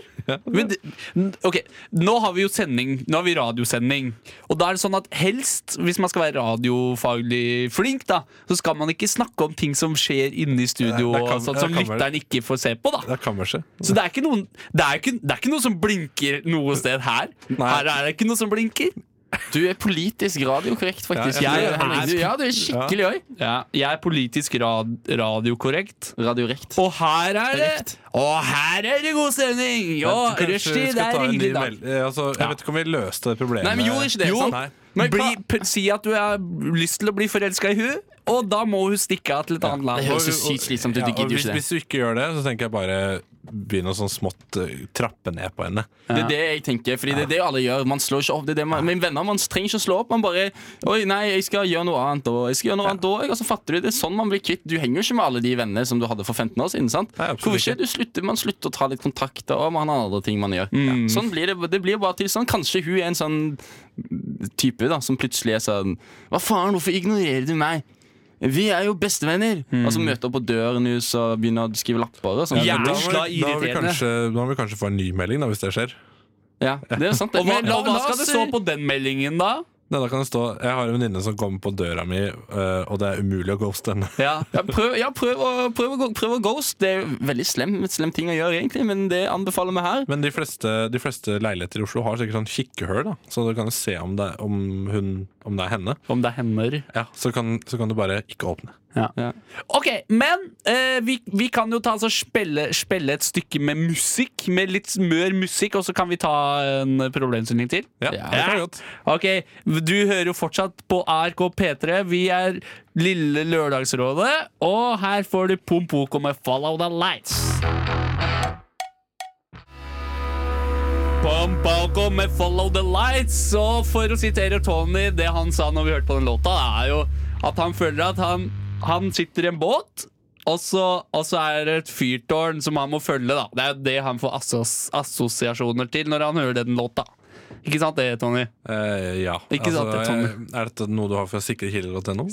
[SPEAKER 3] Men, det- n- ok, Nå har vi jo sending, nå har vi radiosending. Og da er det sånn at helst, hvis man skal være radiofaglig flink, da, så skal man ikke snakke om ting som skjer inne i studio,
[SPEAKER 5] Nei, det kan-
[SPEAKER 3] og sånt, som
[SPEAKER 5] det kan være-
[SPEAKER 3] lytteren ikke får se på. da
[SPEAKER 5] Det er kammerset.
[SPEAKER 3] Så det er ikke noen Det er ikke, det er ikke noe som blinker noe sted her.
[SPEAKER 5] Nei.
[SPEAKER 3] Her er det ikke noe som blinker.
[SPEAKER 6] Du er politisk radiokorrekt, faktisk.
[SPEAKER 5] Ja,
[SPEAKER 3] jeg
[SPEAKER 6] Du
[SPEAKER 3] er-
[SPEAKER 6] du, ja, du er skikkelig oi.
[SPEAKER 3] Ja, jeg er politisk rad, radiokorrekt.
[SPEAKER 6] Radiorekt.
[SPEAKER 3] Og her er det
[SPEAKER 6] Korrekt.
[SPEAKER 3] Og her er det god stemning! Ja,
[SPEAKER 5] Kanskje vi
[SPEAKER 3] rushtid det
[SPEAKER 5] skal
[SPEAKER 3] er
[SPEAKER 5] ta en ny
[SPEAKER 3] hyggelig, da.
[SPEAKER 5] meld- eh, altså, jeg vet ikke om vi løste det problemet.
[SPEAKER 6] Nei, men gjorde ikke det.
[SPEAKER 3] Jo.
[SPEAKER 6] sant?
[SPEAKER 5] Nei.
[SPEAKER 6] Men
[SPEAKER 3] bli,
[SPEAKER 6] hva-
[SPEAKER 3] p- si at du har lyst til å bli forelska i hun og da må hun stikke av til et annet
[SPEAKER 6] Det
[SPEAKER 3] land.
[SPEAKER 6] høres så sykt slitsomt ut.
[SPEAKER 5] Ja,
[SPEAKER 6] Du
[SPEAKER 5] og
[SPEAKER 6] gidder jo
[SPEAKER 5] hvis,
[SPEAKER 6] ikke det.
[SPEAKER 5] hvis du ikke gjør det, så tenker jeg bare begynne å sånn smått eh, trappe ned på henne.
[SPEAKER 6] Det er det jeg tenker, fordi det er det alle gjør. Man slår ikke opp. Det er det man, men venner, man trenger ikke å slå opp. Man bare Oi, nei, jeg skal gjøre noe annet, og jeg skal gjøre noe annet òg. Og så fatter du det. er sånn man blir kvitt. Du henger jo ikke med alle de vennene som du hadde for 15 år siden. sant?
[SPEAKER 5] Nei, absolutt
[SPEAKER 6] Hvorfor ikke? Du slutter, man slutter å ta litt kontakter, og man har andre ting man gjør.
[SPEAKER 3] Mm.
[SPEAKER 6] Sånn blir det. Det blir bare til sånn. Kanskje hun er en sånn type da, som plutselig er sånn Hva faen, hvorfor ignorerer du meg? Vi er jo bestevenner!
[SPEAKER 3] Mm.
[SPEAKER 6] Og så møter hun på døren hennes og begynner å skrive lapper. Og sånn.
[SPEAKER 3] Ja,
[SPEAKER 5] Men da må
[SPEAKER 3] Jævla
[SPEAKER 5] vi- da må vi
[SPEAKER 3] irriterende.
[SPEAKER 5] kanskje- da må vi kanskje få en ny melding, da, hvis det skjer.
[SPEAKER 6] ja, det er jo sant. det.
[SPEAKER 3] Og hva,
[SPEAKER 6] Men la-
[SPEAKER 3] og hva
[SPEAKER 6] la
[SPEAKER 3] skal
[SPEAKER 6] oss-
[SPEAKER 3] det stå på den meldingen, da?
[SPEAKER 5] Nei, da kan det stå Jeg har en venninne som kommer på døra mi, eh, og det er umulig å ghoste henne.
[SPEAKER 3] Ja.
[SPEAKER 6] Ja, prøv, ja, prøv, å, prøv, å, gå- prøv å ghost. Det er jo veldig slem, slem ting å gjøre, egentlig, men det anbefaler vi her.
[SPEAKER 5] Men de fleste, de fleste leiligheter i Oslo har sikkert sånn kikkehull, da. så du kan jo se om det, er- om hun, om det er henne.
[SPEAKER 3] Om det er hender.
[SPEAKER 5] Ja, så kan, så kan du bare ikke åpne.
[SPEAKER 3] Ok, men eh, vi, vi kan jo ta altså spille, spille et stykke med musikk. Med litt mør musikk, og så kan vi ta en problemstilling til.
[SPEAKER 5] Ja,
[SPEAKER 6] Ja.
[SPEAKER 5] det kan vi godt.
[SPEAKER 3] Ok, Du hører jo fortsatt på ARK P3. Vi er Lille Lørdagsrådet, og her får du Pompoko med 'Follow the Lights'. Pompoko med 'Follow the Lights'. Og for å sitere Tony, det han sa når vi hørte på den låta, er jo at han føler at han, han sitter i en båt. Og så, og så er det et fyrtårn som han må følge. da Det er jo det han får assos, assosiasjoner til når han hører den låta. Ikke sant det, Tony?
[SPEAKER 5] Eh, ja.
[SPEAKER 3] Ikke sant, det er Tommy.
[SPEAKER 5] jeg- er dette noe du har fra sikrekilder.no?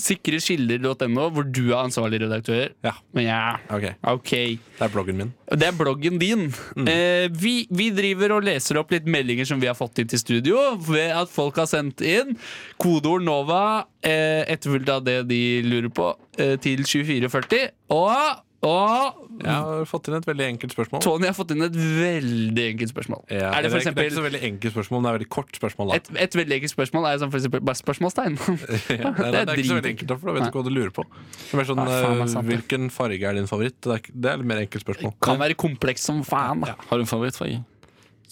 [SPEAKER 3] Sikrekilder.no, hvor du er ansvarlig redaktør.
[SPEAKER 5] Ja.
[SPEAKER 3] Men ja,
[SPEAKER 5] Ok.
[SPEAKER 3] ok.
[SPEAKER 5] Det er bloggen min.
[SPEAKER 3] Det er bloggen din.
[SPEAKER 5] Mm.
[SPEAKER 3] Eh, vi, vi driver og leser opp litt meldinger som vi har fått inn til studio. Ved at folk har sendt inn kodeord NOVA eh, etterfulgt av det de lurer på, eh, til 2440. Og, og
[SPEAKER 5] Jeg har fått inn et veldig enkelt spørsmål.
[SPEAKER 3] Tony har fått inn et veldig enkelt spørsmål.
[SPEAKER 5] Ja,
[SPEAKER 3] er det
[SPEAKER 5] eller ikke- det
[SPEAKER 3] for
[SPEAKER 5] er
[SPEAKER 3] eksempel
[SPEAKER 5] ikke så veldig enkelt spørsmål, men det er veldig kort spørsmål. Da.
[SPEAKER 3] et, et veldig enkelt spørsmål er som for eksempel bare spørsmålstegn.
[SPEAKER 5] Ja, det, er, det, er ikke så veldig
[SPEAKER 3] dritenkelt.
[SPEAKER 5] enkelt, da, for da vet du ikke hva du lurer på. Det er mer sånn,
[SPEAKER 3] Nei, faen, det er sant,
[SPEAKER 5] eh,
[SPEAKER 3] det.
[SPEAKER 5] Hvilken farge er din favoritt? Det er, ikke- det er et mer enkelt spørsmål.
[SPEAKER 3] Kan være kompleks som faen. da.
[SPEAKER 6] Har du en favorittfarge?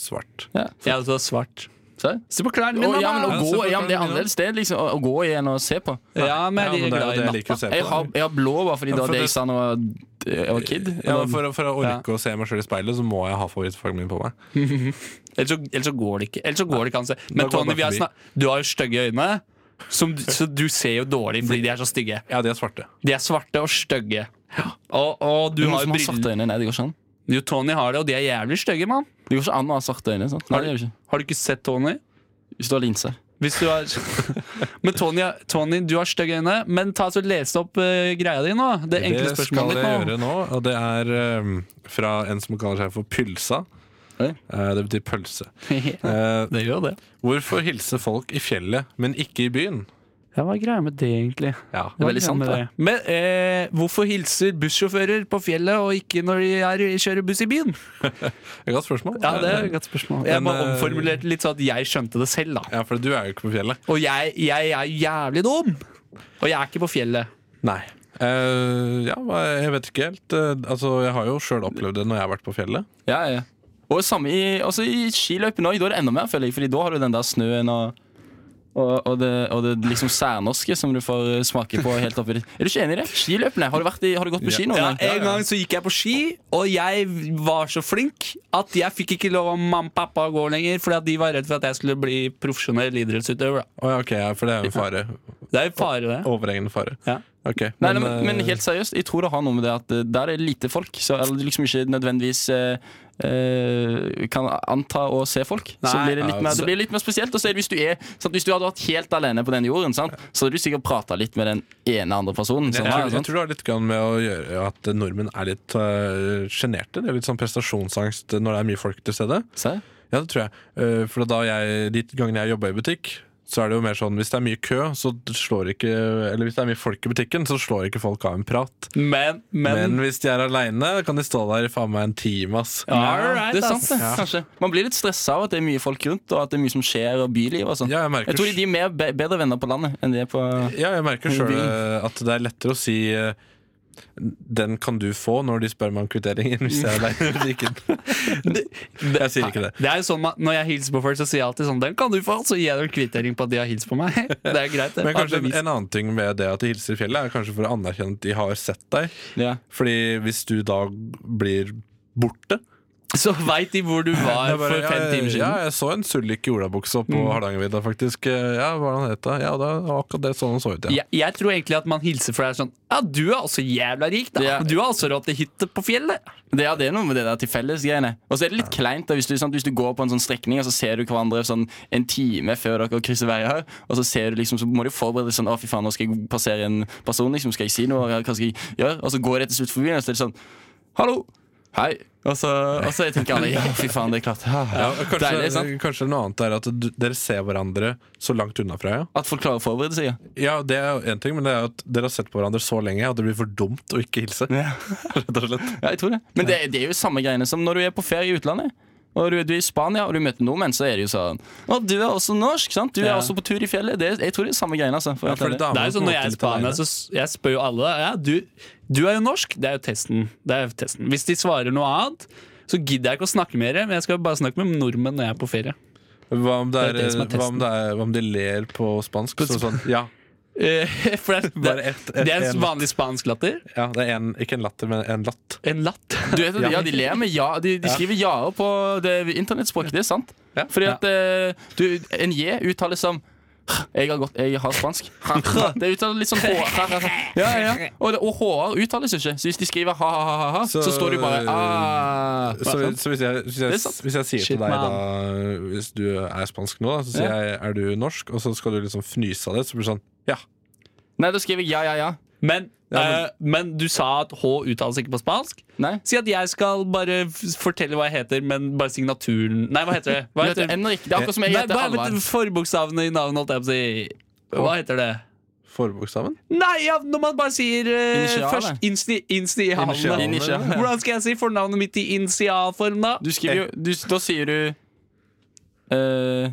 [SPEAKER 5] Svart.
[SPEAKER 6] Ja.
[SPEAKER 3] Jeg er også svart.
[SPEAKER 6] Serr?
[SPEAKER 3] Se på klærne
[SPEAKER 6] Å,
[SPEAKER 3] mine,
[SPEAKER 6] ja, men å
[SPEAKER 3] da!
[SPEAKER 5] se
[SPEAKER 6] gå,
[SPEAKER 5] på
[SPEAKER 6] ja, men det er
[SPEAKER 5] fargen, ja.
[SPEAKER 6] annerledes sted liksom, å, å gå igjen og se på.
[SPEAKER 3] Ja, men jeg
[SPEAKER 5] Ja, men
[SPEAKER 3] er
[SPEAKER 5] det er jo
[SPEAKER 3] glad
[SPEAKER 5] det
[SPEAKER 3] i
[SPEAKER 5] jeg liker å
[SPEAKER 3] natta.
[SPEAKER 5] se på.
[SPEAKER 6] Jeg har, jeg har blå bare fordi
[SPEAKER 5] Ja,
[SPEAKER 6] det
[SPEAKER 5] for
[SPEAKER 6] var det
[SPEAKER 5] det-
[SPEAKER 6] jeg sa da jeg var- jeg var kid.
[SPEAKER 5] Ja,
[SPEAKER 6] Eller-
[SPEAKER 5] for, å- for å orke å se meg sjøl i speilet, så må jeg ha favorittfargen min på meg.
[SPEAKER 3] Ellers så, ellers så går det ikke. Ellers så går det ikke an å se.
[SPEAKER 5] Da
[SPEAKER 3] Men
[SPEAKER 5] går
[SPEAKER 3] Tony,
[SPEAKER 5] det
[SPEAKER 3] vi har
[SPEAKER 5] forbi.
[SPEAKER 3] snak- du har jo stygge øyne, som, du- så du ser jo dårlig fordi de er så stygge.
[SPEAKER 5] Ja, de er svarte.
[SPEAKER 3] De er svarte og stygge. Og, og du
[SPEAKER 6] Noen
[SPEAKER 3] har
[SPEAKER 6] som
[SPEAKER 3] jo
[SPEAKER 6] har svarte
[SPEAKER 3] briller.
[SPEAKER 6] øyne? Nei, det går ikke an.
[SPEAKER 3] Jo, Tony har det, og de er jævlig stygge, mann.
[SPEAKER 6] Det går ikke an å ha svarte øyne. sant? Nei, det gjør det ikke.
[SPEAKER 3] Har du ikke sett Tony?
[SPEAKER 6] Hvis du har linser.
[SPEAKER 3] Hvis du har Men Tony, Tony, du har stygge øyne. Men ta så les opp eh, greia di nå. Det enkle
[SPEAKER 5] Det skal jeg
[SPEAKER 3] spørsmålet ditt nå.
[SPEAKER 5] gjøre nå, og det er ehm, fra en som kaller seg for Pylsa.
[SPEAKER 6] Oi.
[SPEAKER 5] Eh, det betyr pølse. Eh,
[SPEAKER 3] Det gjør det.
[SPEAKER 5] hvorfor hilse folk i fjellet, men ikke i byen?
[SPEAKER 3] Ja, hva er greia med det, egentlig?
[SPEAKER 5] Ja,
[SPEAKER 6] Det er veldig sant, det.
[SPEAKER 3] Men eh, hvorfor hilser bussjåfører på fjellet, og ikke når de er, kjører buss i byen?
[SPEAKER 5] et Godt spørsmål.
[SPEAKER 3] Ja, det er et godt spørsmål. Jeg
[SPEAKER 5] Men,
[SPEAKER 3] bare
[SPEAKER 5] eh,
[SPEAKER 3] omformulerte litt sånn at jeg skjønte det selv, da.
[SPEAKER 5] Ja, for du er jo ikke på fjellet.
[SPEAKER 3] Og jeg, jeg er jævlig dum! Og jeg er ikke på fjellet.
[SPEAKER 5] Nei. Eh, ja, hva- jeg vet ikke helt. Eh, altså, jeg har jo sjøl opplevd det når jeg har vært på fjellet.
[SPEAKER 6] Ja, ja. Og samme i, også i skiløypene òg. Da er det enda mer, føler jeg. Fordi da har du den der snøen og og, og, det, og det liksom særnorske som du får smake på helt oppi ditt. Er du ikke enig i det? Skiløypene. Har du, vært i, har du gått på ski noen
[SPEAKER 3] Ja,
[SPEAKER 6] gang?
[SPEAKER 3] en gang så gikk jeg på ski, og jeg var så flink at jeg fikk ikke lov av mamma og pappa å gå lenger, fordi at de var redd for at jeg skulle bli profesjonell idrettsutøver. da.
[SPEAKER 5] Å ja, ok, ja, for det er jo en fare.
[SPEAKER 3] Det er jo fare, det.
[SPEAKER 5] Overhengende fare.
[SPEAKER 3] Ja.
[SPEAKER 5] Ok,
[SPEAKER 6] Nei, nei, men,
[SPEAKER 5] eh,
[SPEAKER 6] men helt seriøst, jeg tror det har noe med det at eh, der er det lite folk. Så eller liksom ikke nødvendigvis eh, eh, kan anta å se folk. så
[SPEAKER 3] Nei,
[SPEAKER 6] blir det, litt mer, det blir litt mer spesielt. Og så er det hvis du er sant, Hvis du hadde vært helt alene på den jorden, sant, så hadde du sikkert prata litt med den ene andre personen.
[SPEAKER 5] Jeg
[SPEAKER 6] Sånn,
[SPEAKER 5] tror,
[SPEAKER 6] her,
[SPEAKER 5] jeg
[SPEAKER 6] sant?
[SPEAKER 5] tror det har litt grann med å gjøre at nordmenn er litt øh, sjenerte. Det er litt sånn prestasjonsangst når det er mye folk til stede.
[SPEAKER 6] Se.
[SPEAKER 5] Ja, det tror jeg. Eh, for da jeg, de gangene jeg jobba i butikk, så er det jo mer sånn hvis det er mye kø, så slår ikke Eller hvis det er mye folk i butikken, så slår ikke folk av en prat.
[SPEAKER 3] Men,
[SPEAKER 5] Men
[SPEAKER 3] men,
[SPEAKER 5] hvis de er aleine, kan de stå der i faen meg en time, ass.
[SPEAKER 3] All right, altså.
[SPEAKER 6] det er sant,
[SPEAKER 3] ass.
[SPEAKER 6] det. Kanskje. Man blir litt stressa av at det er mye folk rundt, og at det er mye som skjer, og byliv og sånn.
[SPEAKER 5] Ja, jeg merker
[SPEAKER 6] tror de er mer, be- bedre venner på landet enn de er på
[SPEAKER 5] Ja, jeg merker sjøl at det er lettere å si eh, den kan du få når de spør meg om kvittering, enn hvis jeg er aleine i butikken. Jeg sier ikke det.
[SPEAKER 3] det er jo sånn man- Når jeg hilser på folk, så sier jeg alltid sånn Den kan du få, så gir jeg dem kvittering på at de har hilst på meg. Det er greit, det.
[SPEAKER 5] Men kanskje en,
[SPEAKER 3] Bevis.
[SPEAKER 5] en annen ting med det at de hilser i fjellet, er kanskje for å anerkjenne at de har sett deg.
[SPEAKER 6] ja.
[SPEAKER 5] Fordi hvis du da blir borte
[SPEAKER 3] Så veit de hvor du var
[SPEAKER 5] Jeg bare,
[SPEAKER 3] for fem
[SPEAKER 5] ja,
[SPEAKER 3] timer siden.
[SPEAKER 5] Ja, jeg så en Sullik i olabuksa på Hardangervidda, faktisk. Eh, Ja, hva var det han het da? Ja, det var akkurat det sånn han så ut, ja.
[SPEAKER 3] jeg, jeg tror egentlig at man hilser for deg sånn Ja, du er også jævla rik, da.
[SPEAKER 6] Ja.
[SPEAKER 3] Du har også råd til hytte på fjellet.
[SPEAKER 6] Det, ja, det er noe med det der til felles-greiene. Og så er det litt kleint da, hvis du, sant, hvis du går på en sånn strekning og så ser du hverandre sånn, en time før dere krysser veier her, og så, ser du liksom, så må du forberede deg sånn Å, fy faen, nå skal jeg passere en person, liksom, skal jeg si noe, hva skal jeg gjøre? Og så går de til slutt forbi, og så er det sånn Hallo! Hei! Og så, og så tenker alle ja, fy faen, det er klart. Ja,
[SPEAKER 5] ja kanskje,
[SPEAKER 6] Deilig, sant?
[SPEAKER 5] kanskje noe annet er at du, dere ser hverandre så langt unna fra ja.
[SPEAKER 6] At folk klarer å forberede seg, ja.
[SPEAKER 5] Ja, det er jo en ting, men det er jo at dere har sett på hverandre så lenge at det blir for dumt å ikke hilse. Rett og slett.
[SPEAKER 6] Ja, jeg tror det. Men det, det er jo samme greiene som når du er på ferie i utlandet. Og du, du er i Spania og du møter nordmenn, så er det jo sånn Å, du er også norsk, sant? Du er
[SPEAKER 3] Ja.
[SPEAKER 6] også på tur i fjellet. Det, er- jeg tror det er samme greiene, altså. for å
[SPEAKER 5] Ja,
[SPEAKER 6] være
[SPEAKER 5] fordi
[SPEAKER 6] helt ærlig.
[SPEAKER 5] damene
[SPEAKER 3] Det er jo sånn
[SPEAKER 5] på en
[SPEAKER 3] Når
[SPEAKER 5] måte
[SPEAKER 3] jeg er i
[SPEAKER 5] litt
[SPEAKER 3] Spania,
[SPEAKER 5] alene.
[SPEAKER 3] så s- jeg spør jo alle Ja, du, du er jo norsk. Det er jo testen. Det er jo testen. Hvis de svarer noe annet, så gidder jeg ikke å snakke med dere, men jeg skal bare snakke med nordmenn når jeg er på ferie.
[SPEAKER 5] Hva om det
[SPEAKER 3] Det er
[SPEAKER 5] er,
[SPEAKER 3] det som er
[SPEAKER 5] hva om det er Hva om de ler på spansk? Så sånn, ja,
[SPEAKER 3] Eh, For det,
[SPEAKER 5] Bare ett- ett-
[SPEAKER 3] det er
[SPEAKER 5] en
[SPEAKER 3] en vanlig spansk latter.
[SPEAKER 5] ja, det er en, ikke en latter, men en latt.
[SPEAKER 3] En latt.
[SPEAKER 6] Du vet, at- ja, de ler med ja. De, de skriver ja på det internettspråket. Det er sant.
[SPEAKER 5] Ja.
[SPEAKER 6] Fordi at eh, du, en j uttales som jeg har, gått, jeg har spansk. Det uttales litt sånn H. Ja, ja. Og, det- og H-er uttales jo ikke. Så hvis de skriver ha-ha-ha, så,
[SPEAKER 5] Så-
[SPEAKER 6] står det jo bare ah.
[SPEAKER 5] Så, så hvis, jeg, hvis,
[SPEAKER 6] Det er
[SPEAKER 5] jeg,
[SPEAKER 6] sant.
[SPEAKER 5] hvis jeg sier
[SPEAKER 3] Shit,
[SPEAKER 5] til deg
[SPEAKER 3] man.
[SPEAKER 5] da Hvis du er spansk nå, da, så sier
[SPEAKER 6] Ja.
[SPEAKER 5] jeg 'er du norsk?' Og så skal du liksom fnyse av det, så blir det sånn Ja.
[SPEAKER 6] Nei, da skriver jeg ja, ja, ja.
[SPEAKER 3] Men,
[SPEAKER 5] Ja,
[SPEAKER 3] eh, men du sa at H uttales ikke på spansk.
[SPEAKER 6] Nei.
[SPEAKER 3] Si at jeg skal bare f- fortelle hva jeg heter, men bare signaturen Nei, hva heter det? Hva
[SPEAKER 6] Du
[SPEAKER 3] heter
[SPEAKER 6] heter Henrik. Det er akkurat som jeg
[SPEAKER 3] Nei,
[SPEAKER 6] heter
[SPEAKER 3] bare
[SPEAKER 6] Alvar.
[SPEAKER 3] vent, forbokstavene i navnet, holdt jeg på å si. Hva heter det?
[SPEAKER 5] Forbokstaven?
[SPEAKER 3] Nei, ja, når man bare sier eh,
[SPEAKER 6] Initialet.
[SPEAKER 3] først insni, initialene.
[SPEAKER 5] Initialene.
[SPEAKER 6] Initialene.
[SPEAKER 3] Hvordan skal jeg si fornavnet mitt i initialform, da?
[SPEAKER 6] Du skriver jo du, Da sier du uh,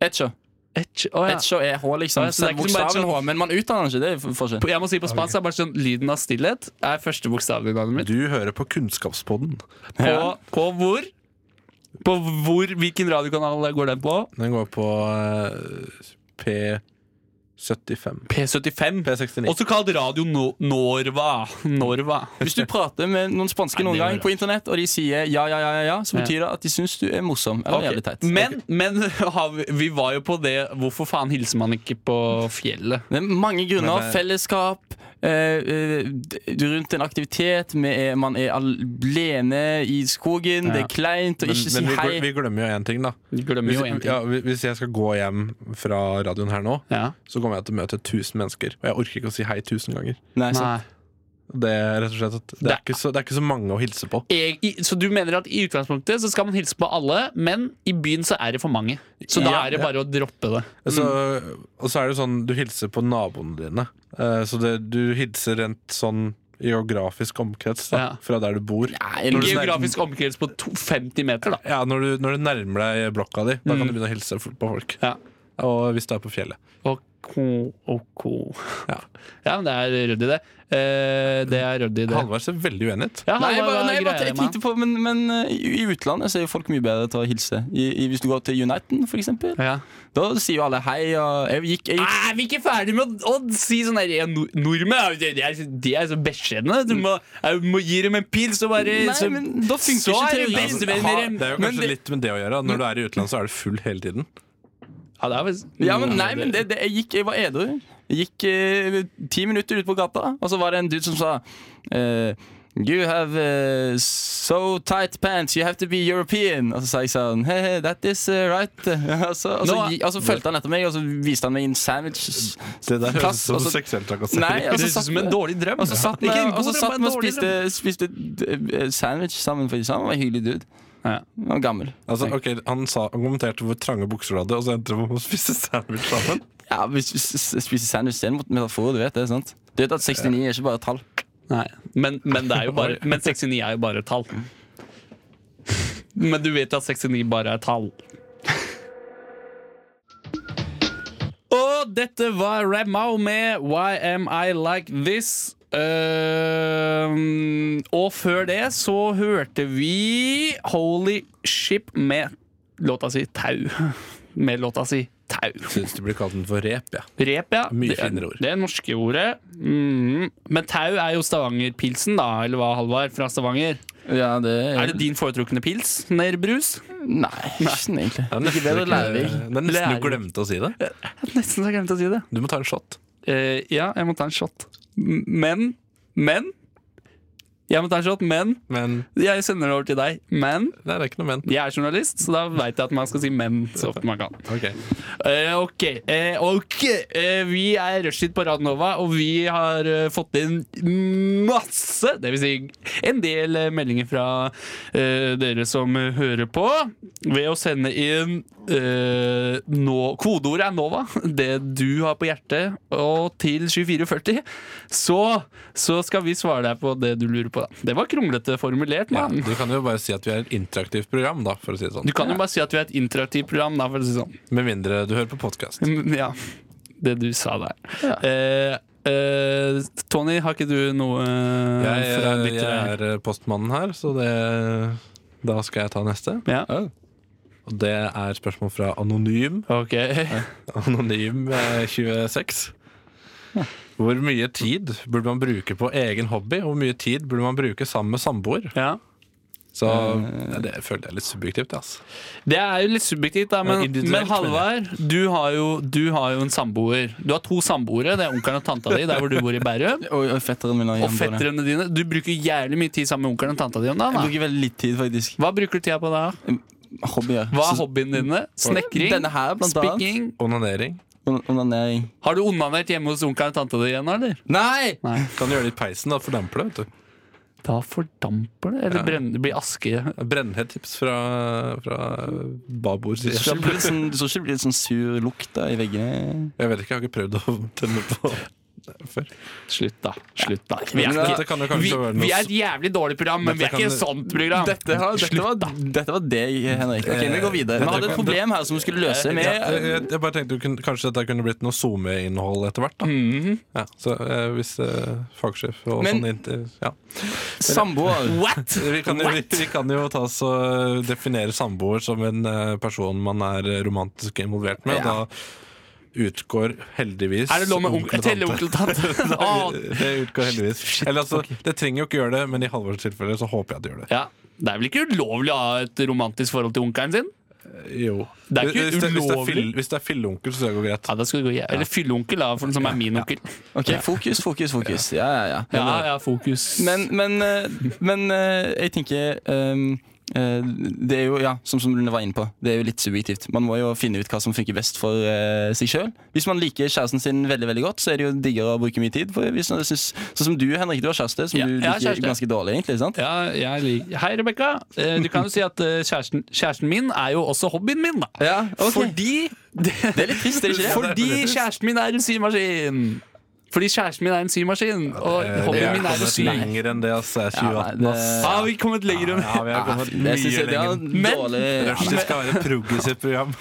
[SPEAKER 6] Etcho.
[SPEAKER 3] Et- å, ja.
[SPEAKER 6] Etcho er H,
[SPEAKER 3] Ja,
[SPEAKER 6] liksom.
[SPEAKER 3] så det er ikke som
[SPEAKER 6] Bokstaven
[SPEAKER 3] bare
[SPEAKER 6] H. Men man utdanner ikke det. er f- forskjell.
[SPEAKER 3] Jeg må si på spansk det er bare sånn lyden av stillhet er første bokstaven i navnet mitt.
[SPEAKER 5] Du hører på Kunnskapspodden.
[SPEAKER 3] På, på hvor? På hvor, Hvilken radiokanal går den på?
[SPEAKER 5] Den går på eh, P75.
[SPEAKER 3] P75.
[SPEAKER 5] P69.
[SPEAKER 3] Også kalt Radio no Norva. Norva.
[SPEAKER 6] Hvis du prater med noen spanske noen
[SPEAKER 3] det var
[SPEAKER 6] gang på internett, og de sier ja, ja, ja, ja, ja så betyr det at de syns du er morsom. Eller
[SPEAKER 3] Ok,
[SPEAKER 6] jævlig teit.
[SPEAKER 3] Men, men har vi, vi var jo på det Hvorfor faen hilser man ikke på fjellet?
[SPEAKER 6] Det er mange grunner.
[SPEAKER 5] Men det-
[SPEAKER 6] Fellesskap. eh, eh, d- rundt en aktivitet. Vi er, man er alene i skogen. Det er kleint å
[SPEAKER 5] Men,
[SPEAKER 6] ikke si
[SPEAKER 5] men vi,
[SPEAKER 6] hei.
[SPEAKER 5] gl- vi glemmer jo én ting, da.
[SPEAKER 3] Du glemmer
[SPEAKER 5] Hvis,
[SPEAKER 3] jo en ting.
[SPEAKER 5] ja, hvis- hvis jeg skal gå hjem fra radioen her nå,
[SPEAKER 3] Ja.
[SPEAKER 5] så kommer jeg til å møte 1000 mennesker. Og jeg orker ikke å si hei 1000 ganger.
[SPEAKER 6] Nei, sant.
[SPEAKER 3] Nei.
[SPEAKER 5] Det er rett og slett at det er,
[SPEAKER 3] Det-
[SPEAKER 5] ikke så, det er ikke så mange å hilse på.
[SPEAKER 3] Jeg, i, så du mener at i utgangspunktet så skal man hilse på alle, men i byen så er det for mange. Så da
[SPEAKER 5] Ja,
[SPEAKER 3] er det
[SPEAKER 5] ja.
[SPEAKER 3] bare å droppe det.
[SPEAKER 5] Så,
[SPEAKER 6] Mm.
[SPEAKER 5] Og så er det jo sånn, du hilser på naboene dine. Eh, så det, du hilser rent sånn geografisk omkrets da,
[SPEAKER 3] Ja.
[SPEAKER 5] fra der du bor.
[SPEAKER 6] Nei,
[SPEAKER 5] Når du
[SPEAKER 3] Geografisk omkrets på to, 50 meter, da.
[SPEAKER 5] Ja, når du, når du nærmer deg blokka di, da
[SPEAKER 6] Mm.
[SPEAKER 5] kan du begynne å hilse f- på folk.
[SPEAKER 3] Ja.
[SPEAKER 5] Og hvis du er på fjellet.
[SPEAKER 3] Og ko, og ko.
[SPEAKER 5] Ja.
[SPEAKER 3] Ja, men det er ryddig, det. Eh, det er ryddig, det.
[SPEAKER 5] Halvard ser veldig uenig ut.
[SPEAKER 3] Ja, Halvard,
[SPEAKER 6] Nei, jeg bare,
[SPEAKER 3] hva
[SPEAKER 6] nei, jeg bare,
[SPEAKER 3] greier
[SPEAKER 6] jeg
[SPEAKER 3] man?
[SPEAKER 6] tenkte på, men, men eh, i i utlandet så er jo folk mye bedre til å hilse. I, i, hvis du går til Uniten, for eksempel.
[SPEAKER 3] ja.
[SPEAKER 6] Da sier jo alle hei. Og jeg gikk, jeg gikk,
[SPEAKER 3] Er vi ikke ferdig med å, å si sånn der ja, nor- Nordmenn er jo- de er, de er så beskjedne. Du må, jeg må gi dem en pils og bare
[SPEAKER 6] Nei,
[SPEAKER 3] så,
[SPEAKER 6] men da funker
[SPEAKER 3] så
[SPEAKER 6] ikke
[SPEAKER 3] er det
[SPEAKER 6] teorien.
[SPEAKER 3] bestevenner
[SPEAKER 5] Altså, Ha- Det er jo
[SPEAKER 6] Men
[SPEAKER 5] kanskje
[SPEAKER 6] det-
[SPEAKER 5] litt med det å gjøre. Når du er i utlandet, så er du full hele tiden.
[SPEAKER 3] ja, det er vel,
[SPEAKER 6] ja, men, nei, men det, det, jeg, gikk, jeg var edru. Jeg gikk eh, ti minutter ut på gata, og så var det en dude som sa eh, You have eh, so tight pants, you have to be European. Og så sa jeg sånn Hey, hey that is eh, right. Og så, og så,
[SPEAKER 3] Nå-
[SPEAKER 6] gi- og så fulgte han etter meg, og så viste han meg en sandwich.
[SPEAKER 5] Det der høres
[SPEAKER 6] Plass,
[SPEAKER 5] ut som
[SPEAKER 6] altså-
[SPEAKER 5] seksuell
[SPEAKER 6] Nei,
[SPEAKER 5] trakassering.
[SPEAKER 6] altså,
[SPEAKER 3] høres ut
[SPEAKER 6] satt-
[SPEAKER 3] som en dårlig drøm.
[SPEAKER 6] Og så satt vi
[SPEAKER 3] Ikke en god
[SPEAKER 6] og, så
[SPEAKER 3] drøm,
[SPEAKER 6] satt
[SPEAKER 3] bare en
[SPEAKER 6] vi og
[SPEAKER 3] dårlig
[SPEAKER 6] spiste, spiste eh, sandwich sammen, fordi han var en hyggelig dude.
[SPEAKER 3] Ja.
[SPEAKER 6] Han var gammel.
[SPEAKER 5] Altså, ok, han, sa, han kommenterte hvor trange bukser du hadde, og så endte det på å spise sandwich sammen.
[SPEAKER 6] Ja, vi s- s- spiser sandwich det er en metafor, du vet det, sant? Du vet at 69 er ikke bare et tall.
[SPEAKER 3] Nei, men, men det er jo bare Men 69 er jo bare et tall. Men du vet jo at 69 bare er et tall. Og dette var Ramau med Why Am I Like This? Ehm, og før det så hørte vi Holy Ship med låta si Tau. Med låta si Tau.
[SPEAKER 5] Syns du blir kalt den for rep, ja.
[SPEAKER 3] Rep, ja.
[SPEAKER 5] Mye
[SPEAKER 3] Det er-
[SPEAKER 5] finere ord.
[SPEAKER 3] Det er norske ordet. Mm. Men tau er jo stavangerpilsen, da, eller hva, Halvard? Fra Stavanger.
[SPEAKER 6] Ja, det
[SPEAKER 3] Er det din foretrukne pils? Nerbrus?
[SPEAKER 6] Nei, ikke sånn
[SPEAKER 5] Det
[SPEAKER 6] egentlig.
[SPEAKER 5] er
[SPEAKER 6] Ikke
[SPEAKER 5] nesten,
[SPEAKER 6] bedre Lærvik.
[SPEAKER 5] ikke- det er nesten du
[SPEAKER 3] Lærvik.
[SPEAKER 5] glemte å si det.
[SPEAKER 3] Nesten så jeg glemte å si det.
[SPEAKER 5] Du må ta en shot.
[SPEAKER 3] Eh, ja, jeg må ta en shot. M- Men Men Jeg må ta en shot, men
[SPEAKER 5] Men
[SPEAKER 3] jeg sender det over til deg. Men
[SPEAKER 5] nei, det er ikke noe men.
[SPEAKER 3] jeg er journalist, så da veit jeg at man skal si men så ofte man kan.
[SPEAKER 5] Ok.
[SPEAKER 3] Eh, ok, eh, ok Eh, Vi er Rushtid på Radnova Og vi har eh, fått inn masse Det vil si en del eh, meldinger fra eh, dere som eh, hører på Ved å sende inn eh, nå, kodeordet er Nova Det du har på hjertet Og til 2440 Så, så skal vi svare deg på det du lurer på da. Det var kronglete formulert
[SPEAKER 5] Ja,
[SPEAKER 3] mann
[SPEAKER 5] du kan jo bare si at vi er et interaktivt program, da, for å si det sånn.
[SPEAKER 3] Du kan jo bare si at vi er et interaktivt program da, for å si det sånn
[SPEAKER 5] Med mindre du hører på podkast.
[SPEAKER 3] Mm, Ja, det du sa der. Eh, eh, Tony, har ikke du noe eh,
[SPEAKER 5] Jeg,
[SPEAKER 3] fra
[SPEAKER 5] eh,
[SPEAKER 3] ditt
[SPEAKER 5] jeg er eh, postmannen her, så det Da skal jeg ta neste.
[SPEAKER 3] ja.
[SPEAKER 5] Og det er spørsmål fra Anonym.
[SPEAKER 3] Ok.
[SPEAKER 5] Anonym eh, 26. Hvor mye tid burde man bruke på egen hobby, og hvor mye tid burde man bruke sammen med samboer?
[SPEAKER 3] Ja.
[SPEAKER 5] Så ja, det føler jeg er litt subjektivt. Altså.
[SPEAKER 3] Det er jo litt subjektivt, da, men,
[SPEAKER 5] Ja, individuelt,
[SPEAKER 3] men Halvard, du, har jo- du har jo en samboer. Du har to samboere. Det er onkelen og tanta di der hvor du bor i Bærum.
[SPEAKER 6] Og, og fetteren min har
[SPEAKER 3] Og fetterne dine. Du bruker jævlig mye tid sammen med onkelen og tanta di om dagen.
[SPEAKER 6] Jeg
[SPEAKER 3] da.
[SPEAKER 6] bruker veldig litt tid, faktisk.
[SPEAKER 3] Hva bruker du tida på da?
[SPEAKER 6] Hobbyer.
[SPEAKER 3] Hva er
[SPEAKER 6] Så-
[SPEAKER 3] hobbyene dine? Snekring?
[SPEAKER 6] Denne her, blant annet.
[SPEAKER 3] Spikking?
[SPEAKER 5] Onanering.
[SPEAKER 6] On- Onanering.
[SPEAKER 3] Har du onanert hjemme hos onkelen og tanta di igjen, eller?
[SPEAKER 6] Nei!
[SPEAKER 3] Nei.
[SPEAKER 5] Kan gjøre det i peisen, da. Fordamper det. vet du
[SPEAKER 3] Da fordamper det, eller brenner, det blir aske.
[SPEAKER 5] Brennhett tips fra, fra babords
[SPEAKER 6] Du skal
[SPEAKER 5] side.
[SPEAKER 6] ikke bli litt sånn, du skal ikke bli litt sånn sur lukt da, i veggene.
[SPEAKER 5] Jeg vet ikke, jeg har ikke prøvd å tenne på det før.
[SPEAKER 3] Slutt, da. Slutt, da. Vi
[SPEAKER 5] Men
[SPEAKER 3] er,
[SPEAKER 5] dette
[SPEAKER 3] ikke,
[SPEAKER 5] kan jo
[SPEAKER 3] vi,
[SPEAKER 5] kanskje være
[SPEAKER 3] vi
[SPEAKER 5] noe
[SPEAKER 3] er et jævlig dårlig program, men vi er
[SPEAKER 5] Dette
[SPEAKER 3] ikke et
[SPEAKER 5] kan-
[SPEAKER 3] sånt program.
[SPEAKER 6] Dette, har, dette, var, dette var deg, Henrik. Ok, Vi går videre. Eh, Vi hadde et problem her som vi skulle løse
[SPEAKER 5] ja,
[SPEAKER 6] med
[SPEAKER 5] jeg, jeg bare tenkte du kunne, Kanskje dette kunne blitt noe SoMe-innhold etter hvert. da ja, Så eh, hvis eh, fagsjef og
[SPEAKER 6] Men-
[SPEAKER 5] sånn inntil- ja.
[SPEAKER 6] samboer.
[SPEAKER 3] What?!
[SPEAKER 5] vi, kan jo, vi, vi kan jo ta oss og eh, definere samboer som en eh, person man er romantisk involvert med. og Da utgår heldigvis
[SPEAKER 3] Er det lov med onkel,
[SPEAKER 5] og
[SPEAKER 3] telle onkel og tante? Å,
[SPEAKER 5] Det utgår heldigvis. Eller altså, Det trenger jo ikke gjøre det, men i Halvors tilfelle så håper jeg det gjør det.
[SPEAKER 3] Ja, Det er vel ikke ulovlig å ha et romantisk forhold til onkelen sin?
[SPEAKER 5] Jo.
[SPEAKER 3] Det er ikke
[SPEAKER 5] hvis, det, hvis, det er
[SPEAKER 3] ulovlig.
[SPEAKER 5] fill- hvis det er filleonkel, så skal det gå greit.
[SPEAKER 3] Ja, da skal det gå jæ- Eller fylleonkel, da, for den som er min onkel.
[SPEAKER 6] Ok, Fokus, fokus, fokus. Ja, ja, ja.
[SPEAKER 3] Ja, ja, fokus.
[SPEAKER 6] Men, men, eh, men eh, jeg tenker ehm, eh, Det er jo, ja, som, som Rune var inne på, det er jo litt subjektivt. Man må jo finne ut hva som funker best for eh, seg sjøl. Hvis man liker kjæresten sin veldig veldig godt, så er det jo diggere å bruke mye tid. For hvis man synes, sånn som du, Henrik, du har kjæreste som
[SPEAKER 3] Ja,
[SPEAKER 6] du
[SPEAKER 3] jeg har
[SPEAKER 6] liker
[SPEAKER 3] kjæreste.
[SPEAKER 6] ganske dårlig, egentlig. sant?
[SPEAKER 3] ja, jeg liker Hei, Rebekka. Eh, Du kan jo si at eh, kjæresten, kjæresten min er jo også hobbyen min, da.
[SPEAKER 6] Ja, ok.
[SPEAKER 3] Fordi
[SPEAKER 6] Det er litt trist, er det ikke det?
[SPEAKER 3] Fordi kjæresten min er en symaskin! Fordi kjæresten min er en symaskin, og
[SPEAKER 5] Eh, vi
[SPEAKER 3] hobbyen
[SPEAKER 5] har
[SPEAKER 3] min er å
[SPEAKER 5] kommet
[SPEAKER 3] sy.
[SPEAKER 5] lenger enn det, altså. Jeg er
[SPEAKER 6] Ja, nei,
[SPEAKER 5] 2018,
[SPEAKER 6] det-
[SPEAKER 5] ass.
[SPEAKER 3] Har vi kommet lenger enn
[SPEAKER 5] Ja, vi har kommet
[SPEAKER 6] Ja, jeg synes
[SPEAKER 5] mye
[SPEAKER 6] jeg- det er
[SPEAKER 5] lenger.
[SPEAKER 6] en
[SPEAKER 3] Men-
[SPEAKER 6] dårlig
[SPEAKER 5] Rushdie skal være et progressivt program.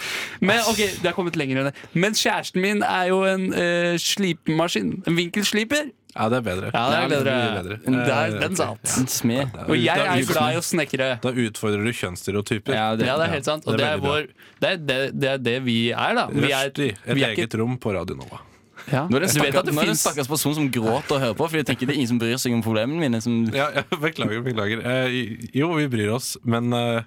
[SPEAKER 3] Men ok, det har kommet lenger enn det. Men kjæresten min er jo en eh, slipemaskin. En vinkelsliper.
[SPEAKER 5] Ja, det er bedre.
[SPEAKER 3] Ja, det er
[SPEAKER 5] mye
[SPEAKER 3] bedre.
[SPEAKER 5] bedre.
[SPEAKER 3] Der,
[SPEAKER 5] Eh,
[SPEAKER 3] den
[SPEAKER 5] ok.
[SPEAKER 3] satt.
[SPEAKER 6] En smed.
[SPEAKER 5] Da-
[SPEAKER 3] Og jeg
[SPEAKER 5] da-
[SPEAKER 3] er glad i å snekre.
[SPEAKER 5] Da utfordrer du kjønnsstereotyper.
[SPEAKER 6] Ja, det,
[SPEAKER 3] Ja, det er helt sant. Og
[SPEAKER 5] det
[SPEAKER 3] det
[SPEAKER 5] er
[SPEAKER 3] er,
[SPEAKER 5] veldig bra.
[SPEAKER 3] vår, det, er det, det er det vi er, da. Vi er,
[SPEAKER 5] Rushdie, et
[SPEAKER 3] vi er
[SPEAKER 5] eget rom på Radio Nova.
[SPEAKER 3] ja.
[SPEAKER 6] Nå er det
[SPEAKER 3] Du
[SPEAKER 6] en
[SPEAKER 3] vet
[SPEAKER 6] stakkars-
[SPEAKER 3] at det
[SPEAKER 6] nå er det en
[SPEAKER 3] fins
[SPEAKER 6] stakkars person som gråter og hører på, Fordi jeg tenker det er ingen som bryr seg om problemene mine. Som,
[SPEAKER 5] Ja, ja, beklager, beklager. Eh, jo, vi bryr oss, men eh,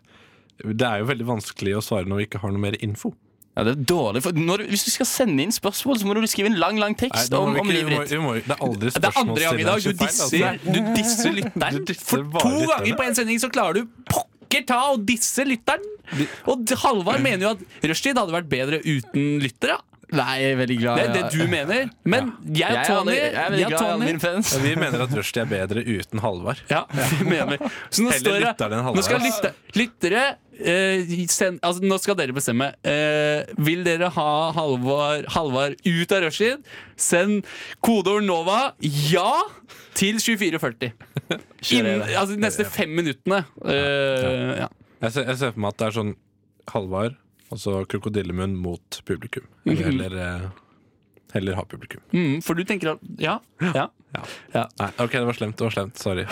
[SPEAKER 5] det er jo veldig vanskelig å svare når vi ikke har noe mer info.
[SPEAKER 6] ja, det er dårlig for, når, du- Hvis du skal sende inn spørsmål, så må du skrive en lang lang
[SPEAKER 5] Nei,
[SPEAKER 6] tekst
[SPEAKER 5] da må
[SPEAKER 6] om,
[SPEAKER 5] vi
[SPEAKER 6] om
[SPEAKER 5] ikke- vi
[SPEAKER 6] livet
[SPEAKER 5] må-
[SPEAKER 6] ditt.
[SPEAKER 5] vi må- Det er aldri
[SPEAKER 3] Det er andre gang i dag. Du
[SPEAKER 5] spørsmålsstilleren som feil,
[SPEAKER 3] disser,
[SPEAKER 5] altså.
[SPEAKER 3] du disser lytteren.
[SPEAKER 5] Du disser
[SPEAKER 3] For
[SPEAKER 5] bare
[SPEAKER 3] to
[SPEAKER 5] lytteren.
[SPEAKER 3] ganger på én sending så klarer du pokker ta å disse lytteren! Og d- Halvard mener jo at rushtid hadde vært bedre uten lyttere.
[SPEAKER 6] Nei, jeg er veldig glad
[SPEAKER 3] Det er det du mener. Men jeg og
[SPEAKER 6] Jeg er
[SPEAKER 3] Tony
[SPEAKER 6] aldri- jeg er veldig
[SPEAKER 3] jeg og
[SPEAKER 6] glad i alle
[SPEAKER 3] Tony-
[SPEAKER 6] mine fans.
[SPEAKER 5] Vi mener at rushtid er bedre uten Halvard.
[SPEAKER 3] Ja, det mener vi. Så nå
[SPEAKER 5] Heller
[SPEAKER 3] står det
[SPEAKER 5] lytterne enn
[SPEAKER 3] Nå skal
[SPEAKER 5] Halvard.
[SPEAKER 3] lytte, lyttere eh, send, altså, Nå skal dere bestemme. Eh, vil dere ha Halvard, Halvard ut av rushtid? Send kodeord NOVA ja til 2440. Innen, altså, de neste fem minuttene. Eh, ja.
[SPEAKER 5] Jeg ser, jeg ser for meg at det er sånn Halvard, og så krokodillemunn mot publikum. Eller eh, Heller ha publikum.
[SPEAKER 3] mm, for du tenker at Ja. ja.
[SPEAKER 5] Nei, ok, det var slemt. det var slemt, Sorry.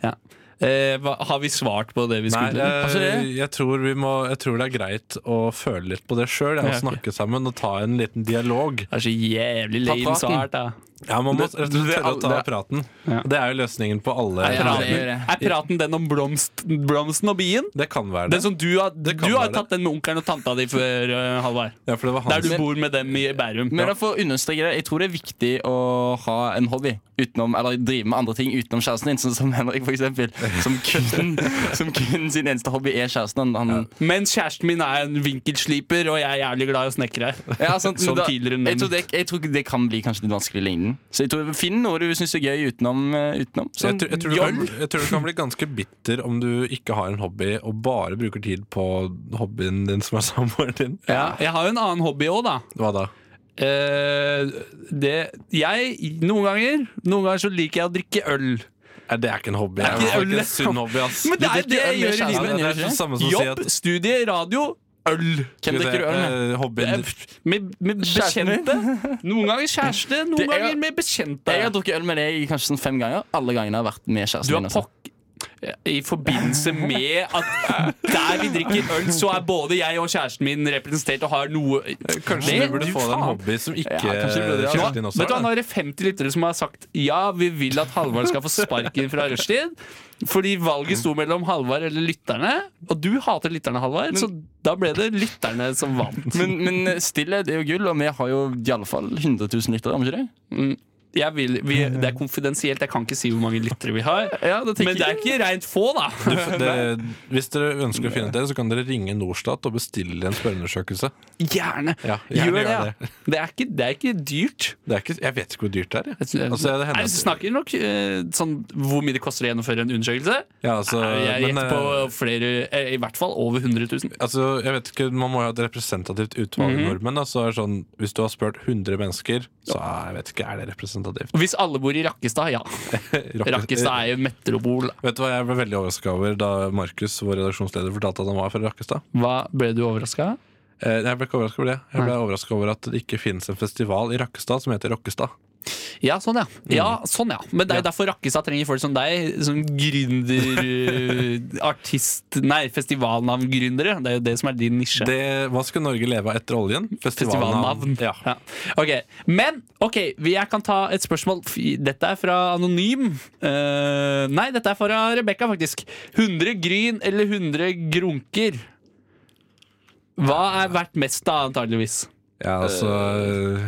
[SPEAKER 3] ja. Eh, hva, har vi svart på det vi
[SPEAKER 5] Nei,
[SPEAKER 3] skulle?
[SPEAKER 5] eh,
[SPEAKER 3] Altså, det-
[SPEAKER 5] jeg, tror vi må, jeg tror det er greit å føle litt på det sjøl.
[SPEAKER 3] Ja,
[SPEAKER 5] Å
[SPEAKER 3] ok.
[SPEAKER 5] snakke sammen og ta en liten dialog.
[SPEAKER 3] det er så jævlig lame
[SPEAKER 6] praten.
[SPEAKER 3] svart, da.
[SPEAKER 5] Ja, Man må rett og slett tørre å ta
[SPEAKER 6] det-
[SPEAKER 5] praten.
[SPEAKER 3] Ja.
[SPEAKER 5] Det er jo løsningen på alle
[SPEAKER 6] Ja,
[SPEAKER 5] problemer.
[SPEAKER 6] det gjør jeg.
[SPEAKER 3] Er praten den om blomst, blomsten og bien?
[SPEAKER 5] Det kan være
[SPEAKER 3] Den
[SPEAKER 5] det.
[SPEAKER 3] som sånn, du har,
[SPEAKER 5] kan
[SPEAKER 3] du har
[SPEAKER 5] være
[SPEAKER 3] tatt den med onkelen og tanta di før, eh, Halvard.
[SPEAKER 5] Ja, for det var
[SPEAKER 3] Der
[SPEAKER 5] han
[SPEAKER 3] du
[SPEAKER 5] som
[SPEAKER 3] bor med dem i Bærum.
[SPEAKER 6] Men da for å understreke det, jeg tror det er viktig å ha en hobby utenom, Eller drive med andre ting utenom kjæresten din, sånn som Henrik for eksempel Som kun, som kun sin eneste hobby er kjæresten. Han, han,
[SPEAKER 3] Men kjæresten min er en vinkelsliper, og jeg er jævlig glad i å snekre.
[SPEAKER 6] ja, sant, men
[SPEAKER 3] Som
[SPEAKER 6] da-
[SPEAKER 3] tidligere
[SPEAKER 6] jeg, tror
[SPEAKER 3] nevnt.
[SPEAKER 6] det, jeg tror det kan bli kanskje litt vanskelig i lengden. Så jeg tror, Finn noe du syns er gøy utenom. eh, utenom.
[SPEAKER 5] jeg,
[SPEAKER 6] Sånn,
[SPEAKER 5] tror, jeg, tror du
[SPEAKER 6] jobb.
[SPEAKER 5] kan, jeg tror du kan bli ganske bitter om du ikke har en hobby og bare bruker tid på hobbyen din som er samboeren din.
[SPEAKER 3] Ja. Jeg har jo en annen hobby òg, da.
[SPEAKER 5] Hva da?
[SPEAKER 3] Eh, det Jeg Noen ganger Noen ganger så liker jeg å drikke øl.
[SPEAKER 5] Nei, det er ikke en hobby. Det
[SPEAKER 3] er
[SPEAKER 5] er
[SPEAKER 3] ikke
[SPEAKER 5] ikke,
[SPEAKER 3] øl,
[SPEAKER 5] en sunn hobby, ass.
[SPEAKER 3] Men det er
[SPEAKER 6] drikker
[SPEAKER 3] det
[SPEAKER 6] øl
[SPEAKER 3] jeg
[SPEAKER 6] med
[SPEAKER 3] gjør i
[SPEAKER 6] kjæresten
[SPEAKER 5] Ja,
[SPEAKER 3] livet.
[SPEAKER 5] det er det samme som å si
[SPEAKER 3] Jobb,
[SPEAKER 5] at
[SPEAKER 3] studie, radio, øl.
[SPEAKER 6] Hvem drikker du øl med?
[SPEAKER 5] Eh, Hobbyen
[SPEAKER 3] Med, med
[SPEAKER 6] Kjæresten min.
[SPEAKER 3] bekjente. Noen ganger kjæreste, noen
[SPEAKER 6] Det er-
[SPEAKER 3] ganger med bekjente.
[SPEAKER 6] Jeg har drukket øl med deg kanskje sånn fem ganger. Alle gangene har jeg vært med kjæresten
[SPEAKER 3] Du
[SPEAKER 6] min,
[SPEAKER 3] har
[SPEAKER 6] altså.
[SPEAKER 3] pokk... i forbindelse med at eh, der vi drikker øl, så er både jeg og kjæresten min representert og har noe
[SPEAKER 5] Eh, Kanskje
[SPEAKER 3] Det-
[SPEAKER 5] du burde
[SPEAKER 3] du
[SPEAKER 5] få deg en
[SPEAKER 3] faen.
[SPEAKER 5] hobby som ikke
[SPEAKER 6] Ja, kanskje du burde det, ja.
[SPEAKER 3] Nå,
[SPEAKER 5] Kjerstin også
[SPEAKER 3] vet du, hva,
[SPEAKER 5] har.
[SPEAKER 3] nå
[SPEAKER 5] da.
[SPEAKER 3] er det 50 lyttere som har sagt ja, vi vil at Halvard skal få sparken fra rushtid. Fordi valget sto mellom Halvard eller lytterne, og du hater lytterne, Halvard. Så da ble det lytterne som vant.
[SPEAKER 6] Men, men stillhet er jo gull, og vi har jo iallfall 100 000 lyttere. har vi ikke det?
[SPEAKER 3] Jeg vil, vi, det er konfidensielt, jeg kan ikke si hvor mange lyttere vi har. Men det er ikke rent få, da.
[SPEAKER 5] Det, hvis dere ønsker å finne ut det, så kan dere ringe Norstat og bestille en spørreundersøkelse.
[SPEAKER 3] Gjerne.
[SPEAKER 5] Ja, gjerne
[SPEAKER 3] Gjør det.
[SPEAKER 5] gjør
[SPEAKER 3] ja. Det er ikke, det er ikke dyrt.
[SPEAKER 5] Det er ikke, jeg vet ikke hvor dyrt det er. jeg.
[SPEAKER 3] Jeg
[SPEAKER 5] Altså, det hender at-
[SPEAKER 3] snakker nok eh, sånn hvor mye det koster å gjennomføre en undersøkelse.
[SPEAKER 5] Ja, altså,
[SPEAKER 3] Jeg
[SPEAKER 5] men, eh,
[SPEAKER 3] gjetter på flere, eh, i hvert fall over 100 000.
[SPEAKER 5] altså, jeg vet ikke, Man må jo ha et representativt utvalg
[SPEAKER 3] Mhm.
[SPEAKER 5] nordmenn. Da, så er det sånn, hvis du har spurt 100 mennesker, så er, jeg vet ikke, er det representativt.
[SPEAKER 3] Hvis alle bor i Rakkestad, ja.
[SPEAKER 5] Rock-
[SPEAKER 3] Rakkestad er jo metropol.
[SPEAKER 5] Vet du hva jeg ble veldig overraska over da Markus, vår redaksjonsleder, fortalte at han var fra Rakkestad?
[SPEAKER 3] Hva ble du overraska?
[SPEAKER 5] Eh, Jeg ble ikke overraska over det. Jeg ble overraska over at det ikke finnes en festival i Rakkestad som heter Rokkestad.
[SPEAKER 3] Ja, sånn ja.
[SPEAKER 5] Mm.
[SPEAKER 3] ja, sånn ja. Men det er jo derfor Rakkestad trenger folk som deg, som gründer øh, Artist Nei, festivalnavngründere. Det er jo det som er din nisje.
[SPEAKER 5] Det, hva skal Norge leve av etter oljen?
[SPEAKER 3] Festivalnavn.
[SPEAKER 5] Ja.
[SPEAKER 3] Ja. Ok, Men ok, vi- jeg kan ta et spørsmål. Fy, Dette er fra Anonym. Eh, nei, dette er fra Rebekka, faktisk. 100 gryn eller 100 grunker? Hva er verdt mest, da, antageligvis?
[SPEAKER 5] ja, altså
[SPEAKER 3] Eh.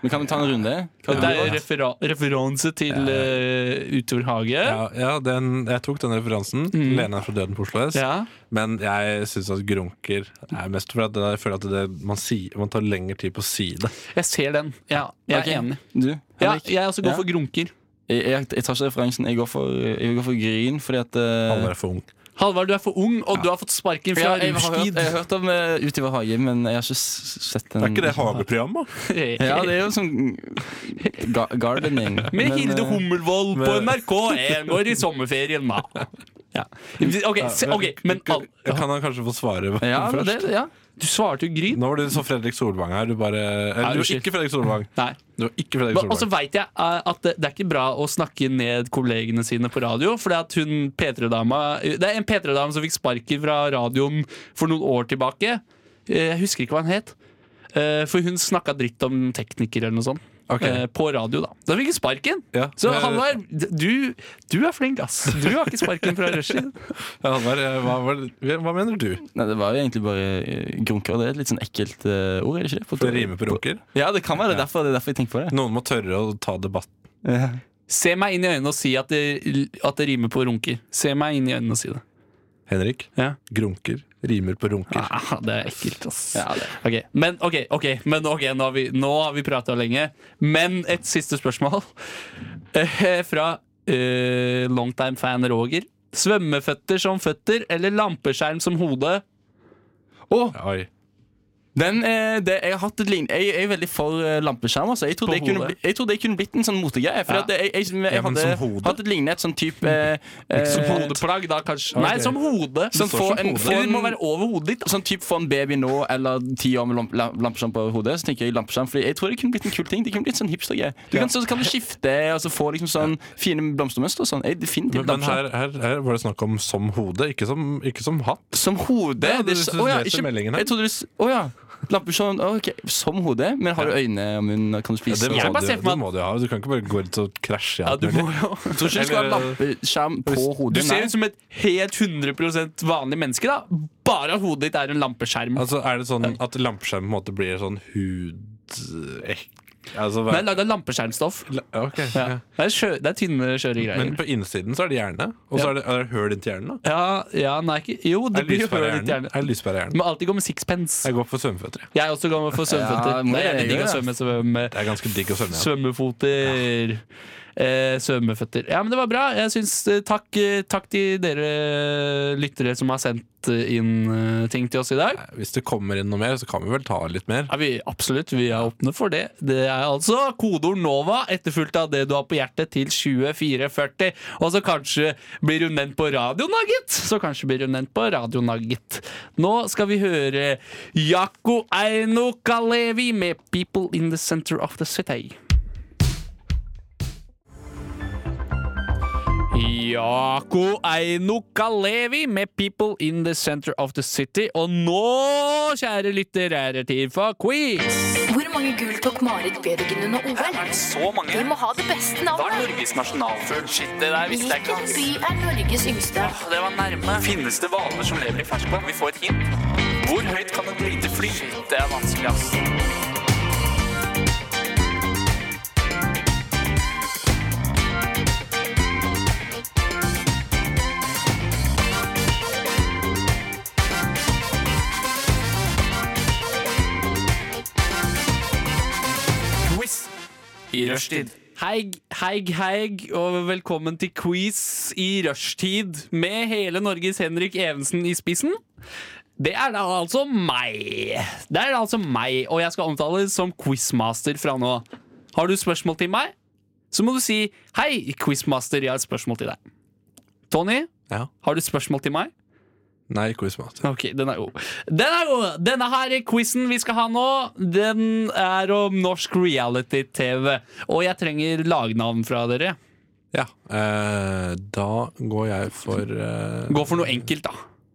[SPEAKER 6] Men kan vi ta en runde? Hva
[SPEAKER 3] Dette er jo refera referanse til uh, Utor Hage.
[SPEAKER 5] Ja, ja den, jeg tok den referansen. Lene er fra Døden på Oslo S.
[SPEAKER 3] Mm. Ja.
[SPEAKER 5] Men jeg syns at grunker er mest for at det- jeg føler at det, man, sier- man tar lengre tid på å si det.
[SPEAKER 3] Jeg ser den. Ja, jeg
[SPEAKER 6] Ok.
[SPEAKER 3] er enig.
[SPEAKER 6] Du,
[SPEAKER 3] Ja,
[SPEAKER 6] Henrik?
[SPEAKER 3] jeg også går
[SPEAKER 6] Ja.
[SPEAKER 3] for grunker.
[SPEAKER 6] Jeg, jeg, jeg tar ikke referansen. Jeg går for, jeg går for gryn, fordi at eh,
[SPEAKER 5] Alle er for ung.
[SPEAKER 3] Halvard, du er for ung, og du har fått sparken
[SPEAKER 6] ja,
[SPEAKER 3] fra
[SPEAKER 6] jeg, har hørt,
[SPEAKER 3] rushtid.
[SPEAKER 6] jeg har hørt om eh, Ut i vår hage, men jeg har ikke s- sett
[SPEAKER 3] Mm.
[SPEAKER 6] den.
[SPEAKER 5] Er ikke det hageprogram, da?
[SPEAKER 6] Ja, det er jo sånn ga gardening.
[SPEAKER 3] Med
[SPEAKER 6] Men,
[SPEAKER 3] Hilde
[SPEAKER 6] eh,
[SPEAKER 3] Hummelvold på
[SPEAKER 5] men-
[SPEAKER 3] NRK1 går i sommerferien, da. Ja. Ok, se, ok, men all,
[SPEAKER 5] Kan han kanskje få svare
[SPEAKER 6] Ja,
[SPEAKER 5] først?
[SPEAKER 6] det, ja.
[SPEAKER 3] Du svarte jo Gryn.
[SPEAKER 5] Nå var du så Fredrik Solvang her. Du bare Eller, du var
[SPEAKER 3] unnskyld.
[SPEAKER 5] ikke Fredrik Solvang.
[SPEAKER 3] Nei.
[SPEAKER 5] Du var ikke Fredrik
[SPEAKER 3] Og så
[SPEAKER 5] Solvang.
[SPEAKER 3] veit jeg eh, at det, det er ikke bra å snakke ned kollegene sine på radio. For det, at hun, P3-dama, eh, det er en P3-dame som fikk sparken fra radioen for noen år tilbake. Eh, Jeg husker ikke hva hun het. Eh, For hun snakka dritt om teknikere eller noe sånt.
[SPEAKER 5] Ok.
[SPEAKER 3] Eh, På radio, da. Da fikk hun sparken!
[SPEAKER 5] Ja,
[SPEAKER 3] Så
[SPEAKER 5] men-
[SPEAKER 3] Halvard, d- du, du er flink, ass. Du har ikke sparken fra rushtid.
[SPEAKER 5] Ja, han var- eh, hva, var- hva mener du?
[SPEAKER 6] Nei, det var jo egentlig bare eh, grunker. Det er et litt sånn ekkelt eh, ord, er det ikke det? For-
[SPEAKER 5] Det rimer på runker.
[SPEAKER 6] Ja, det kan være det. er Derfor, det er derfor jeg tenker på det.
[SPEAKER 5] Noen må tørre å ta debatt.
[SPEAKER 6] Ja.
[SPEAKER 3] Se meg inn i øynene og si at det, at det rimer på runker. Se meg inn i øynene og si det.
[SPEAKER 5] Henrik,
[SPEAKER 3] Ja.
[SPEAKER 5] grunker rimer på runker.
[SPEAKER 3] Ah, det er ekkelt, ass.
[SPEAKER 6] Ja, det.
[SPEAKER 3] Ok, Men ok, ok, men ok, nå har vi, nå har vi prata lenge. Men et siste spørsmål Eh, fra eh, longtime fan Roger. Svømmeføtter som føtter eller lampeskjerm som hode?
[SPEAKER 5] Oi.
[SPEAKER 6] Den, eh, det, jeg, har hatt et lign- jeg, jeg er veldig for eh, lampeskjerm. Altså. Jeg,
[SPEAKER 3] På
[SPEAKER 6] trodde jeg, kunne
[SPEAKER 3] hodet.
[SPEAKER 6] bli, jeg trodde jeg kunne blitt en sånn motegreie. For
[SPEAKER 3] Ja.
[SPEAKER 6] at jeg, jeg, jeg,
[SPEAKER 5] Ja, men
[SPEAKER 6] hadde
[SPEAKER 5] som hode?
[SPEAKER 6] hatt et lignende et sånn type eh, eh,
[SPEAKER 3] Som hodeplagg, da kanskje? Nei, som hode.
[SPEAKER 6] Som
[SPEAKER 5] står
[SPEAKER 6] får
[SPEAKER 5] som
[SPEAKER 6] en,
[SPEAKER 5] hode.
[SPEAKER 6] får
[SPEAKER 3] Eller det
[SPEAKER 6] en,
[SPEAKER 3] må være over hodet ditt. da.
[SPEAKER 6] Sånn type for en baby nå eller ti år med lamp- la- lampeskjerm på hodet. Så tenker jeg lampeskjerm Fordi jeg tror det kunne blitt en kul ting. Det kunne blitt sånn hipstergreie. Du kan, så kan du skifte og så få liksom sånn fine blomstermønster og sånn. Jeg,
[SPEAKER 5] Men,
[SPEAKER 6] definitivt
[SPEAKER 5] men
[SPEAKER 6] lampeskjerm.
[SPEAKER 5] her, her, her var det snakk om som hode, ikke som, ikke som hatt.
[SPEAKER 6] Som hode?
[SPEAKER 5] Ja,
[SPEAKER 6] det
[SPEAKER 5] du-
[SPEAKER 6] er-
[SPEAKER 5] du
[SPEAKER 6] åja,
[SPEAKER 5] leser meldingen her.
[SPEAKER 6] Jeg trodde du s- åja. Lampeskjerm å, ok. Som hode, men har du øyne og munn? og Kan
[SPEAKER 5] Ja,
[SPEAKER 6] du spise?
[SPEAKER 5] det,
[SPEAKER 6] og
[SPEAKER 5] må
[SPEAKER 3] Jeg
[SPEAKER 6] sånn?
[SPEAKER 3] bare
[SPEAKER 5] du,
[SPEAKER 3] ser
[SPEAKER 5] det
[SPEAKER 3] for meg at-
[SPEAKER 5] må du ha. Du kan ikke bare gå ut og krasje i
[SPEAKER 3] Ja,
[SPEAKER 5] alt
[SPEAKER 3] du må
[SPEAKER 5] mulig.
[SPEAKER 3] jo
[SPEAKER 6] Jeg tror ikke du skal ha
[SPEAKER 5] Eller-
[SPEAKER 6] lampeskjerm på
[SPEAKER 3] Du
[SPEAKER 6] hodet.
[SPEAKER 3] ser ut som et helt 100 vanlig menneske, da. Bare at hodet ditt er en lampeskjerm.
[SPEAKER 5] Altså, er det sånn at lampeskjerm på en måte blir sånn hud... ek- Altså, hva-
[SPEAKER 3] Den er lagd av lampeskjermstoff.
[SPEAKER 5] La- ok, ja.
[SPEAKER 3] Ja. Det, er sjø, det er tynne, skjøre greier.
[SPEAKER 5] Men på innsiden så er det hjerne, og så
[SPEAKER 3] Ja.
[SPEAKER 5] er det, er det høl inntil hjernen. da.
[SPEAKER 3] Ja, ja nei, ikke Jo, det
[SPEAKER 5] Er det
[SPEAKER 3] blir jo høl
[SPEAKER 5] lyspærehjernen?
[SPEAKER 3] litt gjerne.
[SPEAKER 5] Er det lyspærehjernen?
[SPEAKER 3] Må alltid gå med sixpence.
[SPEAKER 5] Jeg går for svømmeføtter. jeg.
[SPEAKER 3] Jeg også går med for svømmeføtter.
[SPEAKER 6] Ja,
[SPEAKER 3] det
[SPEAKER 6] må
[SPEAKER 3] er
[SPEAKER 6] jeg
[SPEAKER 3] jævlig digg å
[SPEAKER 6] gjøre
[SPEAKER 3] svømme, svømme.
[SPEAKER 5] Det er ganske digg å svømme. altså. Ja.
[SPEAKER 3] Svømmefoter. Eh, svømmeføtter. Ja, men det var bra. Jeg syns, eh, takk, eh, takk til dere lyttere som har sendt eh, inn eh, ting til oss i dag.
[SPEAKER 5] Hvis det kommer inn noe mer, så kan vi vel ta litt mer.
[SPEAKER 3] Ja, vi, absolutt, vi er åpne for det. Det er altså kodeord NOVA etterfulgt av det du har på hjertet til 2440. Og så kanskje blir hun nevnt på radioen, da, gitt! Så kanskje blir hun nevnt på radioen, da, gitt. Nå skal vi høre Yako Aino Kalevi med 'People in the Center of the City'. Jaco Eino Kalevi med 'People in the Center of the City'. Og nå, kjære lytter, er det tid for quiz!
[SPEAKER 7] Hvor mange gull tok Marit Bjørgen under OL?
[SPEAKER 8] Så mange.
[SPEAKER 7] Vi må ha det beste navnet.
[SPEAKER 8] Norges nasjonalfugl. Shit, det der
[SPEAKER 7] Hvilken by er Norges yngste?
[SPEAKER 8] Det var nærme. Finnes det hvaler som lever i ferskvann? Vi får et hint. Hvor høyt kan et lite fly? Det er vanskelig, ass. Quiz i rushtid.
[SPEAKER 3] Heig, heig, heig, og velkommen til quiz i rushtid med hele Norges Henrik Evensen i spissen. Det er da altså meg. Det er da altså meg, og jeg skal omtales som quizmaster fra nå. Har du spørsmål til meg, så må du si 'Hei, quizmaster, jeg har et spørsmål til deg'. Tony,
[SPEAKER 5] Ja.
[SPEAKER 3] har du spørsmål til meg?
[SPEAKER 5] Nei, quizmat.
[SPEAKER 3] Ok, den er god. Den er god. Denne her quizen vi skal ha nå, den er om norsk reality-TV. Og jeg trenger lagnavn fra dere.
[SPEAKER 5] Ja. eh, da går jeg for eh,
[SPEAKER 3] Gå for noe enkelt, da.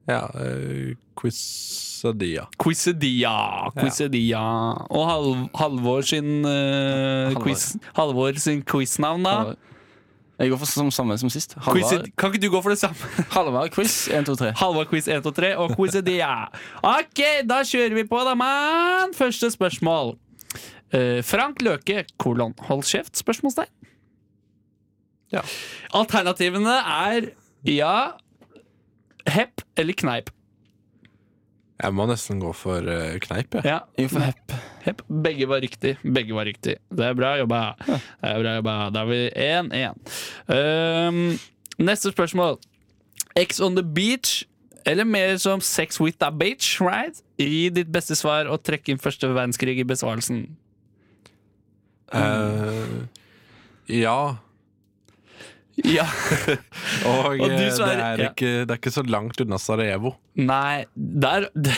[SPEAKER 5] Ja, eh, Quizadia.
[SPEAKER 3] Quizedia. Quizedia. Og Hal Halvor sin eh,
[SPEAKER 6] Halvor.
[SPEAKER 3] quiz Halvor sin quiznavn, da.
[SPEAKER 6] Halvor. Jeg går for som samme som sist.
[SPEAKER 3] Quized-
[SPEAKER 6] Halvard
[SPEAKER 3] kan ikke du gå for det samme?
[SPEAKER 6] Halvard quiz 1, 2, 3.
[SPEAKER 3] Halvor quiz 1, 2, 3 og Quizedia. Ok, da kjører vi på, da, mann! Første spørsmål. Eh, Frank Løke, kolon, hold kjeft? Spørsmålstegn.
[SPEAKER 5] Ja.
[SPEAKER 3] Alternativene er ja, hepp eller kneip.
[SPEAKER 5] Jeg må nesten gå for eh, kneip, jeg.
[SPEAKER 3] Ja.
[SPEAKER 6] Jeg går for hepp.
[SPEAKER 3] Hepp. Begge var riktig. Begge var riktig. Det er bra jobba. Det er bra jobba. Da er vi 1-1. Ehm, neste spørsmål. X on the beach, eller mer som sex with a beach, right? Gi ditt beste svar og trekk inn første verdenskrig i besvarelsen.
[SPEAKER 5] Eh, ja.
[SPEAKER 3] Ja.
[SPEAKER 5] Og,
[SPEAKER 3] Og du
[SPEAKER 5] eh, det,
[SPEAKER 3] svarer-
[SPEAKER 5] er
[SPEAKER 3] ja.
[SPEAKER 5] ikke, det er ikke så langt unna Sarajevo.
[SPEAKER 3] Nei, der
[SPEAKER 5] Det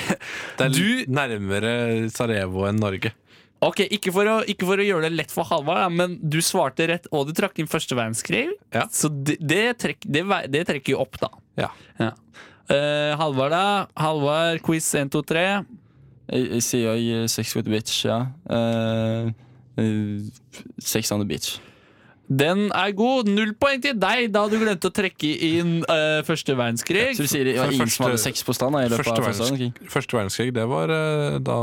[SPEAKER 5] er
[SPEAKER 3] Du-
[SPEAKER 5] litt nærmere Sarajevo enn Norge.
[SPEAKER 3] Ok, ikke for, å, ikke for å gjøre det lett for Halvard, da, men du svarte rett, og du trakk inn første verdenskrig.
[SPEAKER 5] Ja.
[SPEAKER 3] Så det, det, trekk, det, vei- det trekker jo opp, da.
[SPEAKER 5] Ja.
[SPEAKER 3] Ja. Eh, Halvard, da. Halvard, quiz 1, 2, 3.
[SPEAKER 6] Jeg, jeg sier også eh, sex with bitch, ja. Eh, eh, sex on the beach.
[SPEAKER 3] Den er god. Null poeng til deg, da du glemte å trekke inn eh, første verdenskrig.
[SPEAKER 6] Så du sier det var
[SPEAKER 5] For
[SPEAKER 6] ingen som hadde
[SPEAKER 5] første-
[SPEAKER 6] sex på stranda? i løpet
[SPEAKER 5] Første
[SPEAKER 6] av første verdenskrig?
[SPEAKER 5] verdenskrig, første verdenskrig det var eh, da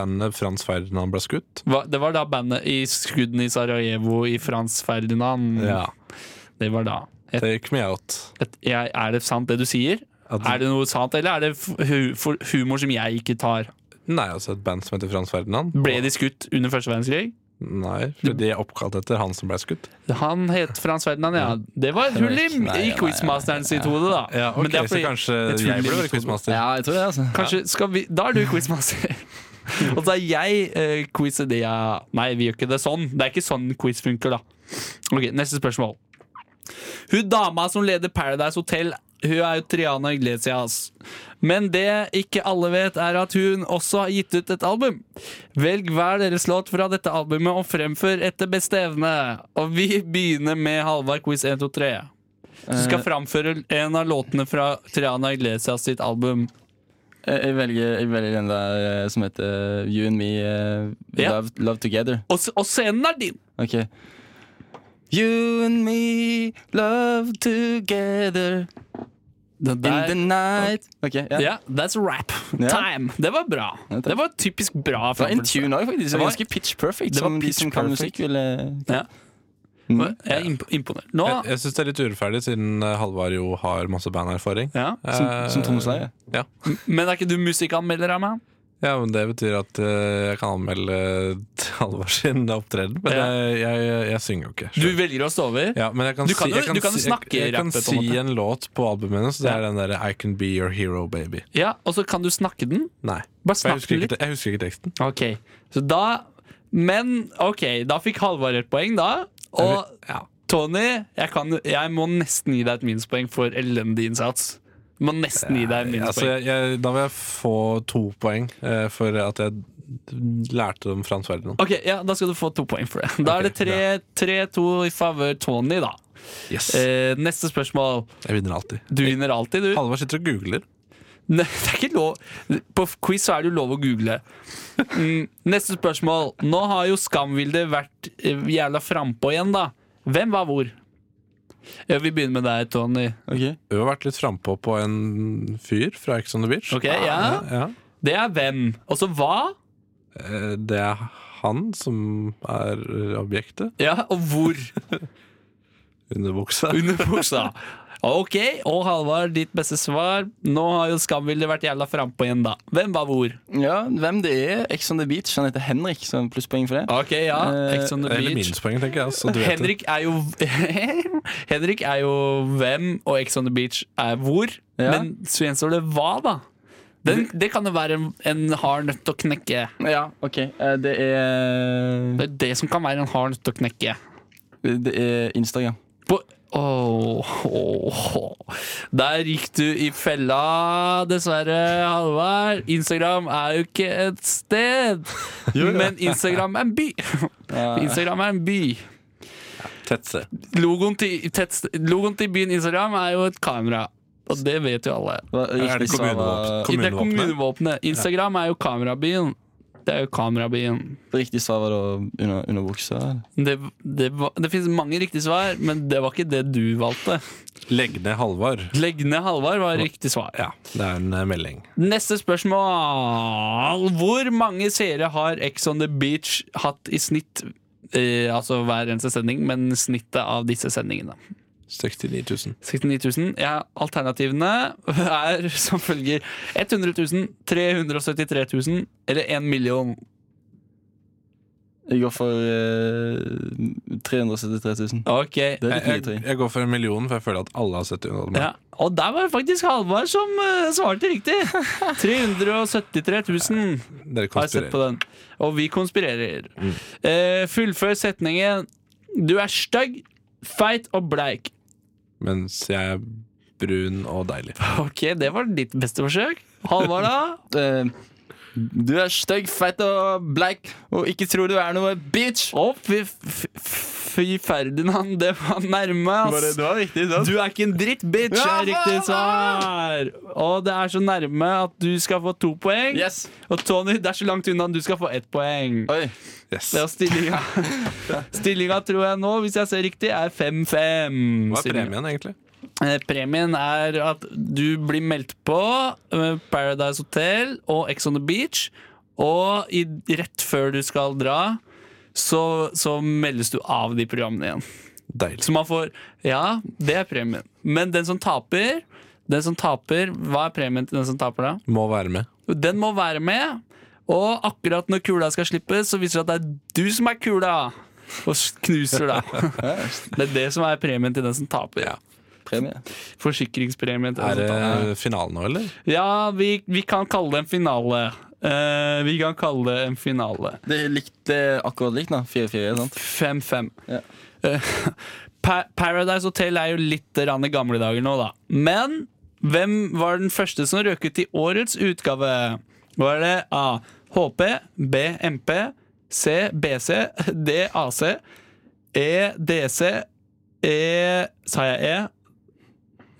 [SPEAKER 5] bandet Frans Ferdinand ble skutt.
[SPEAKER 3] Hva- Det var da bandet i Skudden i Sarajevo i Frans Ferdinand. Det var da. Et,
[SPEAKER 5] Det gikk med out.
[SPEAKER 3] et, jeg, er det sant, det du sier?
[SPEAKER 5] At,
[SPEAKER 3] Er det noe sant, eller er det f- hu, for humor som jeg ikke tar?
[SPEAKER 5] Nei, altså et band som heter Frans Ferdinand.
[SPEAKER 3] Ble de skutt under første verdenskrig?
[SPEAKER 5] Nei, for de er oppkalt etter han som ble skutt.
[SPEAKER 3] Han het Frans Ferdinand, ja. Det var et hull i, i quizmasteren sitt hode, da.
[SPEAKER 5] Ja, ok,
[SPEAKER 3] Men det er
[SPEAKER 5] Så
[SPEAKER 3] fordi-
[SPEAKER 5] kanskje
[SPEAKER 3] et hull i
[SPEAKER 5] jeg burde
[SPEAKER 3] mitt
[SPEAKER 5] være
[SPEAKER 3] hode.
[SPEAKER 5] quizmaster.
[SPEAKER 6] Ja, jeg tror det, altså.
[SPEAKER 3] Kanskje skal vi Da er du quizmaster. Og så er jeg eh, quizidea Nei, vi gjør ikke det sånn. Det er ikke sånn quiz funker, da. Ok, Neste spørsmål. Hun dama som leder Paradise Hotel, hun er jo Triana Iglesias. Men det ikke alle vet, er at hun også har gitt ut et album. Velg hver deres låt fra dette albumet og fremfør etter beste evne. Og vi begynner med Halvard quiz 1, 2, 3. Du skal framføre en av låtene fra Triana Iglesias sitt album.
[SPEAKER 6] Jeg, jeg, velger, jeg velger den der eh, som heter You and me eh,
[SPEAKER 3] Ja.
[SPEAKER 6] love, love together.
[SPEAKER 3] Og, s- og scenen er din!
[SPEAKER 6] Ok. You and me love together
[SPEAKER 3] Den
[SPEAKER 6] in the night. Ok, ja.
[SPEAKER 3] Ja, that's rap.
[SPEAKER 6] Ja.
[SPEAKER 3] Time. Det var bra.
[SPEAKER 6] Ja, takk.
[SPEAKER 3] Det var typisk bra.
[SPEAKER 6] Det var en
[SPEAKER 3] framførelse.
[SPEAKER 6] tune òg, faktisk. Det
[SPEAKER 3] var-
[SPEAKER 6] var ganske pitch perfect.
[SPEAKER 3] det var
[SPEAKER 6] som de
[SPEAKER 3] pitch
[SPEAKER 6] som kan
[SPEAKER 3] perfect.
[SPEAKER 6] musikk, Mm. ville
[SPEAKER 3] Ja. Jeg er imp- imponert. Nå
[SPEAKER 5] Jeg, jeg syns det er litt urettferdig, siden eh, Halvard jo har masse banderfaring.
[SPEAKER 3] ja.
[SPEAKER 6] Som,
[SPEAKER 5] Eh,
[SPEAKER 6] som trommeslager.
[SPEAKER 5] Ja.
[SPEAKER 3] Men er ikke du musikkanmelder av meg?
[SPEAKER 5] ja, men det betyr at eh, jeg kan anmelde eh, Halvard sin opptreden. Men
[SPEAKER 3] Ja.
[SPEAKER 5] jeg, jeg, jeg synger jo ikke.
[SPEAKER 3] Du velger å stå over?
[SPEAKER 5] Ja, men jeg kan,
[SPEAKER 3] Du kan
[SPEAKER 5] si,
[SPEAKER 3] jo-
[SPEAKER 5] jeg kan
[SPEAKER 3] du kan jo
[SPEAKER 5] si-
[SPEAKER 3] snakke
[SPEAKER 5] jeg, jeg kan
[SPEAKER 3] rappet, på en
[SPEAKER 5] si
[SPEAKER 3] måte.
[SPEAKER 5] en låt på albumet hennes, og det
[SPEAKER 3] Ja.
[SPEAKER 5] er den derre I Can Be Your Hero Baby.
[SPEAKER 3] Ja, Og så kan du snakke den?
[SPEAKER 5] Nei.
[SPEAKER 3] Bare
[SPEAKER 5] For Jeg
[SPEAKER 3] snakk
[SPEAKER 5] husker
[SPEAKER 3] den litt.
[SPEAKER 5] ikke, jeg husker ikke teksten.
[SPEAKER 3] Ok, så da Men ok, da fikk Halvard et poeng, da. Og
[SPEAKER 5] ja.
[SPEAKER 3] Tony, jeg, kan, jeg må nesten gi deg et minuspoeng for elendig innsats. Må nesten gi deg et
[SPEAKER 5] Altså, jeg,
[SPEAKER 3] minuspoeng.
[SPEAKER 5] jeg, da vil jeg få to poeng eh, for at jeg lærte om Frans Ferdinand.
[SPEAKER 3] Ok, ja, Da skal du få to poeng for det. Da er
[SPEAKER 5] Ok,
[SPEAKER 3] det tre- 3-2 i favør Tony, da.
[SPEAKER 5] Yes.
[SPEAKER 3] Eh, neste spørsmål.
[SPEAKER 5] Jeg vinner alltid.
[SPEAKER 3] Du vinner alltid, du.
[SPEAKER 5] Halvard sitter og googler.
[SPEAKER 3] Nei, det er ikke lov. På quiz så er det jo lov å google. Mm, neste spørsmål. Nå har jo Skamvilde vært eh, jævla frampå igjen, da. Hvem var hvor? Ja, Vi begynner med deg, Tony.
[SPEAKER 6] Ok.
[SPEAKER 5] Du har vært litt frampå på en fyr fra Ex on the Beach.
[SPEAKER 3] Ok, ja.
[SPEAKER 5] Ja.
[SPEAKER 3] Det er hvem. Og så hva?
[SPEAKER 5] Eh, Det er han som er eh, objektet.
[SPEAKER 3] Ja, og hvor?
[SPEAKER 5] Underbuksa.
[SPEAKER 3] Under buksa. Ok, og Halvard, ditt beste svar. Nå har jo Skamvilde vært jævla frampå igjen, da. Hvem var hvor?
[SPEAKER 6] Ja, hvem det er? Ex on the beach. Han heter Henrik, så plusspoeng for det.
[SPEAKER 3] Ok, ja.
[SPEAKER 6] Eh,
[SPEAKER 3] Ex on the
[SPEAKER 5] Eller
[SPEAKER 3] beach.
[SPEAKER 5] minuspoeng, tenker jeg. Så du vet det.
[SPEAKER 3] Henrik er jo Henrik er jo hvem, og Ex on the Beach er hvor.
[SPEAKER 6] Ja.
[SPEAKER 3] Men så gjenstår det hva, da? Den, det kan jo være en, en hard nøtt å knekke.
[SPEAKER 6] Ja, ok. Eh, Det er
[SPEAKER 3] Det er det som kan være en hard nøtt å knekke.
[SPEAKER 6] Det er Instagram.
[SPEAKER 3] På Åh, åh, åh. Der gikk du i fella, dessverre, Halvard. Instagram er jo ikke et sted, men Instagram er en by. Instagram er en by.
[SPEAKER 5] Tettsted.
[SPEAKER 3] Logoen til, tetts- logoen til byen Instagram er jo et kamera, og det vet jo alle.
[SPEAKER 6] Hva-
[SPEAKER 5] Er det
[SPEAKER 6] riktig svar
[SPEAKER 5] kommunevåpen?
[SPEAKER 6] var-
[SPEAKER 3] I det er kommunevåpenet. Instagram er jo kamerabyen. Det er jo kamerabyen.
[SPEAKER 6] Riktig svar var da under, under buksa? eller?
[SPEAKER 3] Det, det, var- det finnes mange riktige svar, men det var ikke det du valgte.
[SPEAKER 5] Legg ned Halvard.
[SPEAKER 3] Legg ned Halvard var riktig svar.
[SPEAKER 5] Ja, det er en eh, melding.
[SPEAKER 3] Neste spørsmål. Hvor mange seere har Ex on the Beach hatt i snitt? Eh, altså hver eneste sending, men snittet av disse sendingene.
[SPEAKER 5] 69 000.
[SPEAKER 3] 69 000. Ja, alternativene er som følger 100 000, 373 000 eller 1 million.
[SPEAKER 6] Jeg går for eh, 373 000.
[SPEAKER 3] Ok,
[SPEAKER 6] Det er
[SPEAKER 5] Jeg,
[SPEAKER 6] litt mye,
[SPEAKER 5] jeg,
[SPEAKER 6] tror jeg.
[SPEAKER 5] jeg går for en million, for jeg føler at alle har sett det. under meg.
[SPEAKER 3] Ja, og der var det faktisk Halvard som eh, svarte riktig. 373 000
[SPEAKER 5] Dere
[SPEAKER 3] har jeg sett på
[SPEAKER 5] konspirerer.
[SPEAKER 3] den. Og vi konspirerer.
[SPEAKER 6] Mm.
[SPEAKER 3] Eh, fullfør setningen. Du er stygg, feit og bleik.
[SPEAKER 5] Mens jeg er brun og deilig.
[SPEAKER 3] Ok, det var ditt beste forsøk. Halvard, da?
[SPEAKER 6] Eh, du er stygg, feit og bleik og ikke tror du er noe bitch.
[SPEAKER 3] Å, fy, f- f- fy Ferdinand, det var nærme, ass.
[SPEAKER 6] var riktig, sant?
[SPEAKER 3] Du er ikke en dritt, bitch, er riktig svar. Og det er så nærme at du skal få to poeng.
[SPEAKER 6] Yes.
[SPEAKER 3] Og Tony, det er så langt unna at du skal få ett poeng.
[SPEAKER 6] Oi.
[SPEAKER 5] Yes.
[SPEAKER 3] Det er stillinga. Stillinga tror jeg nå, hvis jeg ser riktig, er 5-5.
[SPEAKER 5] Hva er
[SPEAKER 3] Siden-
[SPEAKER 5] premien, egentlig?
[SPEAKER 3] Eh, Premien er at du blir meldt på eh, Paradise Hotel og Ex on the Beach. Og i, rett før du skal dra, så, så meldes du av de programmene igjen.
[SPEAKER 5] Deilig.
[SPEAKER 3] Så man får Ja, det er premien. Men den som taper den som taper, Hva er premien til den som taper, da?
[SPEAKER 5] Må være med.
[SPEAKER 3] Den må være med. Og akkurat når kula skal slippes, så viser det at det er du som er kula. Og s- knuser deg. Det er det som er premien til den som taper.
[SPEAKER 5] Ja.
[SPEAKER 6] Premie.
[SPEAKER 3] Forsikringspremien til
[SPEAKER 5] Er
[SPEAKER 3] den som taper.
[SPEAKER 5] det finalen nå, eller?
[SPEAKER 3] Ja, vi, vi kan kalle det en finale. Eh, vi kan kalle det en finale.
[SPEAKER 6] Det er likt, det er akkurat likt, da. 4-4, sant?
[SPEAKER 3] 5-5.
[SPEAKER 6] Ja.
[SPEAKER 3] Eh, Pa- Paradise Hotel er jo litt rann i gamle dager nå, da. Men hvem var den første som røk ut i årets utgave? Var det A. HP, B. MP, C. BC, D. AC, E. DC, E. Sa jeg E?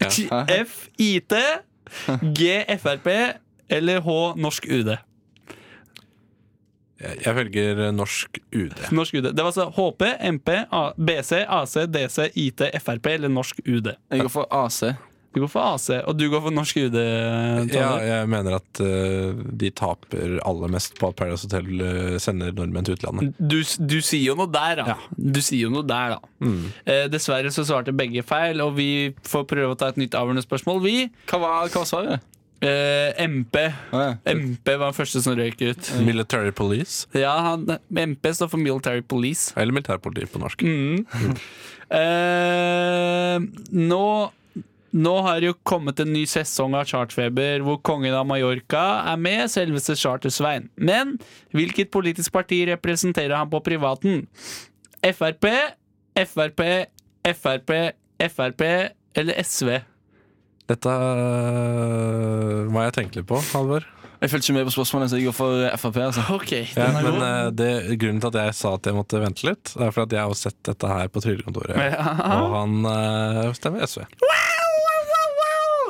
[SPEAKER 3] F. IT, G. FRP eller H. Norsk UD.
[SPEAKER 5] Jeg, jeg velger norsk UD.
[SPEAKER 3] Norsk UD. Det var altså HP, MP, A- BC, AC, DC, IT, Frp eller norsk UD.
[SPEAKER 6] Jeg går for AC.
[SPEAKER 3] Du går for AC, og du går for norsk UD,
[SPEAKER 5] Ja,
[SPEAKER 3] Tanner.
[SPEAKER 5] jeg mener at eh, de taper aller mest på at Paradise Hotel eh, sender nordmenn til utlandet.
[SPEAKER 3] Du, du sier jo noe der, da. Du sier jo noe der, da.
[SPEAKER 5] Mm.
[SPEAKER 3] Eh, dessverre så svarte begge feil, og vi får prøve å ta et nytt avgjørende spørsmål, vi.
[SPEAKER 6] Hva var hva var svaret?
[SPEAKER 3] Eh, MP.
[SPEAKER 6] Ah, ja.
[SPEAKER 3] MP var den første som røyk ut.
[SPEAKER 5] Military Police,
[SPEAKER 3] Ja, han, MP står for Military Police.
[SPEAKER 5] eller militærpoliti på norsk.
[SPEAKER 3] Eh, nå nå har det jo kommet en ny sesong av Chartfeber, hvor kongen av Mallorca er med, selveste Charter-Svein. Men hvilket politisk parti representerer han på privaten? Frp, Frp, Frp, Frp eller SV?
[SPEAKER 5] Dette eh, må jeg tenke litt på, Halvor.
[SPEAKER 6] Jeg fulgte ikke med på spørsmålet, så jeg går for Frp. altså
[SPEAKER 3] Ok, den
[SPEAKER 5] Ja,
[SPEAKER 3] er
[SPEAKER 5] men
[SPEAKER 3] god.
[SPEAKER 5] eh, det, grunnen til at jeg sa at jeg måtte vente litt, er for at jeg har jo sett dette her på Trygdekontoret. Og han eh, stemmer SV.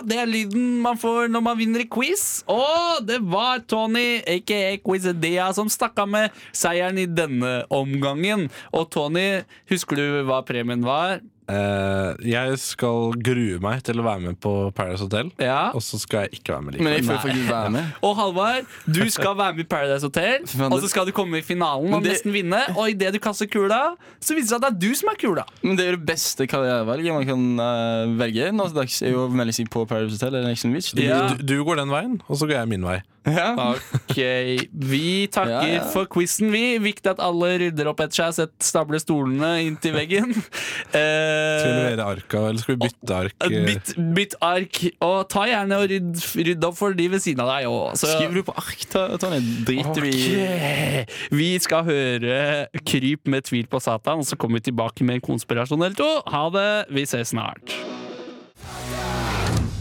[SPEAKER 3] Det er lyden man får når man vinner i quiz. Og det var Tony, aka Quizidea, som stakk av med seieren i denne omgangen. Og Tony, husker du hva premien var?
[SPEAKER 5] Eh, jeg skal grue meg til å være med på Paradise Hotel,
[SPEAKER 3] Ja.
[SPEAKER 5] og så skal jeg ikke være med
[SPEAKER 6] Men
[SPEAKER 5] likevel.
[SPEAKER 6] jeg føler faktisk være med.
[SPEAKER 3] Og Halvard, du skal være med i Paradise Hotel,
[SPEAKER 6] faen,
[SPEAKER 3] og
[SPEAKER 6] det-
[SPEAKER 3] så skal du komme i finalen og
[SPEAKER 6] Men det-
[SPEAKER 3] nesten vinne. Og idet du kaster kula, så viser det seg at det er du som er kula.
[SPEAKER 6] Men det er jo det beste karrierevalget man kan eh, velge nå til dags. Er jo å melde seg på Paradise Hotel eller Action Beach. Det blir-
[SPEAKER 3] Ja.
[SPEAKER 5] Du, du går den veien, og så går jeg min vei.
[SPEAKER 6] Ja.
[SPEAKER 3] Ok, Vi takker
[SPEAKER 6] Ja, ja.
[SPEAKER 3] for quizen, vi. Viktig at alle rydder opp etter seg. Sett stable stolene inntil veggen.
[SPEAKER 5] Skal vi
[SPEAKER 3] Eh,
[SPEAKER 5] levere arka, eller skal vi bytte ark? eh?
[SPEAKER 3] bytt, bytt ark, og ta gjerne og rydd, rydd opp for de ved siden av deg òg.
[SPEAKER 6] Skriver du på ark, Ta- Tonje? Driter du i
[SPEAKER 3] Vi skal høre 'Kryp med tvil på Satan', og så kommer vi tilbake med en konspirasjon eller to. Ha det. Vi ses snart.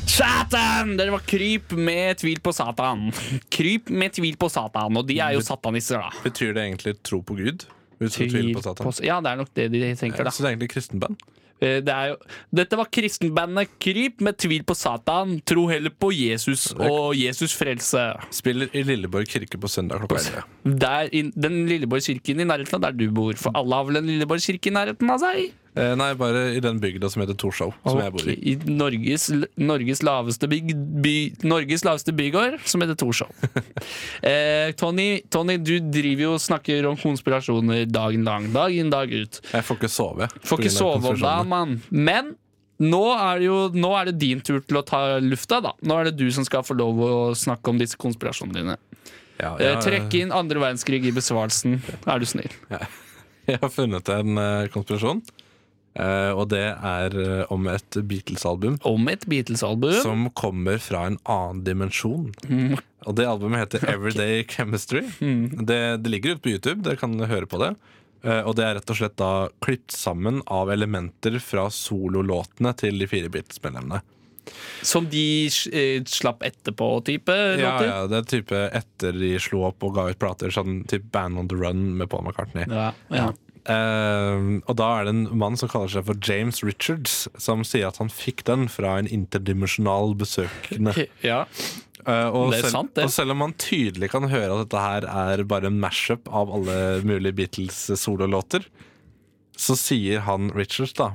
[SPEAKER 3] Satan! Det var 'Kryp med tvil på Satan'. Kryp med tvil på Satan, og de
[SPEAKER 5] Mm.
[SPEAKER 3] er jo satanister, da.
[SPEAKER 5] Betyr det egentlig tro på Gud? Hvis du tviler på Satan?
[SPEAKER 3] s- Ja, det er nok det de
[SPEAKER 5] Så
[SPEAKER 3] tenker,
[SPEAKER 5] det
[SPEAKER 3] da.
[SPEAKER 5] er egentlig kristenband.
[SPEAKER 3] Eh, Det er jo, dette var kristenbandet Kryp med tvil på Satan. Tro heller på Jesus og Jesus frelse.
[SPEAKER 5] Spiller i Lilleborg kirke på søndag klokka 11.
[SPEAKER 3] Der, in, den Lilleborg kirken i nærheten av der du bor. For alle har vel en Lilleborg kirke i nærheten av seg?
[SPEAKER 5] Eh, nei, bare i den bygda som heter Torshov, som jeg bor i.
[SPEAKER 3] I Norges, Norges, laveste byg, by, Norges laveste bygård, som heter Torshov. eh, Tony, Tony, du driver jo og snakker om konspirasjoner dagen lang. Dag inn, dag ut.
[SPEAKER 5] Jeg får ikke sove. på
[SPEAKER 3] Får
[SPEAKER 5] grunn
[SPEAKER 3] ikke
[SPEAKER 5] av
[SPEAKER 3] sove om deg,
[SPEAKER 5] konspirasjonene.
[SPEAKER 3] mann. Men nå er, det jo, nå er det din tur til å ta lufta, da. Nå er det du som skal få lov å snakke om disse konspirasjonene dine.
[SPEAKER 5] Ja,
[SPEAKER 3] Eh,
[SPEAKER 5] jeg-
[SPEAKER 3] trekk inn andre verdenskrig i besvarelsen, er du snill.
[SPEAKER 5] Jeg har funnet en eh, konspirasjon, eh, og det er eh, om et Beatles-album
[SPEAKER 3] Om et Beatles-album.
[SPEAKER 5] som kommer fra en annen dimensjon. Og det albumet heter Everyday Chemistry.
[SPEAKER 3] Hmm.
[SPEAKER 5] Det, det ligger ute på YouTube, dere kan høre på det. Eh, Og det er rett og slett da klippet sammen av elementer fra sololåtene til de fire Beatles-medlemmene.
[SPEAKER 3] Som de eh, slapp etterpå-type
[SPEAKER 5] Ja,
[SPEAKER 3] låter?
[SPEAKER 5] ja, det er type etter de slo opp og ga ut plater, sånn type Band on the Run med Paul McCartney.
[SPEAKER 3] Ja, ja.
[SPEAKER 5] Eh, og da er det en mann som kaller seg for James Richards, som sier at han fikk den fra en interdimensjonal besøkende.
[SPEAKER 3] Ja.
[SPEAKER 5] Eh, og,
[SPEAKER 3] Det er
[SPEAKER 5] selv,
[SPEAKER 3] sant, det.
[SPEAKER 5] og selv om man tydelig kan høre at dette her er bare en mashup av alle mulige Beatles-sololåter, så sier han Richards da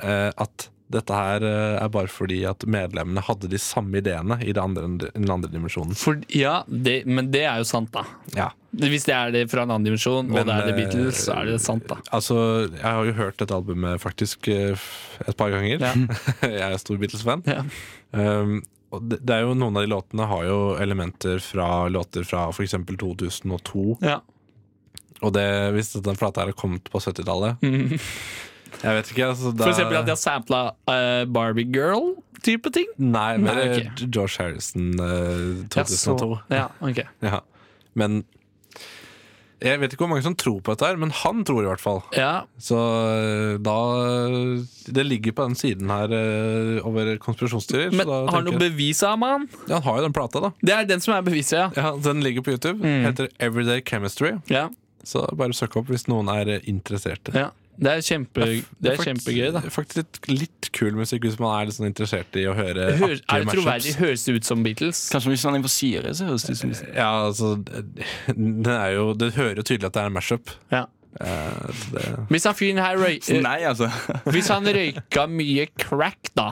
[SPEAKER 5] eh, at dette her eh, er bare fordi at medlemmene hadde de samme ideene i det andre, den andre dimensjonen.
[SPEAKER 3] For, ja det, men det er jo sant, da.
[SPEAKER 5] Ja.
[SPEAKER 3] Hvis det er det fra en annen dimensjon, og
[SPEAKER 5] Men,
[SPEAKER 3] det er det
[SPEAKER 5] eh,
[SPEAKER 3] Beatles, så er det sant, da.
[SPEAKER 5] Altså, jeg har jo hørt dette albumet faktisk eh, f- et par ganger.
[SPEAKER 3] Ja.
[SPEAKER 5] jeg er stor Beatles-fan.
[SPEAKER 3] Ja.
[SPEAKER 5] Um, og det, det er jo Noen av de låtene har jo elementer fra låter fra f.eks. 2002.
[SPEAKER 3] Ja.
[SPEAKER 5] Og det, hvis denne plata her har kommet på 70-tallet Jeg vet ikke. Altså, det
[SPEAKER 3] Mm. For
[SPEAKER 5] er-
[SPEAKER 3] eksempel at de har sampla eh, Barbie Girl-type ting.
[SPEAKER 5] Nei, men
[SPEAKER 3] Nei,
[SPEAKER 5] det er
[SPEAKER 3] ok.
[SPEAKER 5] George Harrison eh, 2002.
[SPEAKER 3] Ja, ok.
[SPEAKER 5] Ja. Men jeg vet ikke hvor mange som tror på dette, her men han tror i hvert fall.
[SPEAKER 3] Ja,
[SPEAKER 5] Så eh, da Det ligger på den siden her eh, over konspirasjonsteorier. så
[SPEAKER 3] men
[SPEAKER 5] da
[SPEAKER 3] har han
[SPEAKER 5] tenker
[SPEAKER 3] noe
[SPEAKER 5] jeg-
[SPEAKER 3] bevis av mann?
[SPEAKER 5] ja, han har jo den plata, da.
[SPEAKER 3] Det er den som er beviset, ja. Mm.
[SPEAKER 5] Ja, den ligger på YouTube. Heter Everyday Chemistry.
[SPEAKER 3] ja.
[SPEAKER 5] Så bare søk opp hvis noen er eh, interesserte.
[SPEAKER 3] ja. Det er, kjempe, det er
[SPEAKER 5] fakt-
[SPEAKER 3] kjempegøy, da.
[SPEAKER 5] det er Faktisk litt, litt kul musikk hvis man er litt sånn interessert i å høre
[SPEAKER 3] Høres- er
[SPEAKER 5] artige
[SPEAKER 3] det troverdig?
[SPEAKER 5] mashups.
[SPEAKER 3] Høres det ut som Beatles?
[SPEAKER 6] Kanskje hvis han er på Syria, så høres det ut som
[SPEAKER 5] Ja, altså det, det er jo, det hører jo tydelig at det er en mashup.
[SPEAKER 3] Ja.
[SPEAKER 5] Eh, det,
[SPEAKER 3] Hvis han fyren her røy, eh,
[SPEAKER 6] Nei, altså.
[SPEAKER 3] Hvis han røyka mye crack, da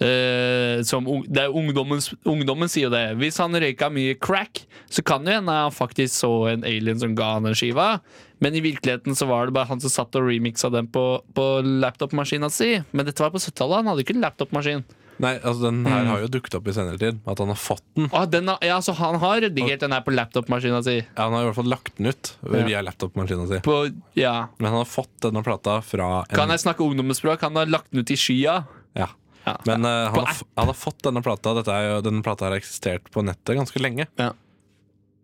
[SPEAKER 3] eh, som ung, det er ungdommen, ungdommen sier jo det. Hvis han røyka mye crack, så kan det hende han faktisk så en alien som ga han den skiva. Men i virkeligheten så var det bare han som satt og remixa den på, på laptopmaskina si. Men dette var på 70-tallet. Han hadde ikke laptopmaskin.
[SPEAKER 5] nei, altså den
[SPEAKER 3] Mm.
[SPEAKER 5] her har jo dukket opp i senere tid. At han har fått den.
[SPEAKER 3] Ah, den, har- ja, så han har redigert den her på laptopmaskina si.
[SPEAKER 5] Ja, han har i hvert fall lagt den ut via laptopmaskina si.
[SPEAKER 3] På, ja.
[SPEAKER 5] Men han har fått denne plata fra en
[SPEAKER 3] Kan jeg snakke ungdomsspråk? Han har lagt den ut i skya.
[SPEAKER 5] ja.
[SPEAKER 3] Ja.
[SPEAKER 5] Men eh,
[SPEAKER 3] På
[SPEAKER 5] han, har, f- han har fått denne plata. Dette er jo, denne plata har eksistert på nettet ganske lenge.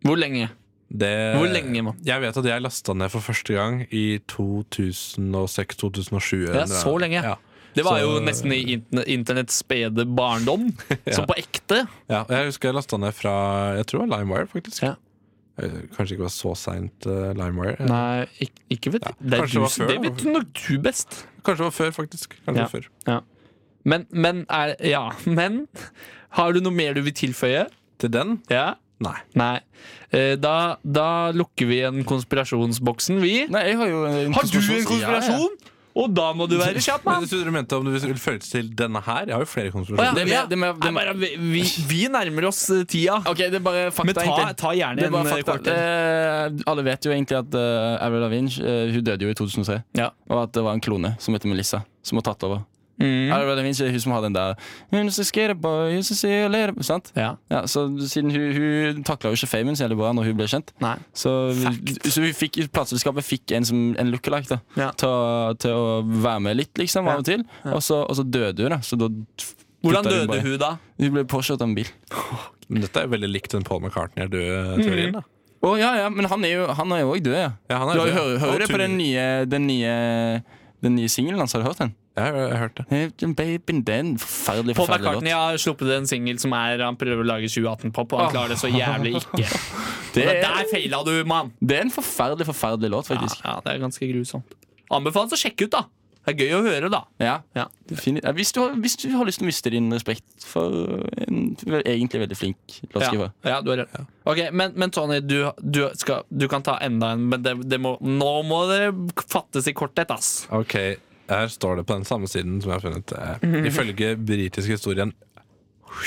[SPEAKER 3] Hvor lenge?
[SPEAKER 5] Det,
[SPEAKER 3] Hvor lenge, mann?
[SPEAKER 5] Jeg vet at jeg lasta ned for første gang i 2006-2007.
[SPEAKER 3] Det er så lenge.
[SPEAKER 5] Ja.
[SPEAKER 3] Det var
[SPEAKER 5] Så-
[SPEAKER 3] jo nesten i interne- internetts spede barndom. Som på ekte.
[SPEAKER 5] Ja, og jeg husker jeg lasta ned fra Jeg tror det var LimeWire, faktisk.
[SPEAKER 3] Ja.
[SPEAKER 5] Eh, Kanskje ikke var så seint eh, LimeWire. Eh,
[SPEAKER 3] Nei, ikke, ikke vet det, er
[SPEAKER 5] kanskje
[SPEAKER 3] du,
[SPEAKER 5] det var
[SPEAKER 3] som-
[SPEAKER 5] før,
[SPEAKER 3] det
[SPEAKER 5] da.
[SPEAKER 3] vet nok du best.
[SPEAKER 5] Kanskje det var før, faktisk. Kanskje
[SPEAKER 3] Ja.
[SPEAKER 5] det var før.
[SPEAKER 3] Men, men er, Ja, men Har du noe mer du vil tilføye?
[SPEAKER 5] Til den?
[SPEAKER 3] Ja?
[SPEAKER 5] Nei.
[SPEAKER 3] Nei. Eh, Da, da lukker vi igjen konspirasjonsboksen, vi.
[SPEAKER 6] Nei, jeg har jo eh, en
[SPEAKER 3] Har du en konspirasjon? Og da må du være kjapp,
[SPEAKER 5] Men
[SPEAKER 3] mann!
[SPEAKER 5] jeg trodde du mente om du ville føre til denne her? Jeg har jo flere
[SPEAKER 3] Å ja,
[SPEAKER 5] konspirasjoner.
[SPEAKER 6] Det er mer-
[SPEAKER 3] ja.
[SPEAKER 6] det er mer- det er
[SPEAKER 3] Nei, bare, vi, vi, vi nærmer oss eh, tida.
[SPEAKER 6] Ok, det er bare fakta,
[SPEAKER 3] Men ta,
[SPEAKER 6] egentlig.
[SPEAKER 3] ta gjerne
[SPEAKER 6] Det er
[SPEAKER 3] en
[SPEAKER 6] bare
[SPEAKER 3] eh,
[SPEAKER 6] fakta.
[SPEAKER 3] kort en.
[SPEAKER 6] Eh, alle vet jo egentlig at eh, Avril Lavigne eh, Hun døde jo i 2003.
[SPEAKER 3] Ja.
[SPEAKER 6] Og at det var en klone som heter Melissa, som har tatt over.
[SPEAKER 3] Mm.
[SPEAKER 6] Avril Lavigne er hun som har den der «Hun som skriver på, hun som sier lærer», Sant?
[SPEAKER 3] Ja.
[SPEAKER 6] Ja, så siden hun, hun takla jo ikke famen så jævlig bra når hun ble kjent.
[SPEAKER 3] Nei.
[SPEAKER 6] Så, så hun fikk, plateselskapet fikk en, som, en lookalike da,
[SPEAKER 3] Ja.
[SPEAKER 6] til, å- til å være med litt, liksom, av og til. Og, så, og så døde hun, da. Så da
[SPEAKER 3] Hvordan
[SPEAKER 6] putta
[SPEAKER 3] døde
[SPEAKER 6] bare-
[SPEAKER 3] hun da?
[SPEAKER 6] Hun ble påkjørt av en bil.
[SPEAKER 5] Men Dette er jo veldig likt den Paul McCartney-teorien.
[SPEAKER 3] Mhm.
[SPEAKER 5] da
[SPEAKER 6] Å ja, ja, men han er jo han er jo òg død, ja.
[SPEAKER 5] Ja, han er
[SPEAKER 6] Du har jo
[SPEAKER 5] død.
[SPEAKER 6] hører, hører
[SPEAKER 5] Og
[SPEAKER 6] det på
[SPEAKER 5] tur-
[SPEAKER 6] den nye, den nye, den nye singelen hans, har du hørt den?
[SPEAKER 5] Ja, jeg, jeg, hørte det.
[SPEAKER 6] Babyen, det er en forferdelig,
[SPEAKER 3] Paul
[SPEAKER 6] forferdelig
[SPEAKER 3] McCartney har sluppet en singel som er han prøver å lage 2018-pop, og han klarer det så jævlig ikke.
[SPEAKER 6] Det
[SPEAKER 3] Men
[SPEAKER 6] er-
[SPEAKER 3] der feila du, mann!
[SPEAKER 6] låt. Det er en forferdelig, forferdelig låt,
[SPEAKER 3] Ja,
[SPEAKER 6] faktisk.
[SPEAKER 3] ja, det er ganske grusomt. Anbefales å sjekke ut, da. Det er gøy å høre, da.
[SPEAKER 6] Ja.
[SPEAKER 3] Ja.
[SPEAKER 6] Definitivt. Ja, hvis, du har, hvis du har lyst til å miste din respekt for en vel, egentlig veldig flink låtskriver.
[SPEAKER 3] Ja, ja, du har rett. Ok, men, men Tony, du, du, skal, du kan ta enda en, men det, det må, nå må det fattes i korthet, ass.
[SPEAKER 5] Ok, her står det på den samme siden som jeg har funnet. eh,
[SPEAKER 3] Mhm.
[SPEAKER 5] Ifølge britisk historien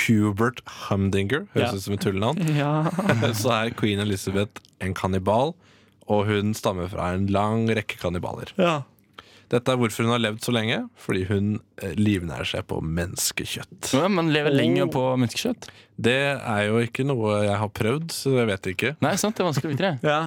[SPEAKER 5] Hubert Humdinger, høres
[SPEAKER 3] Ja.
[SPEAKER 5] ut som et tullenavn,
[SPEAKER 3] Ja.
[SPEAKER 5] så er queen Elizabeth en kannibal. Og hun stammer fra en lang rekke kannibaler. Dette er hvorfor hun har levd så lenge. Fordi hun eh, livnærer seg på menneskekjøtt.
[SPEAKER 6] Ja, man lever lenger på menneskekjøtt.
[SPEAKER 5] Det er jo ikke noe jeg har prøvd, så jeg vet ikke.
[SPEAKER 6] Nei, sant, det er vanskelig å vite det.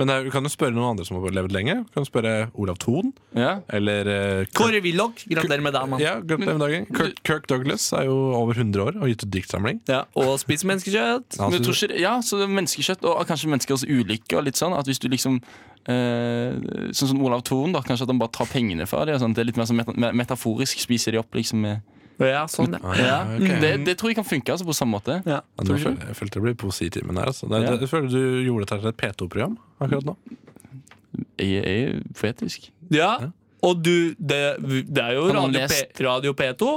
[SPEAKER 5] Men jeg, du kan jo spørre noen andre som har levd lenge. Du kan spørre Olav Thon
[SPEAKER 6] Ja.
[SPEAKER 5] eller eh, Kurt,
[SPEAKER 3] Kåre Willoch, gratulerer med deg, mann.
[SPEAKER 5] ja, glemt den dagen. Kirk, Kirk Douglas er jo over 100 år og har gitt ut diktsamling. Altså,
[SPEAKER 3] Ja, og spiser menneskekjøtt.
[SPEAKER 5] Han
[SPEAKER 6] Men jeg
[SPEAKER 5] synes-
[SPEAKER 6] tror ikke, det- ja, så det er menneskekjøtt og kanskje menneskers ulykke og litt sånn. At hvis du liksom eh, Sånn som Olav Thorn, da, kanskje at han bare tar pengene fra dem. og sånn. Det er litt mer sånn meta me- metaforisk. Spiser de opp, liksom. Med.
[SPEAKER 3] Ja, sånn, ja.
[SPEAKER 5] Ah, Ja, ok.
[SPEAKER 6] Det, det tror jeg kan funke altså, på samme måte.
[SPEAKER 3] Ja.
[SPEAKER 5] Ja, nå føler, jeg følte det ble poesitimen her. Altså. Det,
[SPEAKER 6] Ja.
[SPEAKER 5] det, jeg føler du gjorde dette til et P2-program akkurat nå.
[SPEAKER 6] Jeg er poetisk.
[SPEAKER 3] Ja, og du Det, det er jo
[SPEAKER 6] Har noen
[SPEAKER 3] Radio, P, Radio P2.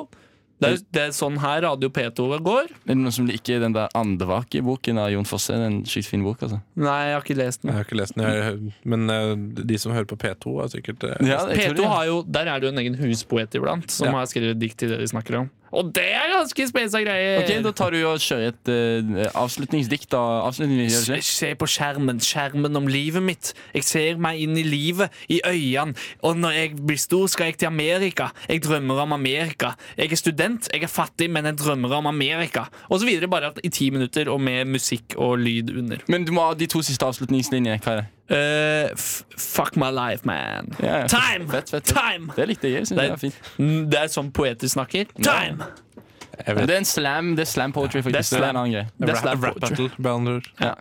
[SPEAKER 3] Det er, det er sånn her Radio P2 går.
[SPEAKER 6] Er det noen som liker den der Andevake-boken av Jon Fosse? Det er en sjukt fin bok, altså.
[SPEAKER 3] Nei, jeg har ikke lest
[SPEAKER 5] Jeg
[SPEAKER 3] den.
[SPEAKER 5] har ikke lest den, jeg, men eh, de som hører på P2, er sikkert eh,
[SPEAKER 3] P2 har jo, Der er det jo en egen huspoet iblant, som
[SPEAKER 5] Ja.
[SPEAKER 3] har skrevet dikt til det de snakker om. Og det er ganske spesa greier!
[SPEAKER 6] Ok, Da tar du og kjører et eh, avslutningsdikt. Da. Avslutningsdikt, gjør du
[SPEAKER 3] Se,
[SPEAKER 6] ikke det?
[SPEAKER 3] se på skjermen, skjermen om livet mitt. Jeg ser meg inn i livet, i øynene. Og når jeg blir stor, skal jeg til Amerika. Jeg drømmer om Amerika. Jeg er student, jeg er fattig, men jeg drømmer om Amerika. Og så videre, bare at i ti minutter, og med musikk og lyd under.
[SPEAKER 6] Men du må ha de to siste avslutningslinjene. Hva er det?
[SPEAKER 3] Eh, f fuck my life, man.
[SPEAKER 6] Ja, ja.
[SPEAKER 3] Time!
[SPEAKER 6] Fett, fett, fett.
[SPEAKER 3] Time!
[SPEAKER 6] Det likte jeg. jeg synes det,
[SPEAKER 3] Det-
[SPEAKER 6] er fint.
[SPEAKER 3] Mm, Det er sånn poeter snakker. Time!
[SPEAKER 5] jeg
[SPEAKER 6] det
[SPEAKER 5] vet.
[SPEAKER 6] er en slam, det er slam poetry, faktisk.
[SPEAKER 3] det er
[SPEAKER 6] Det er,
[SPEAKER 3] slam.
[SPEAKER 6] en annen greie.
[SPEAKER 3] Det er
[SPEAKER 5] Rap,
[SPEAKER 3] slap
[SPEAKER 5] rap
[SPEAKER 3] poetry.
[SPEAKER 5] battle, med andre ord.
[SPEAKER 6] Ja.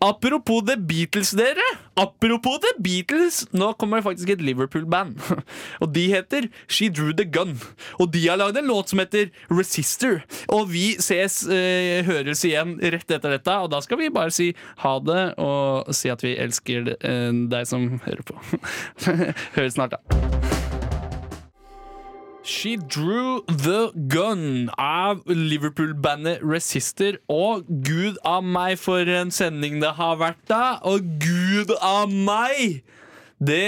[SPEAKER 3] Apropos The Beatles, dere! Apropos The Beatles! Nå kommer det faktisk et Liverpool-band. Og de heter She Drew The Gun. Og de har lagd en låt som heter Resister. Og vi ses, eh, høres igjen rett etter dette, og da skal vi bare si ha det og si at vi elsker eh, deg som hører på. høres snart, da. She Drew The Gun av Liverpool-bandet Resister. Og gud av meg for en sending det har vært, da! Og gud av meg! Det,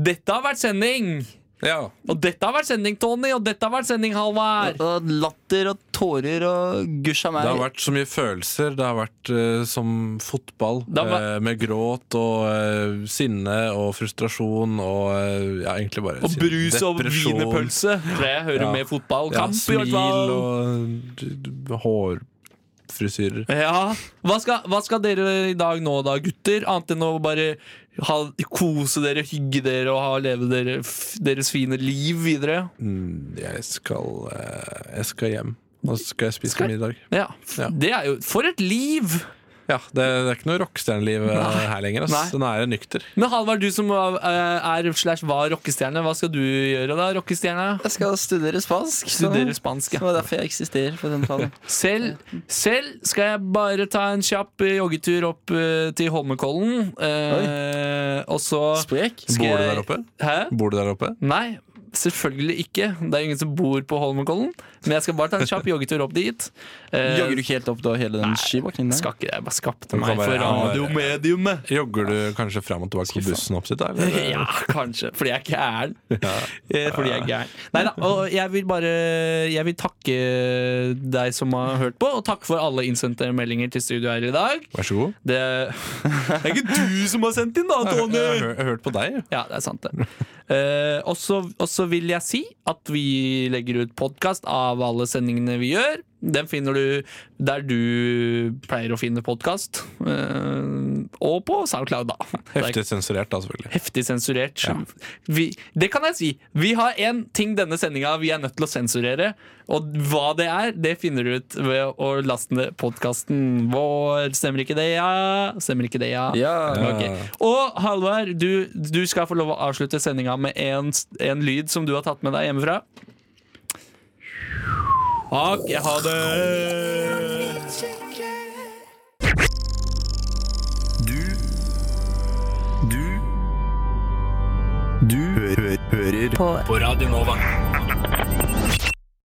[SPEAKER 3] dette har vært sending!
[SPEAKER 5] Ja.
[SPEAKER 3] Og dette har vært sending, Tony, og dette har vært sending, Halvard.
[SPEAKER 6] Og latter og tårer og gusja
[SPEAKER 5] Det
[SPEAKER 6] meg.
[SPEAKER 5] har vært så mye følelser. Det har vært eh, som fotball,
[SPEAKER 3] Det har vært-
[SPEAKER 5] eh, med gråt og eh, sinne og frustrasjon og eh, ja, egentlig bare
[SPEAKER 3] Og
[SPEAKER 5] sinne.
[SPEAKER 3] brus og
[SPEAKER 5] Depresjon.
[SPEAKER 3] wienerpølse. For jeg hører
[SPEAKER 5] Ja.
[SPEAKER 3] med
[SPEAKER 5] Ja,
[SPEAKER 3] fotballkamp. i hvert
[SPEAKER 5] smil
[SPEAKER 3] fall.
[SPEAKER 5] og d- d- hårfrisyrer.
[SPEAKER 3] Ja, hva skal, hva skal dere i dag nå da, gutter? Annet enn å bare ha, kose dere, hygge dere og ha, leve dere, f- deres fine liv videre?
[SPEAKER 5] Mm, Jeg skal, eh, jeg skal hjem. Nå skal jeg spise
[SPEAKER 3] Skal-
[SPEAKER 5] middag.
[SPEAKER 3] Ja,
[SPEAKER 5] Ja.
[SPEAKER 3] Det er jo For et liv!
[SPEAKER 5] Ja, det, det er ikke noe rockestjerneliv eh, her lenger.
[SPEAKER 3] Nei.
[SPEAKER 5] Ass. Den er nykter.
[SPEAKER 3] Men Halvard, du som var, eh, er slash var rockestjerne, hva skal du gjøre da, rockestjerne?
[SPEAKER 6] Jeg skal studere spansk. så-
[SPEAKER 3] Studere spansk, ja.
[SPEAKER 6] Så det er derfor jeg eksisterer på den planen.
[SPEAKER 3] Selv, selv skal jeg bare ta en kjapp eh, joggetur opp eh, til Holmenkollen. eh, og så
[SPEAKER 6] Sprek.
[SPEAKER 3] skal
[SPEAKER 5] Bor du
[SPEAKER 3] jeg-
[SPEAKER 5] der oppe?
[SPEAKER 3] Hæ?
[SPEAKER 5] Bor du der oppe?
[SPEAKER 3] Nei, selvfølgelig ikke. Det er ingen som bor på Holmenkollen. Men jeg skal bare ta en kjapp joggetur opp dit. Eh,
[SPEAKER 6] Jogger du ikke helt opp da hele den skibakken der?
[SPEAKER 3] Skal ikke det. Jeg bare skapte
[SPEAKER 5] Du
[SPEAKER 3] meg
[SPEAKER 5] kan
[SPEAKER 3] for
[SPEAKER 5] bare-
[SPEAKER 3] radiomediumet.
[SPEAKER 5] Jogger du kanskje fram og tilbake på bussen opp sitt? da, Eller?
[SPEAKER 3] Ja, kanskje. Fordi jeg er gæren. Eh, Fordi jeg er gæren. Neida, og jeg vil bare Jeg vil takke deg som har hørt på, og takk for alle innsendte meldinger til studio her i dag.
[SPEAKER 5] Vær så god.
[SPEAKER 3] Det, det er ikke du som har sendt inn, da,
[SPEAKER 5] Jeg har,
[SPEAKER 3] Tony!
[SPEAKER 5] jeg har hø- hørt på deg.
[SPEAKER 3] Ja, det er sant, det. Eh, og så- og så vil jeg si at vi legger ut podkast av alle sendingene vi gjør. Den finner du der du pleier å finne podkast. og på SoundCloud, da. Det er
[SPEAKER 5] Heftig sensurert, da, selvfølgelig.
[SPEAKER 3] heftig sensurert. Vi, det kan jeg si. Vi har én ting denne sendinga vi er nødt til å sensurere. Og hva det er, det finner du ut ved å laste ned podkasten vår. Stemmer ikke det, ja? Stemmer ikke det,
[SPEAKER 6] Ja.
[SPEAKER 3] Ok. Og Halvard, du, du skal få lov å avslutte sendinga med en, en lyd som du har tatt med deg hjemmefra. Ok, ha det!
[SPEAKER 9] På Radio Nova.